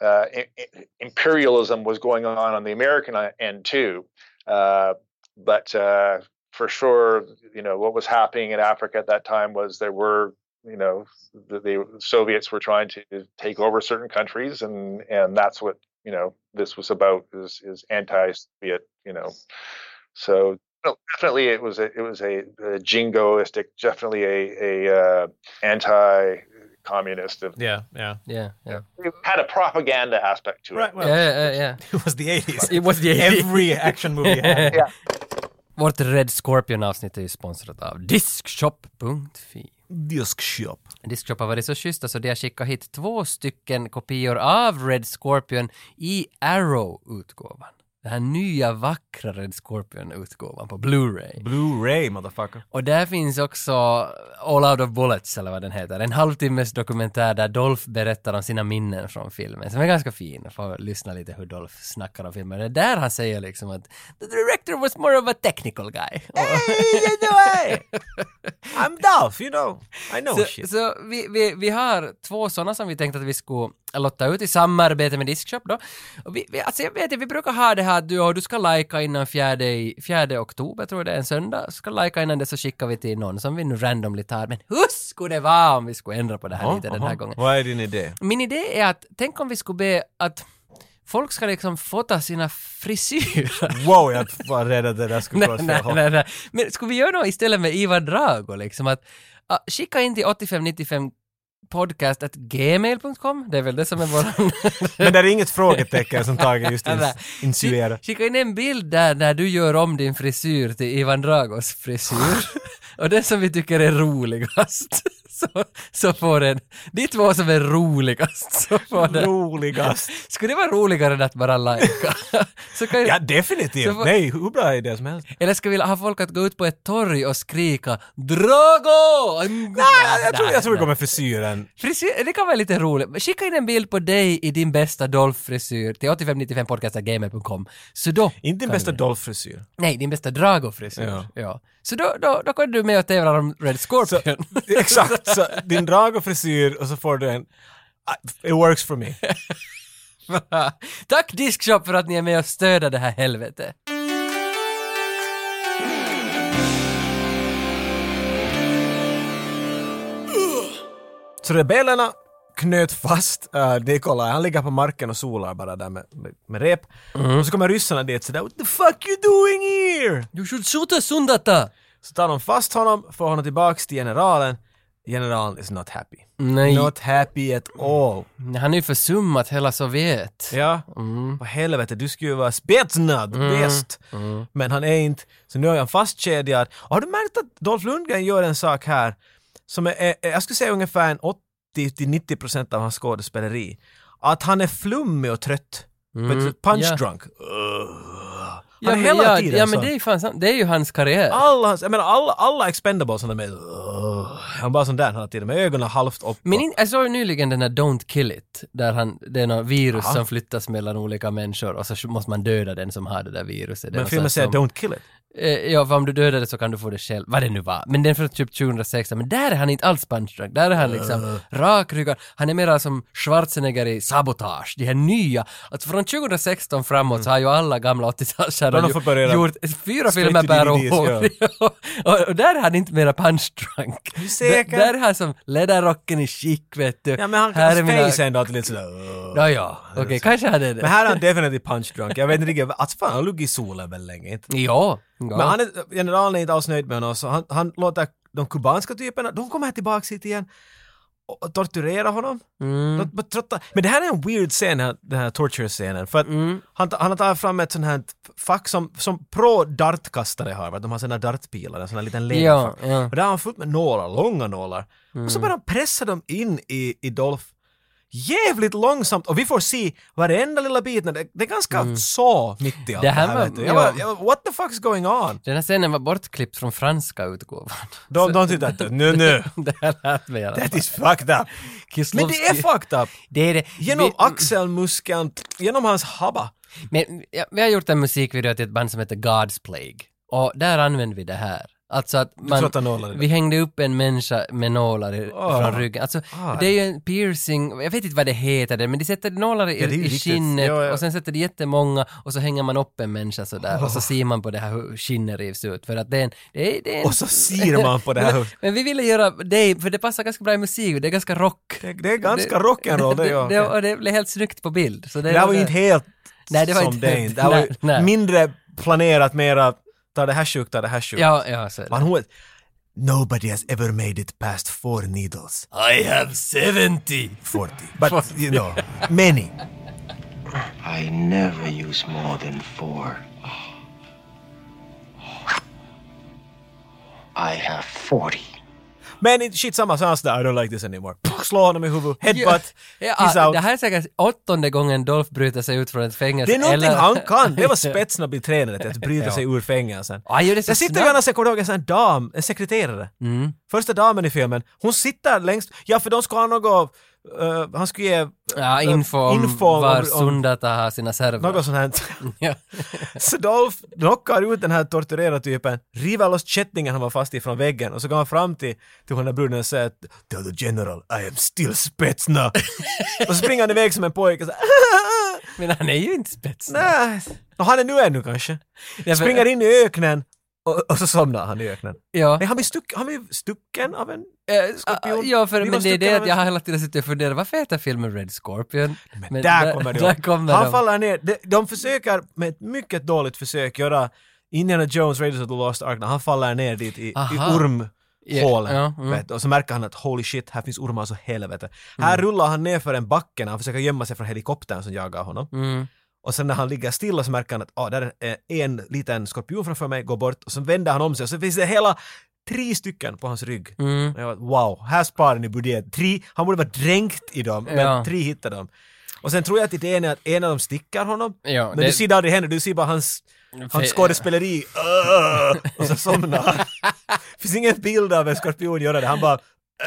Speaker 4: uh, i- i- imperialism was going on on the American end too, uh, but uh, for sure you know what was happening in Africa at that time was there were you know the, the Soviets were trying to take over certain countries and and that's what you know this was about is is anti-Soviet you know so no, definitely it was a it was a, a jingoistic definitely a a uh, anti-communist of
Speaker 2: Yeah, yeah.
Speaker 1: Yeah, yeah.
Speaker 4: it had a propaganda aspect to it.
Speaker 2: Right, well,
Speaker 1: Yeah, yeah, yeah.
Speaker 2: [LAUGHS] it was the
Speaker 1: [LAUGHS]
Speaker 2: 80s.
Speaker 1: It was the 80s.
Speaker 2: Every action movie
Speaker 1: [LAUGHS]
Speaker 2: had.
Speaker 1: Vårt Red Scorpion-avsnitt är ju sponsrat av Diskshop.fi.
Speaker 2: Disc shop.
Speaker 1: Diskshop har varit så schyssta så de har skickat hit två stycken kopior av Red Scorpion i Arrow-utgåvan. Den här nya vackra Red Scorpion-utgåvan på Blu-ray.
Speaker 2: Blu-ray, motherfucker. [LAUGHS]
Speaker 1: Och där finns också All Out of Bullets, eller vad den heter, en halvtimmes dokumentär där Dolph berättar om sina minnen från filmen, som är ganska fin. Får lyssna lite hur Dolph snackar om filmen. Det är där han säger liksom att “The director was more of a technical guy”. Och-
Speaker 2: you know, hey! I'm Dolph, you know. I know
Speaker 1: Så, så vi, vi, vi har två sådana som vi tänkte att vi skulle lotta ut i samarbete med Diskshop då. Och vi, vi, alltså jag vet inte, vi brukar ha det här att du, ja, du ska lajka innan fjärde i- fjärde oktober, tror jag det är en söndag, ska lajka innan det så skickar vi till någon som vi nu randomly tar. Men hur skulle det vara om vi skulle ändra på det här lite den här gången?
Speaker 2: Vad är din idé?
Speaker 1: Min idé är att, tänk om vi skulle be att folk ska liksom fota sina frisyrer.
Speaker 2: Wow, jag var rädd att det där skulle
Speaker 1: [LAUGHS] Nej,
Speaker 2: gå åt
Speaker 1: nej,
Speaker 2: fel håll.
Speaker 1: nej, nej. Men skulle vi göra något istället med Ivar Drago liksom att ah, skicka in till 8595 podcast.gmail.com, det är väl det som är våran...
Speaker 2: Men det är inget frågetecken som Tage just
Speaker 1: Nej,
Speaker 2: ins- insinuerar.
Speaker 1: Skick- [LAUGHS] Skicka in en bild där när du gör om din frisyr till Ivan Dragos frisyr. Och den som vi tycker är roligast, [LAUGHS] så, så får den... De två som är roligast, så får den...
Speaker 2: Roligast.
Speaker 1: Skulle det vara roligare än att bara lajka? [LAUGHS] Så kan ju-
Speaker 2: Ja,
Speaker 1: Så
Speaker 2: definitivt.
Speaker 1: får-
Speaker 2: Nej, hur bra idé som helst.
Speaker 1: Eller ska vi ha folk att gå ut på ett torg och skrika Drago!
Speaker 2: Nej, jag tror, jag tror vi går med frisyren.
Speaker 1: Frisyr, det kan vara lite roligt. Skicka in en bild på dig i din bästa Dolph-frisyr till 8595podcastgamer.com. Så då...
Speaker 2: Inte
Speaker 1: kan
Speaker 2: din bästa
Speaker 1: du-
Speaker 2: Dolph-frisyr.
Speaker 1: Nej, din bästa Drago-frisyr. Ja.
Speaker 2: Ja.
Speaker 1: Så då, då, då kan du med och tävla om Red
Speaker 2: Så,
Speaker 1: Scorpion.
Speaker 2: [LAUGHS] exakt, så din drag och frisyr och så får du en... Ah, It works for me.
Speaker 1: [LAUGHS] Tack Diskshop för att ni är med och stöder det här helvetet.
Speaker 2: Så rebellerna knöt fast uh, Nikolaj, han ligger på marken och solar bara där med, med, med rep.
Speaker 1: Mm.
Speaker 2: Och så kommer ryssarna dit sådär “What the fuck you doing here?”
Speaker 1: You should shoot sundata!
Speaker 2: Så tar de fast honom, får honom tillbaks till generalen. Generalen is not happy.
Speaker 1: Mm. Nej,
Speaker 2: Not happy at all.
Speaker 1: han är ju försummat hela Sovjet.
Speaker 2: Ja,
Speaker 1: Mm.
Speaker 2: vad helvete, du skulle ju vara spetsnad, bäst.
Speaker 1: Mm.
Speaker 2: Men han är inte, så nu är han fastkedjad. Och har du märkt att Dolph Lundgren gör en sak här som är, är jag skulle säga ungefär en 80-90% av hans skådespeleri. Att han är flummig och trött. Vet du, Punch
Speaker 1: Mm. ja.
Speaker 2: drunk. Ugh. Han
Speaker 1: Ja,
Speaker 2: är
Speaker 1: men,
Speaker 2: hela
Speaker 1: ja,
Speaker 2: tiden
Speaker 1: ja,
Speaker 2: sån.
Speaker 1: men det är, ju fan, sant. det är ju hans karriär.
Speaker 2: Alla, hans- jag menar alla, alla expendables han är med Ugh. Han bara sån där hela tiden med ögonen halvt upp.
Speaker 1: Men in, jag såg ju nyligen den här Don't kill it, där han, det är något virus som flyttas mellan olika människor och så måste man döda den som har det där viruset. Det är
Speaker 2: men
Speaker 1: något
Speaker 2: filmen
Speaker 1: sånt
Speaker 2: säger
Speaker 1: som-
Speaker 2: “Don't kill it”.
Speaker 1: Eh, ja, för om du dödar det så kan du få det själv. Vad det nu var. Men den från typ 2016. Men där är han inte alls punchdrunk. Där är han liksom
Speaker 2: Eh.
Speaker 1: rakryggad. Han är mera som Schwarzenegger i Sabotage. De här nya. Alltså från 2016 framåt så har ju alla gamla 80-talsstjärnor
Speaker 2: Från att få börja
Speaker 1: ju- gjort fyra
Speaker 2: straight
Speaker 1: filmer
Speaker 2: to
Speaker 1: per
Speaker 2: DVDs,
Speaker 1: år. [LAUGHS] och, och där är han inte mera punchdrunk.
Speaker 2: säker?
Speaker 1: Där, där är han som läderrocken i chic, vet du.
Speaker 2: Ja men han
Speaker 1: här är
Speaker 2: kan
Speaker 1: mina...
Speaker 2: face ändå alltid lite sådär...
Speaker 1: Ja, ja. Okej, kanske han är det.
Speaker 2: Men här är han definitivt punchdrunk. Jag vet inte riktigt, alltså fan han har luggit i solen väl länge inte?
Speaker 1: Ja. ja.
Speaker 2: Men han är, generalen är inte alls nöjd med honom, så han, han låter de kubanska typerna, de kommer här tillbaks hit igen och och torturerar honom.
Speaker 1: Mm.
Speaker 2: De, bara trötta. Men det här är en weird scen, den här- den här torture-scenen, för att
Speaker 1: Mm.
Speaker 2: han, ta- han har tagit fram ett sånt här fack som, som pro-dartkastare har, va? de har såna dartpilar, en sån här liten
Speaker 1: ja,
Speaker 2: ledarfack.
Speaker 1: ja.
Speaker 2: Och där har han fullt med nålar, långa nålar. Och så
Speaker 1: Mm.
Speaker 2: bara pressar de in i, i Dolph jävligt långsamt och vi får se varenda lilla bit. Det, det är ganska så mitt i allt det
Speaker 1: Mm. Det
Speaker 2: här.
Speaker 1: här var-
Speaker 2: vet du. jag,
Speaker 1: ja.
Speaker 2: bara, jag bara, what the fuck's going on?
Speaker 1: Den här scenen var bortklippt från franska
Speaker 2: [LAUGHS]
Speaker 1: utgåvan.
Speaker 2: De, de tyckte att nu, nu,
Speaker 1: det här lät mig i alla
Speaker 2: that
Speaker 1: fall.
Speaker 2: is fucked up. Men det är
Speaker 1: Kislovski-
Speaker 2: fucked up.
Speaker 1: det är det.
Speaker 2: Genom
Speaker 1: Vi-
Speaker 2: axelmuskeln, genom hans habba.
Speaker 1: Men ja, vi har gjort en musikvideo till ett band som heter God's Plague. Och där använder vi det här. Alltså att man,
Speaker 2: tröttar nålar i det.
Speaker 1: vi hängde upp en människa med nålar i,
Speaker 2: Ah.
Speaker 1: från ryggen. Alltså,
Speaker 2: Ah.
Speaker 1: det är ju en piercing, jag vet inte vad det heter, det, men de sätter nålar i,
Speaker 2: Ja, det är ju
Speaker 1: i
Speaker 2: riktigt.
Speaker 1: skinnet
Speaker 2: Ja, ja.
Speaker 1: och sen sätter de jättemånga och så hänger man upp en människa sådär och så ser man på det här hur skinnet rivs ut. För att det är en, det är, det är en
Speaker 2: Och så ser man på det här.
Speaker 1: Men vi ville göra det, för det passar ganska bra i musik, det är ganska rock.
Speaker 2: Det, det
Speaker 1: [LAUGHS]
Speaker 2: är ganska rock'n'roll det, ja.
Speaker 1: det, och det blev helt snyggt på bild. Så det,
Speaker 2: Det här var ju inte helt
Speaker 1: Nej, det var
Speaker 2: som
Speaker 1: inte
Speaker 2: det är
Speaker 1: helt-
Speaker 2: inte. Det här var ju
Speaker 1: nej, nej.
Speaker 2: mindre planerat, mera ta det här sjukt, ta det här sjukt.
Speaker 1: Ja, ja, så är det.
Speaker 2: Man hör Nobody has ever made it past four needles.
Speaker 1: I have 70!
Speaker 2: 40. But, you know, many.
Speaker 8: I never use more than four. I have 40.
Speaker 2: Men it- shit samma, så han sådär I don't like this anymore. Puck, Slå honom i huvudet, headbutt,
Speaker 1: [LAUGHS] Ja,
Speaker 2: he's out.
Speaker 1: det här är säkert åttonde gången Dolph bryter sig ut från ett fängelse.
Speaker 2: Det är någonting
Speaker 1: eller-
Speaker 2: han
Speaker 1: [LAUGHS]
Speaker 2: kan. Det var spetsen att bli tränare till, att bryta sig ur fängelsen.
Speaker 1: Ja, han gör det så
Speaker 2: Jag sitter
Speaker 1: snabbt.
Speaker 2: gärna och kommer ihåg en sån här dam, en sekreterare. Första damen i filmen, hon sitter längst, ja för de ska ha något, eh, han skulle ge
Speaker 1: Ja,
Speaker 2: eh,
Speaker 1: info om
Speaker 2: info om-
Speaker 1: var
Speaker 2: om-
Speaker 1: Sundata har sina servrar.
Speaker 2: något sånt här.
Speaker 1: [LAUGHS] Ja.
Speaker 2: Så Dolph knockar ut den här torturerade typen, river loss kättingen han var fast i från väggen och så går han fram till, till hon där bruden och säger att Tell the general I am still spetsna. och så springer han iväg som en pojke så här,
Speaker 1: Men han är ju inte spets.
Speaker 2: Nej. Nå, han är nu ännu kanske.
Speaker 1: men-
Speaker 2: Springer in i öknen och, och så somnar han i öknen.
Speaker 1: Ja.
Speaker 2: Nej, han blir, stuck, han blir stucken av en...
Speaker 1: Eh,
Speaker 2: Skorpion.
Speaker 1: Ja, för,
Speaker 2: Vi
Speaker 1: men
Speaker 2: måste
Speaker 1: det är det
Speaker 2: kunna-
Speaker 1: att jag har hela tiden suttit och funderat, varför heter filmen Red Scorpion? Men,
Speaker 2: där, kommer det
Speaker 1: Där
Speaker 2: upp.
Speaker 1: kommer
Speaker 2: Han
Speaker 1: de.
Speaker 2: faller ner. De, de försöker med ett mycket dåligt försök göra Indiana Jones Raiders of the Lost Ark när han faller ner dit i, i
Speaker 1: Aha.
Speaker 2: ormhålen.
Speaker 1: Ja, ja, mm.
Speaker 2: vet du. och så märker han att holy shit, här finns ormar så helvete. Här
Speaker 1: Mm.
Speaker 2: rullar han ner för en backe när han försöker gömma sig från helikoptern som jagar honom.
Speaker 1: Mm.
Speaker 2: Och sen när han ligger stilla så märker han att ah, där är en liten skorpion framför mig, går bort och så vänder han om sig och så finns det hela tre stycken på hans rygg.
Speaker 1: Mm.
Speaker 2: Och jag bara, wow, här sparar ni budget. Tre, han borde vara dränkt i dem, men
Speaker 1: Ja.
Speaker 2: tre hittar dem. Och sen tror jag att idén är att en av dem stickar honom,
Speaker 1: Ja,
Speaker 2: men
Speaker 1: det-
Speaker 2: du ser det aldrig hända, du ser bara hans, hans
Speaker 1: Fe- [LAUGHS]
Speaker 2: skådespeleri, "Ugh", och så somnar han. finns ingen bild av en skorpion göra det, han bara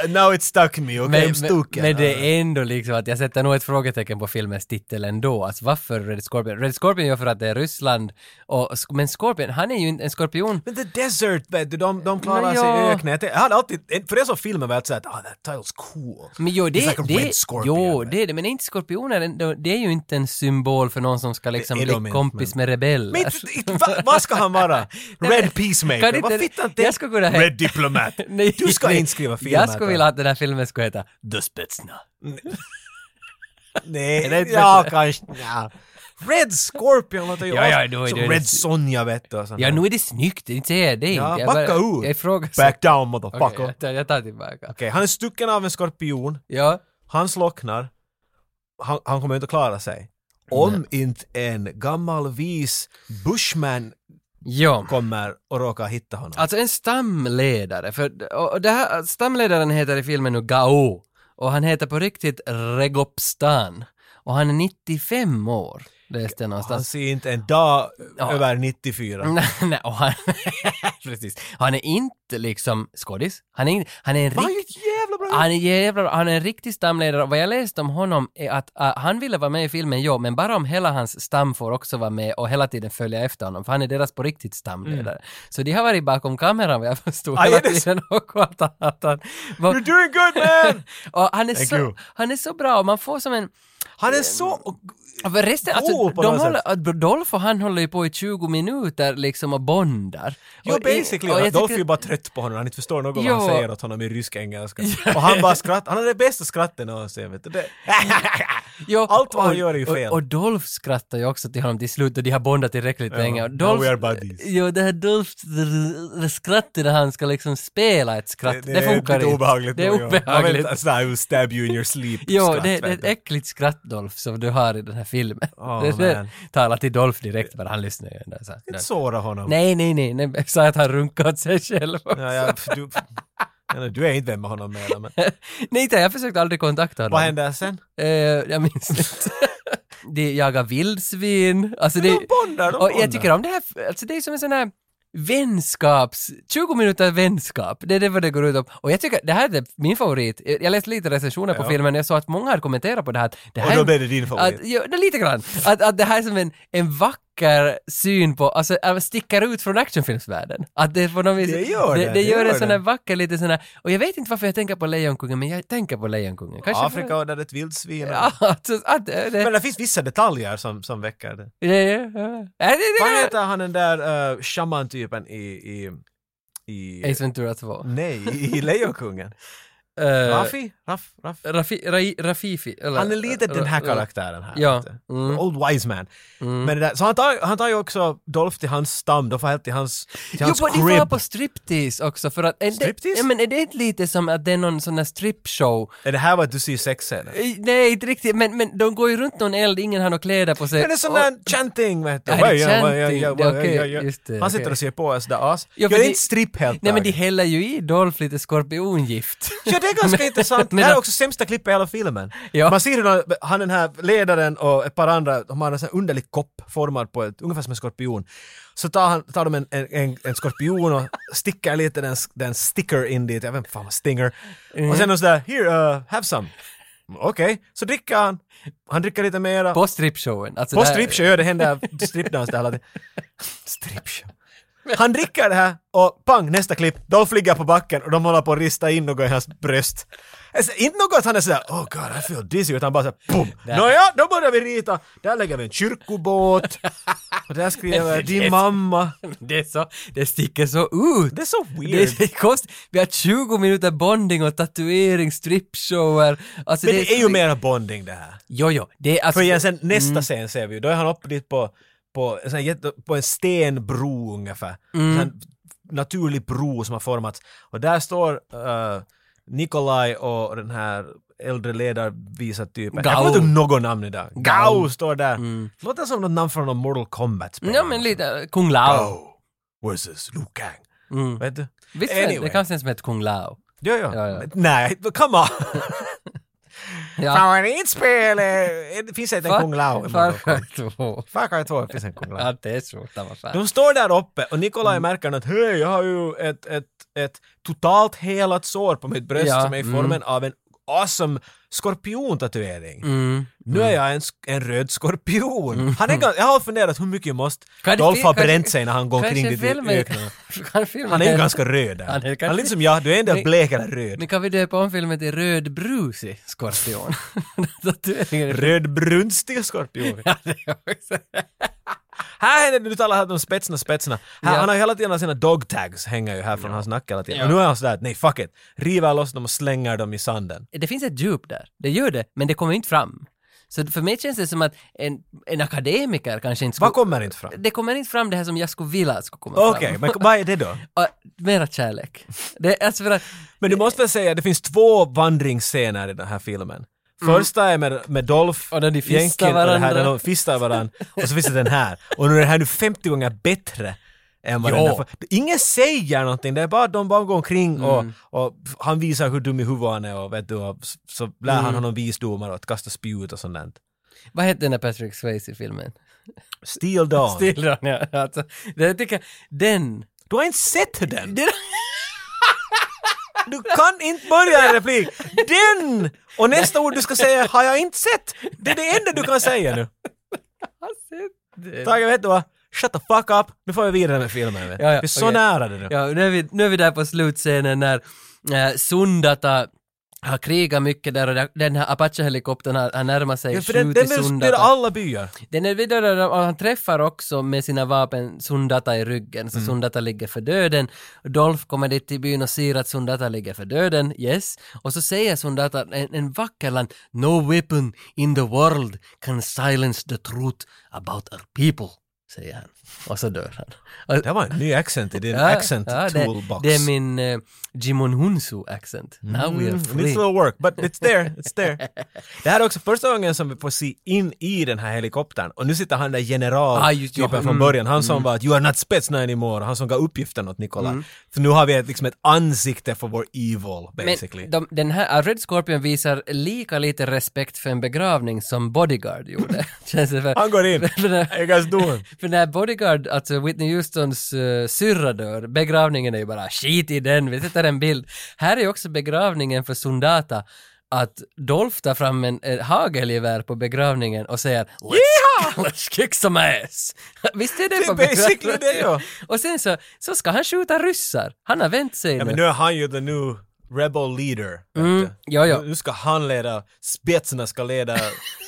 Speaker 2: "Uh, Now it stuck me, okej, okay,
Speaker 1: Men,
Speaker 2: I'm
Speaker 1: men,
Speaker 2: stucken.
Speaker 1: men det är ändå liksom att jag sätter nog ett frågetecken på filmens titel ändå. Alltså varför Red Scorpion? Red Scorpion gör för att det är Ryssland, och, men Scorpion, han är ju inte en skorpion.
Speaker 2: Men The Desert, vet du, de, de klarar
Speaker 1: Men
Speaker 2: sig i
Speaker 1: ja.
Speaker 2: öknen. Jag hade alltid, för det är så filmen var att säga att ah, that title's cool.
Speaker 1: Men jo, det,
Speaker 2: It's like a
Speaker 1: det,
Speaker 2: red scorpion.
Speaker 1: jo, det är det, men är inte skorpioner, en- då- det är ju inte en symbol för någon som ska liksom
Speaker 2: är
Speaker 1: bli
Speaker 2: de inte,
Speaker 1: kompis
Speaker 2: men-
Speaker 1: med rebeller.
Speaker 2: Men inte- inte- va- vad ska han vara?
Speaker 1: men-
Speaker 2: Red
Speaker 1: Kan
Speaker 2: Peacemaker?
Speaker 1: inte-
Speaker 2: Vad fittan
Speaker 1: jag ska kunna-
Speaker 2: Red Diplomat?
Speaker 1: [LAUGHS] [LAUGHS] Nej,
Speaker 2: du ska
Speaker 1: nej.
Speaker 2: inte skriva filmer.
Speaker 1: Jag skulle vilja att den här filmen skulle heta The Spetsna. det är
Speaker 2: Nej,
Speaker 1: inte
Speaker 2: ja
Speaker 1: bättre.
Speaker 2: kanske. Ja. Red Scorpion låter ju
Speaker 1: Ja, ja,
Speaker 2: också-
Speaker 1: då är
Speaker 2: som
Speaker 1: det-
Speaker 2: Red Sonja vet du. alltså. och sånt
Speaker 1: Ja,
Speaker 2: där.
Speaker 1: nu är det snyggt, det är inte jag det är
Speaker 2: Ja,
Speaker 1: inte. Jag
Speaker 2: backa
Speaker 1: bara-
Speaker 2: ur.
Speaker 1: Jag ifrågasätter.
Speaker 2: Back down motherfucker.
Speaker 1: Okej,
Speaker 2: Okej,
Speaker 1: jag tar- jag tar tillbaka.
Speaker 2: han är stucken av en skorpion.
Speaker 1: Ja.
Speaker 2: Han slocknar. Han, han kommer inte att klara sig. Om inte en gammal vis bushman
Speaker 1: Ja.
Speaker 2: kommer och råkar hitta honom.
Speaker 1: Alltså en stamledare, för och och det här, stamledaren heter i filmen nu Gao och han heter på riktigt Regopstan och han är 95 år, läste jag
Speaker 2: han
Speaker 1: någonstans.
Speaker 2: ser inte en dag
Speaker 1: Ja.
Speaker 2: över 94.
Speaker 1: Nej, [LAUGHS] nej, och han, precis. Han är inte liksom skådis. Han är, in- han är en
Speaker 2: Men han är ju
Speaker 1: riktig...
Speaker 2: ett jävla bra
Speaker 1: Han är jävlar, han är en riktig stamledare och vad jag läste om honom är att ah, han ville vara med i filmen, ja, men bara om hela hans stam får också vara med och hela tiden följa efter honom, för han är deras på riktigt stamledare. Så de har varit bakom kameran vad jag förstod
Speaker 2: Mm. Ah,
Speaker 1: hela
Speaker 2: är det så?
Speaker 1: tiden och att han- att han var,
Speaker 2: You're doing good man!
Speaker 1: och han är,
Speaker 2: Thank
Speaker 1: så,
Speaker 2: you.
Speaker 1: han är så bra och man får som en [LAUGHS]
Speaker 2: Han är så...
Speaker 1: Ja, för Resten, alltså,
Speaker 2: Cool på
Speaker 1: de
Speaker 2: något
Speaker 1: håller, att Dolph och han håller ju på i 20 minuter liksom och bondar.
Speaker 2: Jo,
Speaker 1: Och-
Speaker 2: basically.
Speaker 1: och jag
Speaker 2: Och Dolph
Speaker 1: tycker-
Speaker 2: är ju bara trött på honom, han inte förstår något vad
Speaker 1: Jo.
Speaker 2: han säger åt honom i
Speaker 1: [LAUGHS]
Speaker 2: rysk engelska. Och han bara skrattar, han har det bästa skrattet någonsin, vet du. Det...
Speaker 1: Jo,
Speaker 2: Allt vad han
Speaker 1: och-
Speaker 2: gör är ju fel.
Speaker 1: Och, och Dolph skrattar ju också till honom till slut och de har bondat tillräckligt länge. Och
Speaker 2: now
Speaker 1: Dolph,
Speaker 2: we are buddies.
Speaker 1: Jo, det här Dolphs r- r- skratt när han ska liksom spela ett skratt, det, funkar
Speaker 2: lite
Speaker 1: inte.
Speaker 2: obehagligt.
Speaker 1: Det är
Speaker 2: nog, ja. Han
Speaker 1: obehagligt.
Speaker 2: vet, sådär, I will stab you in your sleep.
Speaker 1: Jo,
Speaker 2: skratt,
Speaker 1: det, det är
Speaker 2: vet
Speaker 1: ett
Speaker 2: du.
Speaker 1: äckligt skratt Dolph som du har i den här filmen.
Speaker 2: Åh,
Speaker 1: det är det.
Speaker 2: man.
Speaker 1: Tala till Dolph direkt, men han lyssnar ju ändå. Så, här.
Speaker 2: Inte såra honom.
Speaker 1: Nej, nej, nej, nej. Jag sa att han runkade åt sig själv också.
Speaker 2: Ja, ja, pff, du, [LAUGHS] Eller, du är inte vän med honom
Speaker 1: [LAUGHS]
Speaker 2: mer. Men...
Speaker 1: Nej, inte, jag försökte aldrig kontakta honom.
Speaker 2: Vad händer sen?
Speaker 1: Eh, jag minns inte. [LAUGHS] de jagar vildsvin. Alltså det,
Speaker 2: de bondar, de
Speaker 1: och
Speaker 2: bondar.
Speaker 1: jag tycker om det här, alltså det är som en sån här vänskaps, 20 minuter vänskap, det är det vad det går ut om. Och jag tycker, det här är min favorit. Jag läste lite recensioner på filmen och jag såg att många har kommenterat på det här. att Det här
Speaker 2: Och
Speaker 1: är
Speaker 2: då
Speaker 1: en-
Speaker 2: blev det din favorit.
Speaker 1: Att, ja, det är lite grann. Att, att det här är som en, en vacker syn på, alltså äh, sticker ut från actionfilmsvärlden. Att det på något vis,
Speaker 2: Det gör det,
Speaker 1: det,
Speaker 2: det
Speaker 1: gör
Speaker 2: gör
Speaker 1: en sån här
Speaker 2: det.
Speaker 1: vacker lite sån här, och jag vet inte varför jag tänker på Lejonkungen, men jag tänker på Lejonkungen. Kanske för-
Speaker 2: Afrika och där det är ett vildsvin. och-
Speaker 1: Ja, [LAUGHS] alltså, att, det, det,
Speaker 2: Men det finns vissa detaljer som, som väcker det.
Speaker 1: det, det, det,
Speaker 2: Vad
Speaker 1: det,
Speaker 2: heter han den där uh, shaman-typen i... i, i
Speaker 1: det. Ace Ventura 2.
Speaker 2: nej, i Lejonkungen?
Speaker 1: [LAUGHS] Eh,
Speaker 2: Raffi? Raff, Raff?
Speaker 1: Rafi, Rai, Rafifi. Eller,
Speaker 2: Han är lite den här
Speaker 1: Ra-
Speaker 2: karaktären här.
Speaker 1: eh, Ja.
Speaker 2: vet du.
Speaker 1: Mm.
Speaker 2: Old wise man. Men det där, så han tar, han tar ju också Dolph till hans stam, de får helt till hans, till
Speaker 1: Jo,
Speaker 2: hans
Speaker 1: på, de
Speaker 2: crib.
Speaker 1: får på striptease också för att... Är Det,
Speaker 2: Striptease?
Speaker 1: ja, men är det inte lite som att det är någon sån här stripshow?
Speaker 2: Är det här vad du ser sexscener?
Speaker 1: Eh, Nej, inte riktigt, men, men de går ju runt någon eld, ingen har några kläder på sig.
Speaker 2: Men det är sån
Speaker 1: Eh, Och-
Speaker 2: där chanting vet du.
Speaker 1: Ja, det är
Speaker 2: Vad gör- vad
Speaker 1: chanting.
Speaker 2: gör-
Speaker 1: Det är
Speaker 2: vad gör-
Speaker 1: okej,
Speaker 2: vad gör-
Speaker 1: just det,
Speaker 2: Han sitter
Speaker 1: okej.
Speaker 2: och ser på oss där Alltså, as.
Speaker 1: Ja,
Speaker 2: Ja,
Speaker 1: för
Speaker 2: det är
Speaker 1: det-
Speaker 2: inte stripp helt
Speaker 1: Nej, men de [LAUGHS]
Speaker 2: taget.
Speaker 1: häller ju i Dolph lite
Speaker 2: [LAUGHS]
Speaker 1: skorpiongift.
Speaker 2: Ja, det är ganska intressant. Det
Speaker 1: men-
Speaker 2: här är också sämsta klippet i hela filmen.
Speaker 1: Ja.
Speaker 2: Man ser hur han- han den här ledaren och ett par andra, de har en sån här underlig kopp formad på ett, ungefär som en skorpion. Så tar, han, tar de en, en, en, en skorpion och stickar lite den, den sticker in dit, jag vet inte fan vad stinger. Och
Speaker 1: Mm.
Speaker 2: sen de sådär, here, uh, have some. Okej, så dricker han. Han dricker lite mera.
Speaker 1: på stripshowen. Alltså
Speaker 2: På
Speaker 1: det här-
Speaker 2: stripshow, ja det händer stripdans där hela [LAUGHS] tiden. Stripshow. Han dricker det här och pang, nästa klipp, Dolph ligger på backen och de håller på att rista in något i hans bröst. Alltså, inte något att han är sådär oh god I feel dizzy utan bara såhär boom! Nåja, då börjar vi rita. Där lägger vi en kyrkobåt. Och där [LAUGHS] skriver jag din mamma.
Speaker 1: [LAUGHS] Det, är så, det sticker så ut.
Speaker 2: Det är så
Speaker 1: Det är,
Speaker 2: weird.
Speaker 1: det är konst, vi har 20 minuter bonding och tatuering, strippshower. Alltså
Speaker 2: Men det är ju mera bonding det här.
Speaker 1: Jo, jo. Det är alltså...
Speaker 2: För igen, sen nästa scen ser vi ju, då är han uppe dit på, på, en, sån här jätte, på en stenbro ungefär.
Speaker 1: Mm.
Speaker 2: En sån naturlig bro som har formats. Och där står eh, Nikolaj och den här äldre ledarvisatypen. Jag kommer
Speaker 1: Gao.
Speaker 2: inte ihåg något namn idag.
Speaker 1: Gao. Mm.
Speaker 2: Gao står där. Låter som något namn från någon Mortal Kombat.
Speaker 1: Ja, men lite Kung Lao.
Speaker 2: Gao versus Liu Kang.
Speaker 1: Mm.
Speaker 2: Vet du?
Speaker 1: Visst, det
Speaker 2: Anyway.
Speaker 1: kanske är en som heter Kung Lao.
Speaker 2: Ja, ja.
Speaker 1: Ja, ja.
Speaker 2: Men Nej, come on!
Speaker 1: Ja.
Speaker 2: Favoritspel! är- Eh, Det finns inte en Kung Lao i Mortal Kombat.
Speaker 1: Farfar två.
Speaker 2: Far Cry 2 finns en Kung Lao.
Speaker 1: [LAUGHS] Ja, det är så. Det var fan.
Speaker 2: De står där uppe och Nikolaj
Speaker 1: Mm.
Speaker 2: märker att hej, jag har ju ett, ett, ett totalt helat sår på mitt bröst
Speaker 1: Ja, mm.
Speaker 2: som är i formen av en awesome skorpiontatuering.
Speaker 1: Mm.
Speaker 2: Nu är jag en, sk- en röd skorpion. Han är, gan- jag har funderat hur mycket måste
Speaker 1: Kan det
Speaker 2: Dolph
Speaker 1: fi-
Speaker 2: har
Speaker 1: kan-
Speaker 2: bränt sig när han går omkring dit
Speaker 1: Kanske
Speaker 2: i
Speaker 1: filmen...
Speaker 2: öknen.
Speaker 1: [LAUGHS] kan filmen...
Speaker 2: Han är ju ganska röd där.
Speaker 1: Han är
Speaker 2: Han är,
Speaker 1: kanske-
Speaker 2: lite som jag, du är en del
Speaker 1: Men-
Speaker 2: blekare röd.
Speaker 1: Men kan vi döpa om filmen till Rödbrusig skorpion? [LAUGHS] Tatueringen är
Speaker 2: Rödbrunstig skorpion.
Speaker 1: [LAUGHS] Ja, det är också-
Speaker 2: Här händer det, nu talar han om spetsna spetsna. Här,
Speaker 1: Ja.
Speaker 2: Han har ju hela tiden sina dog tags hänger ju här från hans nacke hela tiden. Och nu är han sådär, nej fuck it. River loss dem och slänger dem i sanden.
Speaker 1: det finns ett djup där, det gör det, men det kommer inte fram. Så för mig känns det som att en, en akademiker kanske inte skulle...
Speaker 2: Vad kommer inte fram?
Speaker 1: Det kommer inte fram det här som jag skulle vilja att skulle komma
Speaker 2: Okej,
Speaker 1: fram.
Speaker 2: men vad är det då?
Speaker 1: [LAUGHS] Och mera kärlek. Det är alltså för att...
Speaker 2: Men du måste väl säga att det finns två vandringsscener i den här filmen. Första är med, med Dolph,
Speaker 1: Mm. Och när de fistar
Speaker 2: Jenkin och det här,
Speaker 1: varandra.
Speaker 2: när de fistar varandra. Och så finns det den här. Och nu är den här nu 50 gånger bättre än vad den
Speaker 1: Jo.
Speaker 2: där. för- Ingen säger någonting, det är bara att de bara går omkring
Speaker 1: Mm.
Speaker 2: och, och han visar hur dum i huvudet han är och vet du, och s- så lär
Speaker 1: Mm.
Speaker 2: han honom visdomar och att kasta spjut och sånt där.
Speaker 1: Vad hette den där Patrick Swayze-filmen?
Speaker 2: Steel Dawn.
Speaker 1: Still Run, ja. Alltså, det tycker jag, den...
Speaker 2: Du har inte sett den!
Speaker 1: den
Speaker 2: Du kan inte börja en replik. Den! Och nästa ord du ska säga har jag inte sett. Det är det enda du kan säga nu. Tage, vet du vad? Shut the fuck up. Nu får vi vidare med filmen. vet du.
Speaker 1: Ja, ja,
Speaker 2: vi är så
Speaker 1: okej.
Speaker 2: nära det nu.
Speaker 1: Ja, nu är vi, nu är vi där på slutscenen när eh, Sundata har krigat mycket där och där- den här Apache-helikoptern har, har närmat sig,
Speaker 2: Ja, för den, den
Speaker 1: skjutit
Speaker 2: vill
Speaker 1: Sundata.
Speaker 2: spela alla byar.
Speaker 1: Den är vidare och han träffar också med sina vapen Sundata i ryggen,
Speaker 2: Mm.
Speaker 1: så Sundata ligger för döden. Dolph kommer dit till byn och ser att Sundata ligger för döden, yes. Och så säger Sundata en, en vacker land, No weapon in the world can silence the truth about our people, säger han. Och så dör han. Och-
Speaker 2: Det var en ny accent i din accent
Speaker 1: det,
Speaker 2: toolbox.
Speaker 1: det är min uh, Jimon Hunsu-accent. Now Oh, we are
Speaker 2: Mm,
Speaker 1: free.
Speaker 2: needs a little work, but it's there, it's
Speaker 1: [LAUGHS]
Speaker 2: there. Det här är också första gången som vi får se in i den här helikoptern. Och nu sitter han där
Speaker 1: Ah,
Speaker 2: general
Speaker 1: just-
Speaker 2: typen
Speaker 1: ja,
Speaker 2: från
Speaker 1: mm, Mm.
Speaker 2: början. Han som var att “You are not Spetsnaz anymore”, han som gav uppgiften åt Nikola. För nu har vi ett, liksom ett ansikte för vår evil, basically.
Speaker 1: Men de, den här uh, Red Scorpion visar lika lite respekt för en begravning som Bodyguard
Speaker 2: [LAUGHS]
Speaker 1: gjorde. [LAUGHS] Känns det för,
Speaker 2: han
Speaker 1: [LAUGHS]
Speaker 2: går in.
Speaker 1: för, när,
Speaker 2: How you guys
Speaker 1: [LAUGHS]
Speaker 2: doing?
Speaker 1: för när Bodyguard, alltså Whitney Houstons uh, syrra dör, begravningen är ju bara skit i den, vi sätter en bild. Här är också begravningen för Sundata att Dolph tar fram en, en hagelgevär på begravningen och säger “Let's, [LAUGHS] let's kick some ass”. [LAUGHS] Visst är det,
Speaker 2: Det är
Speaker 1: på
Speaker 2: basically
Speaker 1: begravningen?
Speaker 2: det, ja.
Speaker 1: Och sen så, så ska han skjuta ryssar. Han har vänt sig
Speaker 2: Ja, men
Speaker 1: nu.
Speaker 2: nu är han ju the new rebel leader. vet
Speaker 1: Mm.
Speaker 2: du.
Speaker 1: ja, ja.
Speaker 2: Nu- Nu ska han leda, spetsen
Speaker 1: [LAUGHS]
Speaker 2: ska leda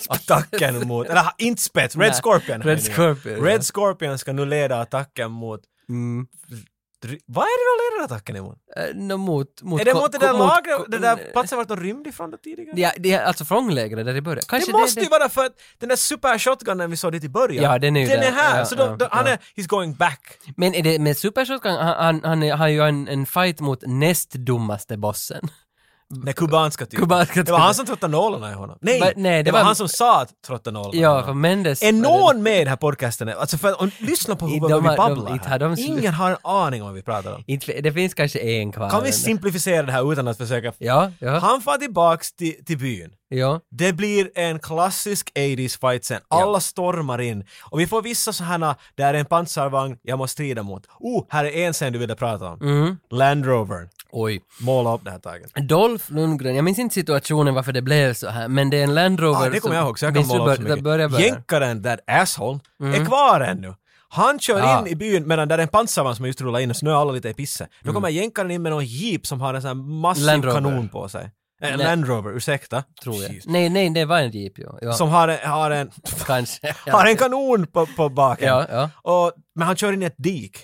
Speaker 2: attacken mot, eller inte spets, Red
Speaker 1: Nej,
Speaker 2: Scorpion. här
Speaker 1: Red
Speaker 2: nu.
Speaker 1: Scorpion,
Speaker 2: Red
Speaker 1: ja.
Speaker 2: Scorpion ska nu leda attacken mot
Speaker 1: Mm.
Speaker 2: Dr- Vad är det de leder attacken emot?
Speaker 1: Eh, nå, mot, mot,
Speaker 2: är det
Speaker 1: ko-
Speaker 2: mot det
Speaker 1: ko-
Speaker 2: där lagret,
Speaker 1: ko- mm,
Speaker 2: den där platsen vart de rymde ifrån då tidigare?
Speaker 1: Ja, det är alltså frånlägret där det börjar. Kanske
Speaker 2: det måste
Speaker 1: det,
Speaker 2: ju vara för att den där super shotgunen vi såg dit i början,
Speaker 1: Ja, den är ju där.
Speaker 2: här!
Speaker 1: Ja,
Speaker 2: så då,
Speaker 1: ja,
Speaker 2: då, han
Speaker 1: ja.
Speaker 2: är, he's going back.
Speaker 1: Men är det med Supershotgun, han, han, han är- har ju en, en fight mot näst dummaste bossen. [LAUGHS]
Speaker 2: Den kubanska typen.
Speaker 1: Kubanska
Speaker 2: det var han
Speaker 1: typen.
Speaker 2: som tröttade nålarna i honom. Nej,
Speaker 1: Va- nej,
Speaker 2: det,
Speaker 1: det
Speaker 2: var,
Speaker 1: var-
Speaker 2: han som sa att trötta nålarna i
Speaker 1: Ja,
Speaker 2: honom.
Speaker 1: för Mendes...
Speaker 2: Är någon med i den här podcasten? Alltså för att, om, lyssna på hur
Speaker 1: I-
Speaker 2: vad
Speaker 1: de
Speaker 2: vi
Speaker 1: har-
Speaker 2: babblar
Speaker 1: de- inte
Speaker 2: här.
Speaker 1: har de slut-
Speaker 2: Ingen har en aning om vad vi pratar om.
Speaker 1: Inte, det finns kanske en kvar.
Speaker 2: Kan vi
Speaker 1: ändå.
Speaker 2: simplificera det här utan att försöka...
Speaker 1: Ja, ja,
Speaker 2: Han far tillbaks till, till byn.
Speaker 1: ja.
Speaker 2: Det blir en klassisk 80s fight sen. Alla stormar in. Och vi får vissa sådana, där är en pansarvagn jag måste strida mot. Oh, här är en scen du ville prata om.
Speaker 1: Mhm.
Speaker 2: Land Rover.
Speaker 1: Oj.
Speaker 2: Måla upp det här taget.
Speaker 1: Dolph Lundgren, jag minns inte situationen varför det blev så här, men det är en Land Rover
Speaker 2: Ah, det kommer
Speaker 1: som-
Speaker 2: jag ihåg, så jag kan
Speaker 1: Visst, du
Speaker 2: måla
Speaker 1: bör-
Speaker 2: upp så
Speaker 1: där
Speaker 2: mycket.
Speaker 1: Börjar, börjar.
Speaker 2: Jänkaren, that asshole, är kvar ännu. Han kör
Speaker 1: Ja.
Speaker 2: in i byn medan där är en pansarvagn som just rullar in och snöar alla lite i pisset. Då kommer jänkaren in med någon jeep som har en sån här massiv
Speaker 1: Mm. Land Rover.
Speaker 2: kanon på sig. En
Speaker 1: Nej.
Speaker 2: Land Rover, ursäkta.
Speaker 1: tror jag.
Speaker 2: Jeez.
Speaker 1: Nej, nej, det var en Jeep ju. Ja,
Speaker 2: Som har en, har en, [LAUGHS]
Speaker 1: kanske.
Speaker 2: har en kanon på, på baken.
Speaker 1: Ja, ja.
Speaker 2: Och, men han kör in i ett dik.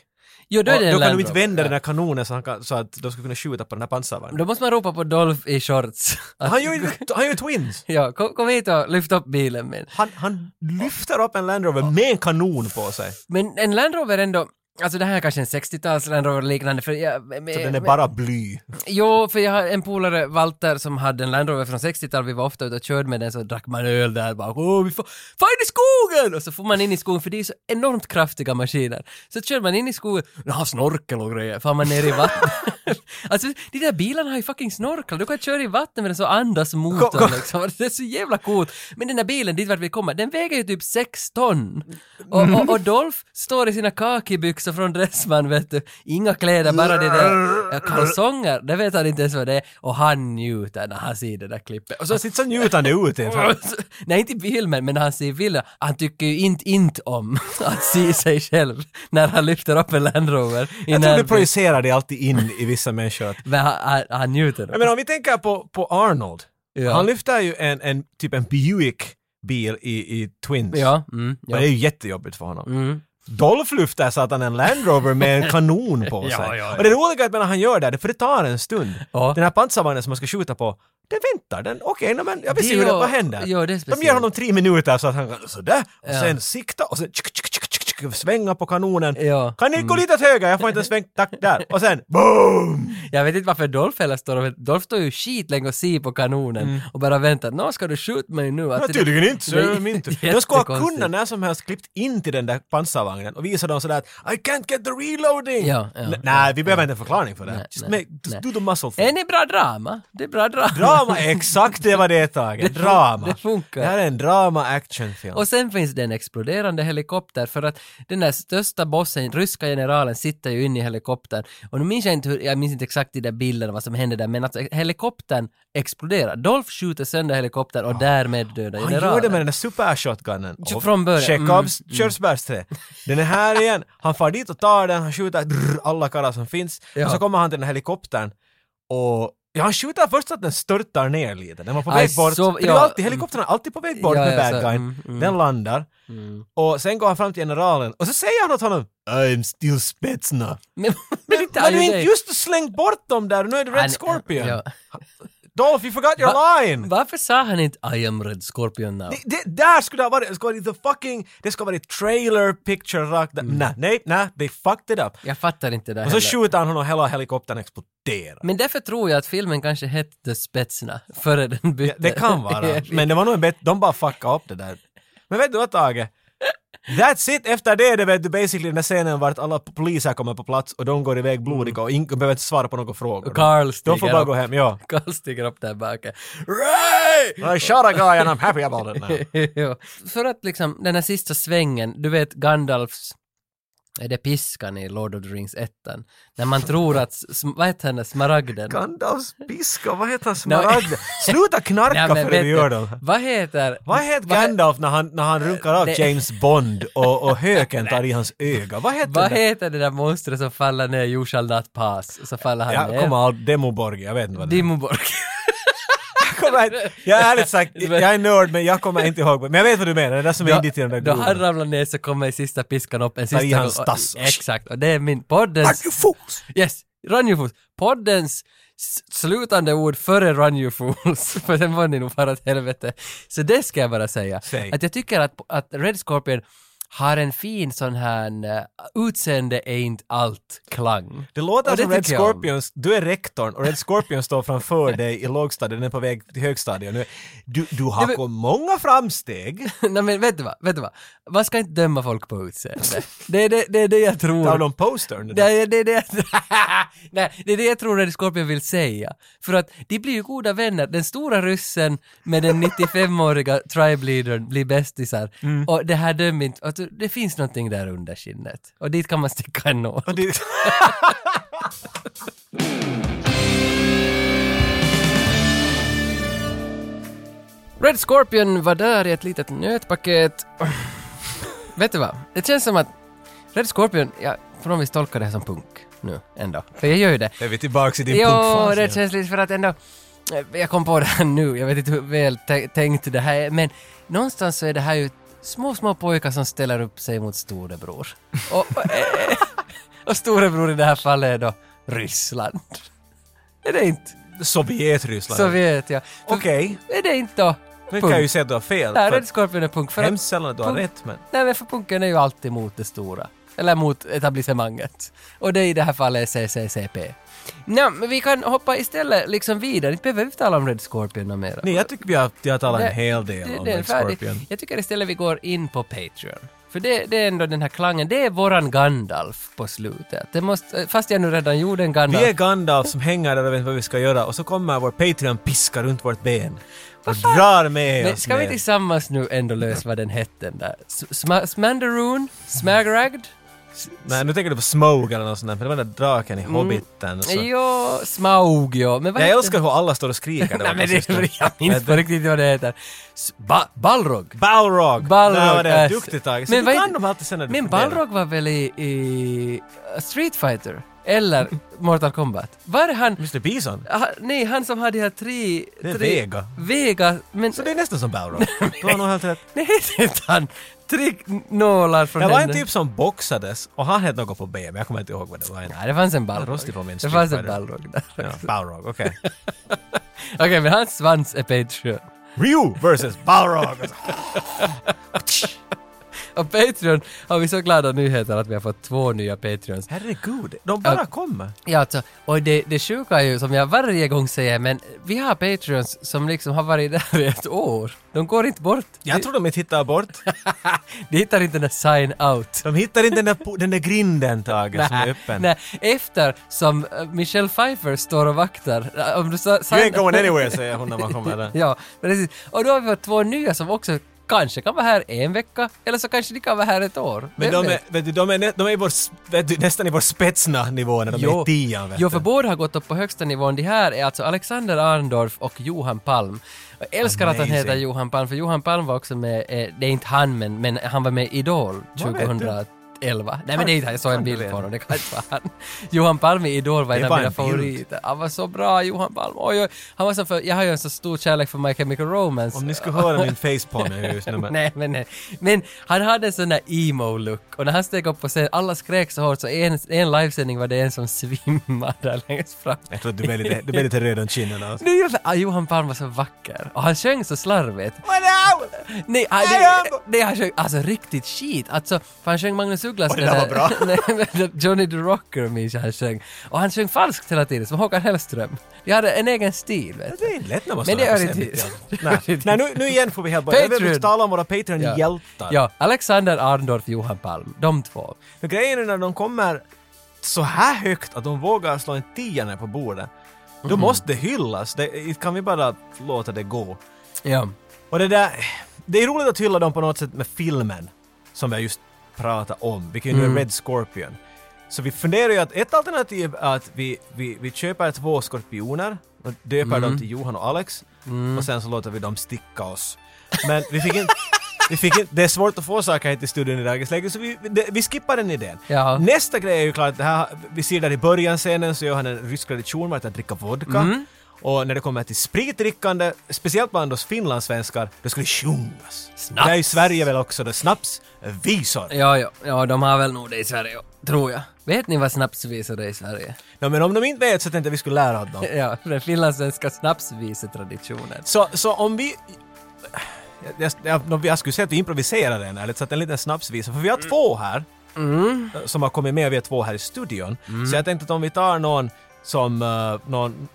Speaker 1: Jo, då
Speaker 2: Då,
Speaker 1: är det en
Speaker 2: då kan
Speaker 1: Land
Speaker 2: de inte
Speaker 1: Rover.
Speaker 2: vända den här kanonen så, han kan, så att de ska kunna skjuta på den här pansarvagnen.
Speaker 1: Då måste man ropa på Dolph i shorts. Att-
Speaker 2: Han gör ju han gör twins!
Speaker 1: Ja, kom, kom hit och lyft upp bilen min.
Speaker 2: Han, han lyfter upp en Land Rover med en kanon på sig.
Speaker 1: Men en Land Rover ändå, alltså det här är kanske en 60-tals Land Rover liknande för jag... men-
Speaker 2: Så den är bara bly.
Speaker 1: Jo, för jag har en polare, Walter, som hade en Land Rover från 60-talet, vi var ofta ute och körde med den, så drack man öl där bara åh, vi får, fan i skogen! Och så får man in i skogen, för det är så enormt kraftiga maskiner. Så kör man in i skogen, de har snorkel och grejer, far man ner i vattnet. [LAUGHS] alltså, de där bilarna har ju fucking snorkel, du kan köra i vatten med den så andas motorn liksom. [LAUGHS] Det är så jävla coolt. Men den där bilen, dit vart vi kommer, den väger ju typ 6 ton. Och, och, och Dolph står i sina kakibyxor från Dressman, vet du. Inga kläder, bara det
Speaker 2: [LAUGHS]
Speaker 1: där eh, kalsonger, det vet han inte ens vad det är. Och han njuter när han ser det där klippet. Och så, [LAUGHS]
Speaker 2: Han sitter så njutande ut i [LAUGHS] en
Speaker 1: nej, inte i filmen, men när han ser bilden, han tycker ju inte, inte om [LAUGHS] att se sig själv när han lyfter upp en Land Rover. i
Speaker 2: Jag tror du
Speaker 1: närbild.
Speaker 2: projicerar det alltid in i vissa människor. Att,
Speaker 1: Men han, han, han njuter.
Speaker 2: jag menar, om vi tänker på, på Arnold.
Speaker 1: Ja.
Speaker 2: Han lyfter ju en, en typ en Buick-bil i, i Twins.
Speaker 1: Ja, mm, ja.
Speaker 2: Och det är ju jättejobbigt för honom.
Speaker 1: Mm.
Speaker 2: Dolph lyfter satan en Land Rover med en kanon
Speaker 1: [LAUGHS]
Speaker 2: på sig.
Speaker 1: Ja, ja, ja.
Speaker 2: Och det roliga är att medan han gör det, här, för det tar en stund.
Speaker 1: Ja.
Speaker 2: Den här pansarvagnen som man ska skjuta på, den väntar. Den, okej, okay, men jag vill se
Speaker 1: Det
Speaker 2: hur det,
Speaker 1: och-
Speaker 2: vad händer.
Speaker 1: ja, det är
Speaker 2: De ger
Speaker 1: speciellt.
Speaker 2: honom tre minuter så att han kan sådär, och
Speaker 1: Ja.
Speaker 2: sen sikta och sen tsk, tsk, tsk, tsk, tsk, svänga på kanonen.
Speaker 1: Ja. Mm.
Speaker 2: Kan ni gå lite åt höger? Jag får inte en sväng. Tack, där. Och sen BOOM!
Speaker 1: Jag vet inte varför Dolph heller står och Dolph står ju skitlänge och ser på kanonen och bara väntar. Nå, ska du skjuta mig nu?
Speaker 2: Mm. Ja,
Speaker 1: det-
Speaker 2: tydligen inte, så
Speaker 1: det är
Speaker 2: är de
Speaker 1: [LAUGHS]
Speaker 2: inte. De skulle ha
Speaker 1: jättekonstigt.
Speaker 2: kunnat när som helst klippt in till den där pansarvagnen och visa dem sådär att I can't get the reloading!
Speaker 1: Ja, ja,
Speaker 2: N-
Speaker 1: ja.
Speaker 2: Nej, vi behöver inte en förklaring för det.
Speaker 1: Nej,
Speaker 2: just
Speaker 1: nej,
Speaker 2: make, just
Speaker 1: nej.
Speaker 2: do the muscle thing.
Speaker 1: Är ni bra drama? Det är bra drama.
Speaker 2: Drama, exakt det var det taget.
Speaker 1: [LAUGHS]
Speaker 2: Drama.
Speaker 1: det funkar.
Speaker 2: Det här är en drama
Speaker 1: [LAUGHS]
Speaker 2: actionfilm.
Speaker 1: Och sen finns det en exploderande helikopter för att den där största bossen, ryska generalen, sitter ju inne i helikoptern. Och nu minns jag inte hur, jag minns inte exakt i den bilden vad som hände där, men att helikoptern exploderar. Dolph skjuter sönder helikoptern och därmed dödar
Speaker 2: Ah. Han gör det med
Speaker 1: generalen.
Speaker 2: den där supershotgunen.
Speaker 1: Ju
Speaker 2: Och
Speaker 1: från början, Mm.
Speaker 2: Chekhovs [LAUGHS] körsbärsträ. Den är här igen. Han far dit och tar den, han skjuter drr, alla karlar som finns.
Speaker 1: Ja.
Speaker 2: Och så kommer han till den här helikoptern och Ja, han skjuter först att den störtar ner lite. Den var på
Speaker 1: Aj,
Speaker 2: väg bort.
Speaker 1: så-
Speaker 2: För det är
Speaker 1: ja,
Speaker 2: alltid,
Speaker 1: mm.
Speaker 2: helikoptern är alltid på väg bort
Speaker 1: Ja,
Speaker 2: med
Speaker 1: ja, så-
Speaker 2: bad guyen.
Speaker 1: mm, mm.
Speaker 2: Den landar.
Speaker 1: Mm.
Speaker 2: Och sen går han fram till generalen och så säger han åt honom I'm still Spetsna.
Speaker 1: [LAUGHS] Men, men inte
Speaker 2: Men du
Speaker 1: Iron
Speaker 2: inte
Speaker 1: Day.
Speaker 2: just slängt bort dem där, nu är det
Speaker 1: Han-
Speaker 2: Red Scorpion.
Speaker 1: ja.
Speaker 2: Dolph, you forgot your
Speaker 1: Va-
Speaker 2: line!
Speaker 1: Varför sa han inte I am Red Scorpion now?
Speaker 2: Det, det, där skulle det ha varit, det skulle ha varit the fucking, det ska ha varit trailer picture rakt
Speaker 1: Mm.
Speaker 2: där. Nej, nej, nej, they fucked it up.
Speaker 1: Jag fattar inte det
Speaker 2: Och så
Speaker 1: heller.
Speaker 2: skjuter han honom och hela helikoptern exploderar.
Speaker 1: Men därför tror jag att filmen kanske hette The Spetsna [LAUGHS] före den bytte.
Speaker 2: Ja, det
Speaker 1: [LAUGHS]
Speaker 2: kan vara, men det var nog en bättre, de bara fuckade upp det där. Men vet du vad Tage? That's it, efter det är det vet du basically den där scenen vart alla poliser kommer på plats och de går iväg
Speaker 1: Mm.
Speaker 2: blodiga och ingen behöver inte svara på några frågor.
Speaker 1: Och Carl stiger
Speaker 2: de får bara
Speaker 1: upp.
Speaker 2: gå
Speaker 1: [LAUGHS]
Speaker 2: hem, ja.
Speaker 1: Carl stiger upp där bak. Ray! [LAUGHS]
Speaker 2: I shot a guy and I'm happy about it now.
Speaker 1: ja. För att liksom den här sista svängen, du vet Gandalfs är det piskan i Lord of the Rings ettan? När man tror att, sm- vad heter henne, smaragden?
Speaker 2: Gandalfs piska, vad heter han? Smaragden?
Speaker 1: [LAUGHS]
Speaker 2: Sluta knarka
Speaker 1: men vet
Speaker 2: för det du
Speaker 1: du,
Speaker 2: gör dem.
Speaker 1: Vad heter...
Speaker 2: Vad heter Gandalf när han, när han runkar av
Speaker 1: Eh, Det-
Speaker 2: James Bond
Speaker 1: [LAUGHS]
Speaker 2: och, och höken tar i hans öga? Vad heter
Speaker 1: Vad
Speaker 2: det?
Speaker 1: heter det där monstret som faller ner, you shall not pass, så faller han
Speaker 2: Jag
Speaker 1: ner?
Speaker 2: kommer ihåg Demoborg, jag vet inte vad det är.
Speaker 1: Dimmoborg.
Speaker 2: Kommer jag- Jag är ärligt sagt, jag är nörd men jag kommer inte ihåg. Men jag vet vad du menar, det är det som är indie till den där
Speaker 1: Då han
Speaker 2: gubben.
Speaker 1: ramlar ner så kommer i sista piskan upp en
Speaker 2: Ta i
Speaker 1: sista
Speaker 2: hans
Speaker 1: gång.
Speaker 2: tass.
Speaker 1: Exakt, och det är min poddens...
Speaker 2: fools!
Speaker 1: Yes, Run You Fools. Poddens s- slutande ord före Run You Fools, [LAUGHS] för sen var ni nog bara åt helvete. Så det ska jag bara säga.
Speaker 2: Säg.
Speaker 1: Att jag tycker att, att Red Scorpion har en fin sån här eh, utseende är inte allt-klang.
Speaker 2: Det låter
Speaker 1: Och det
Speaker 2: som Red
Speaker 1: tycker jag om.
Speaker 2: Scorpions, du är rektorn och Red Scorpion står framför dig i lågstadiet, den är på väg till högstadiet nu. Du, du har
Speaker 1: men-
Speaker 2: gått många framsteg.
Speaker 1: [LAUGHS] Nej men vet du vad, vet du vad? Man ska inte döma folk på
Speaker 2: [LAUGHS]
Speaker 1: utseende. Det är det, det, är det jag tror.
Speaker 2: Tala om postern. det där.
Speaker 1: Nej, det, är det, [LAUGHS] nej, det är det jag tror Red Scorpion vill säga. För att de blir ju goda vänner. Den stora ryssen med den [LAUGHS] 95-åriga tribe leadern blir bästisar.
Speaker 2: Mm.
Speaker 1: Och det här dömer inte... och Det finns någonting där under skinnet. Och dit kan man sticka en nål.
Speaker 2: Och det-
Speaker 1: Red Scorpion var där i ett litet nötpaket. Vet du vad? Det känns som att Red Scorpion, jag får nog visst tolka det här som punk nu ändå. För jag gör ju det.
Speaker 2: Är vi tillbaks i din
Speaker 1: Jo,
Speaker 2: punkfas
Speaker 1: det
Speaker 2: igen?
Speaker 1: känns lite för att ändå... eh, Jag kom på det här nu, jag vet inte hur väl tä- tänkt det här är, men någonstans så är det här ju små, små pojkar som ställer upp sig mot
Speaker 2: [LAUGHS]
Speaker 1: storebror. Och, och, eh, och storebror i det här fallet är då Ryssland. Är det inte?
Speaker 2: Sovjetryssland.
Speaker 1: Så vet jag. För-
Speaker 2: Okej.
Speaker 1: Är det inte då?
Speaker 2: Nu kan
Speaker 1: punk?
Speaker 2: jag ju säga att du har fel.
Speaker 1: Nej,
Speaker 2: för
Speaker 1: Red Scorpion är punk. För
Speaker 2: hemskt sällan att du har
Speaker 1: punk-
Speaker 2: rätt, men...
Speaker 1: Nej, men för punken är ju alltid mot det stora. Eller mot etablissemanget. Och det i det här fallet är CCCP. Nej, men vi kan hoppa istället liksom vidare. Inte behöver vi tala om Red Scorpion något mer.
Speaker 2: Nej, jag tycker vi har, jag har talat en
Speaker 1: Det-
Speaker 2: hel del
Speaker 1: det-
Speaker 2: om
Speaker 1: det är
Speaker 2: Red
Speaker 1: färdigt.
Speaker 2: Scorpion.
Speaker 1: Jag tycker istället vi går in på Patreon. För det, det är ändå den här klangen, det är våran Gandalf på slutet. Det måste, fast jag nu redan gjorde en Gandalf.
Speaker 2: Vi är Gandalf som hänger där och vet inte vad vi ska göra och så kommer vår Patreon piska runt vårt ben och drar med
Speaker 1: men
Speaker 2: oss
Speaker 1: ska vi
Speaker 2: ner.
Speaker 1: tillsammans nu ändå lösa vad den hette den där? S- Sma- Smandaroon? Smagragd?
Speaker 2: Nej, nu tänker du på Smog eller något sånt där, för det var den där draken i Hobbiten. Och så.
Speaker 1: Ja, Smaug ja. Men Mm. vad
Speaker 2: Jag
Speaker 1: hette-
Speaker 2: älskar hur alla står och skriker. där
Speaker 1: Nej men
Speaker 2: borta
Speaker 1: det
Speaker 2: sist nu.
Speaker 1: är jag minns på riktigt inte vad det heter. S- Ba- Balrog!
Speaker 2: Balrog!
Speaker 1: Balrog!
Speaker 2: Nej, vad det är
Speaker 1: alltså.
Speaker 2: duktigt Tage. Så
Speaker 1: Men
Speaker 2: Du
Speaker 1: vad-
Speaker 2: kan dem alltid sen när du
Speaker 1: Men
Speaker 2: funderar.
Speaker 1: Balrog var väl i, i uh, Street Fighter? Eller Mortal Kombat? Var det han...
Speaker 2: Mr Bison?
Speaker 1: Ah, nej, han som hade de här tre...
Speaker 2: Det är
Speaker 1: tre
Speaker 2: Vega.
Speaker 1: Vega, men...
Speaker 2: Så det är nästan som Balrog. Du har nog helt rätt.
Speaker 1: Nej, [LAUGHS] heter inte han tre nålar från
Speaker 2: Det var en
Speaker 1: henne?
Speaker 2: typ som boxades och han hette något på B, men jag kommer inte ihåg vad det var.
Speaker 1: Nej, det fanns en Balrog.
Speaker 2: Rostig på min
Speaker 1: Det
Speaker 2: Street
Speaker 1: fanns en
Speaker 2: Fighter.
Speaker 1: Balrog där. [LAUGHS]
Speaker 2: Ja, Balrog, okej.
Speaker 1: Okej, men hans svans är Patreon.
Speaker 2: Ryu versus Balrog!
Speaker 1: Och Patreon har vi så glada nyheter att vi har fått två nya Patreons.
Speaker 2: Herregud, de bara kommer.
Speaker 1: Ja, alltså, och det, det sjuka är ju som jag varje gång säger, men vi har Patreons som liksom har varit där i ett år. De går inte bort.
Speaker 2: Jag tror de inte hittar bort.
Speaker 1: De hittar inte den där sign out.
Speaker 2: De hittar inte den där, po- den där grinden, Tage, som är öppen.
Speaker 1: Nej, efter som eh, Michelle Pfeiffer står och vaktar. Eh, Om du sa, [LAUGHS]
Speaker 2: You ain't going anywhere, säger hon när man kommer där.
Speaker 1: Ja, precis. Och då har vi fått två nya som också kanske kan vara här en vecka, eller så kanske de kan vara här ett år. Vem
Speaker 2: Men de är,
Speaker 1: vet?
Speaker 2: vet du, de är, nä- de är i vår, s- vet du, nästan i vår spetsna nivå när de är i tian. vet
Speaker 1: jo,
Speaker 2: du.
Speaker 1: för båda har gått upp på högsta nivån. De här är alltså Alexander Arndorf och Johan Palm. Jag älskar att han
Speaker 2: Amazing.
Speaker 1: heter Johan Palm, för Johan Palm var också med, eh, det är inte han, men, men han var med i Idol
Speaker 2: Vad vet du?
Speaker 1: 2011. Nej men det är inte han, jag såg en
Speaker 2: kan du
Speaker 1: bild
Speaker 2: redan?
Speaker 1: på honom, det kan inte vara han. Johan Palm i Idol var
Speaker 2: Det
Speaker 1: en
Speaker 2: är
Speaker 1: av
Speaker 2: bara
Speaker 1: mina
Speaker 2: en bild.
Speaker 1: favoriter. Han var så bra, Johan Palm. Oj, oj. Han var så för, jag har ju en så stor kärlek för My Chemical Romance.
Speaker 2: Om ni skulle höra min face på mig just nu. Men,
Speaker 1: Nej, men, nej. men han hade en sån där emo-look och när han steg upp på scen, alla skrek så hårt så en, en livesändning var det en som svimmade [LAUGHS] där längst fram.
Speaker 2: jag tror att du blev lite, du blev lite röd om kinderna. alltså.
Speaker 1: Nu, gör- ah, Johan Palm var så vacker och han sjöng så slarvigt. Nej, ah, det, det han sjöng, alltså riktigt skit. Alltså, för han sjöng Magnus Ugglas.
Speaker 2: det där var bra.
Speaker 1: [LAUGHS] Nej, men Johnny the Rocker minns jag han sjöng. Och han sjöng falskt hela tiden, som Håkan Hellström. De hade en egen stil, vet
Speaker 2: Det
Speaker 1: du.
Speaker 2: är lätt när man
Speaker 1: Men det
Speaker 2: står här
Speaker 1: är
Speaker 2: på
Speaker 1: det
Speaker 2: scenen.
Speaker 1: inte. [LAUGHS]
Speaker 2: Nej.
Speaker 1: Det är det
Speaker 2: Nej, nu, nu igen får vi helt börja. Vi
Speaker 1: Patreon.
Speaker 2: vill tala om våra Patreon-hjältar.
Speaker 1: Ja, Alexander Arndorf, Johan Palm. De två.
Speaker 2: För grejen är när de kommer så här högt att de vågar slå en tia ner på bordet, då måste det hyllas. Det, kan vi bara låta det gå?
Speaker 1: Ja.
Speaker 2: Och det där, det är roligt att hylla dem på något sätt med filmen som vi har just pratat om, vilken nu är Red Scorpion. Så vi funderar ju att ett alternativ är att vi, vi, vi köper två skorpioner och döper dem till Johan och Alex och sen så låter vi dem sticka oss. Men vi fick inte Vi fick inte, det är svårt att få saker hit i studion i dagens läge, så vi, det, vi skippar den idén.
Speaker 1: Ja.
Speaker 2: Nästa grej är ju klart, det här, vi ser där i början scenen så gör han en rysk tradition med att dricka vodka.
Speaker 1: Mm.
Speaker 2: Och när det kommer till spritdrickande, speciellt bland oss finlandssvenskar, då ska det sjungas.
Speaker 1: Snaps.
Speaker 2: Det är i Sverige väl också då, snaps, visor.
Speaker 1: Ja, ja, ja, de har väl nog det i Sverige, tror jag. Vet ni vad snapsvisor är i Sverige? [LAUGHS]
Speaker 2: Ja, men om de inte vet så tänkte jag vi skulle lära dem.
Speaker 1: Ja, den finlandssvenska snapsvisetraditionen.
Speaker 2: Så, så om vi... Jag, jag, jag, jag skulle säga att vi improviserade den, eller så att en liten snapsvisa, för vi har
Speaker 1: Mm.
Speaker 2: två här eh, som har kommit med, vi har två här i studion.
Speaker 1: Mm.
Speaker 2: Så jag tänkte att om vi tar någon som... eh, någon,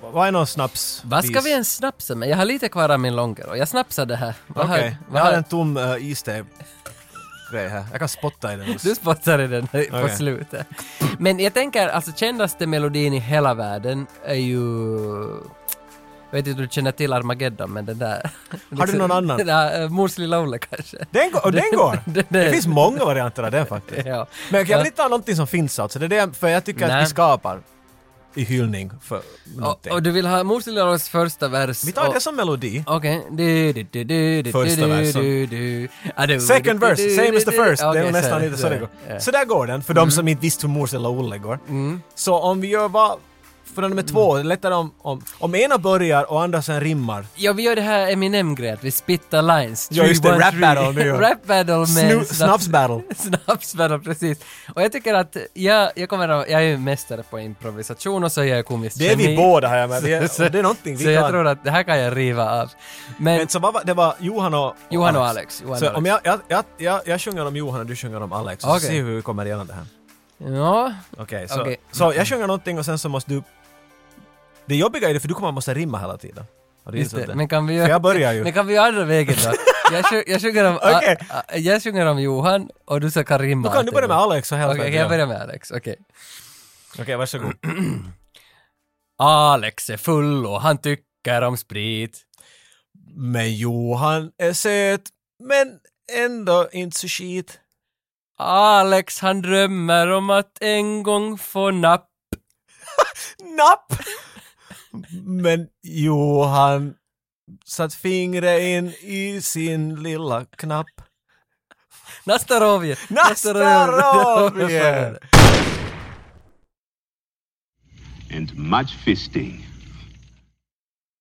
Speaker 2: vad är någon snaps?
Speaker 1: Vad ska vi ens snapsa med? Jag har lite kvar av min långgrej. Jag snapsade här. Vad
Speaker 2: Okej,
Speaker 1: har-
Speaker 2: jag
Speaker 1: vad
Speaker 2: har
Speaker 1: har,
Speaker 2: en tom uh, iste-grej här. Jag kan spotta i den.
Speaker 1: Du spottar i den här på
Speaker 2: Okej.
Speaker 1: slutet. Men jag tänker, alltså kändaste melodin i hela världen är ju... Jag vet inte om du känner till Armageddon, men den där...
Speaker 2: Har du någon annan?
Speaker 1: Den [LAUGHS] där, eh, Mors lilla Olle kanske.
Speaker 2: Den går, och den
Speaker 1: [LAUGHS]
Speaker 2: går!
Speaker 1: Den-
Speaker 2: Det
Speaker 1: den-
Speaker 2: finns många varianter av den faktiskt.
Speaker 1: Ja.
Speaker 2: Men jag
Speaker 1: Ja.
Speaker 2: vill inte ta någonting som finns alltså, det är det, för jag tycker att
Speaker 1: Nej.
Speaker 2: vi skapar i hyllning för
Speaker 1: Och,
Speaker 2: någonting.
Speaker 1: och du vill ha Mors lilla Olles första vers?
Speaker 2: vi tar
Speaker 1: och,
Speaker 2: det som melodi.
Speaker 1: Okej. Du, du, du, du, du,
Speaker 2: Första
Speaker 1: du,
Speaker 2: versen.
Speaker 1: du, du. Ah, du,
Speaker 2: Second
Speaker 1: du, du,
Speaker 2: verse,
Speaker 1: du,
Speaker 2: same
Speaker 1: du,
Speaker 2: as the
Speaker 1: du.
Speaker 2: first. det är
Speaker 1: Okej, Mm.
Speaker 2: nog nästan
Speaker 1: så
Speaker 2: lite så det går.
Speaker 1: Ja.
Speaker 2: Så där går den, för de som inte visste hur Mors eller Olle går.
Speaker 1: Mm.
Speaker 2: Så om vi gör vad, för nummer två, det är lättare om, om, om ena börjar och andra sen rimmar.
Speaker 1: Ja, vi gör det här Eminem-grejen, att vi spittar lines.
Speaker 2: Ja, just det,
Speaker 1: Three, one,
Speaker 2: rap
Speaker 1: three.
Speaker 2: battle nu, ja.
Speaker 1: [LAUGHS] rap battle med...
Speaker 2: Snu-
Speaker 1: snaps- [LAUGHS]
Speaker 2: snaps battle.
Speaker 1: snaps battle, precis. Och jag tycker att jag, jag kommer att, jag är ju mästare på improvisation och så är jag komiskt
Speaker 2: Det är vi
Speaker 1: geni.
Speaker 2: båda här
Speaker 1: [LAUGHS]
Speaker 2: med. Det är, det är någonting vi
Speaker 1: Så jag
Speaker 2: kan.
Speaker 1: tror att det här kan jag riva av. Men,
Speaker 2: Men så vad var, det var Johan och, och
Speaker 1: Johan och
Speaker 2: Alex.
Speaker 1: Alex. Johan
Speaker 2: Så
Speaker 1: och
Speaker 2: om
Speaker 1: Alex.
Speaker 2: jag, jag, jag, jag, jag sjunger om Johan och du sjunger om Alex, och så
Speaker 1: Okej.
Speaker 2: ser vi hur vi kommer igenom det här.
Speaker 1: Ja,
Speaker 2: Okej, så,
Speaker 1: Okej.
Speaker 2: så jag sjunger någonting och sen så måste du... Det jobbiga är det för du kommer måste rimma hela tiden. Har du
Speaker 1: just
Speaker 2: insett
Speaker 1: det.
Speaker 2: det?
Speaker 1: Men kan vi
Speaker 2: För
Speaker 1: göra...
Speaker 2: jag börjar ju.
Speaker 1: Men kan vi göra andra vägen då? Jag, sjö, jag, sjunger
Speaker 2: [LAUGHS]
Speaker 1: om,
Speaker 2: Okej.
Speaker 1: a, a, jag sjunger om Johan och du ska kan rimma.
Speaker 2: Då kan du börja med Alex och
Speaker 1: Okej,
Speaker 2: hela
Speaker 1: kan
Speaker 2: tiden.
Speaker 1: jag börjar med Alex. Okej.
Speaker 2: Okej, varsågod.
Speaker 1: Alex är full och han tycker om sprit.
Speaker 2: Men Johan är söt, men ändå inte så skit.
Speaker 1: Alex han drömmer om att en gång få napp.
Speaker 2: Napp! [LAUGHS] Men Johan satt fingret in i sin lilla knapp.
Speaker 1: Nästa rovdjur!
Speaker 2: Nastarovje!
Speaker 7: and much fisting.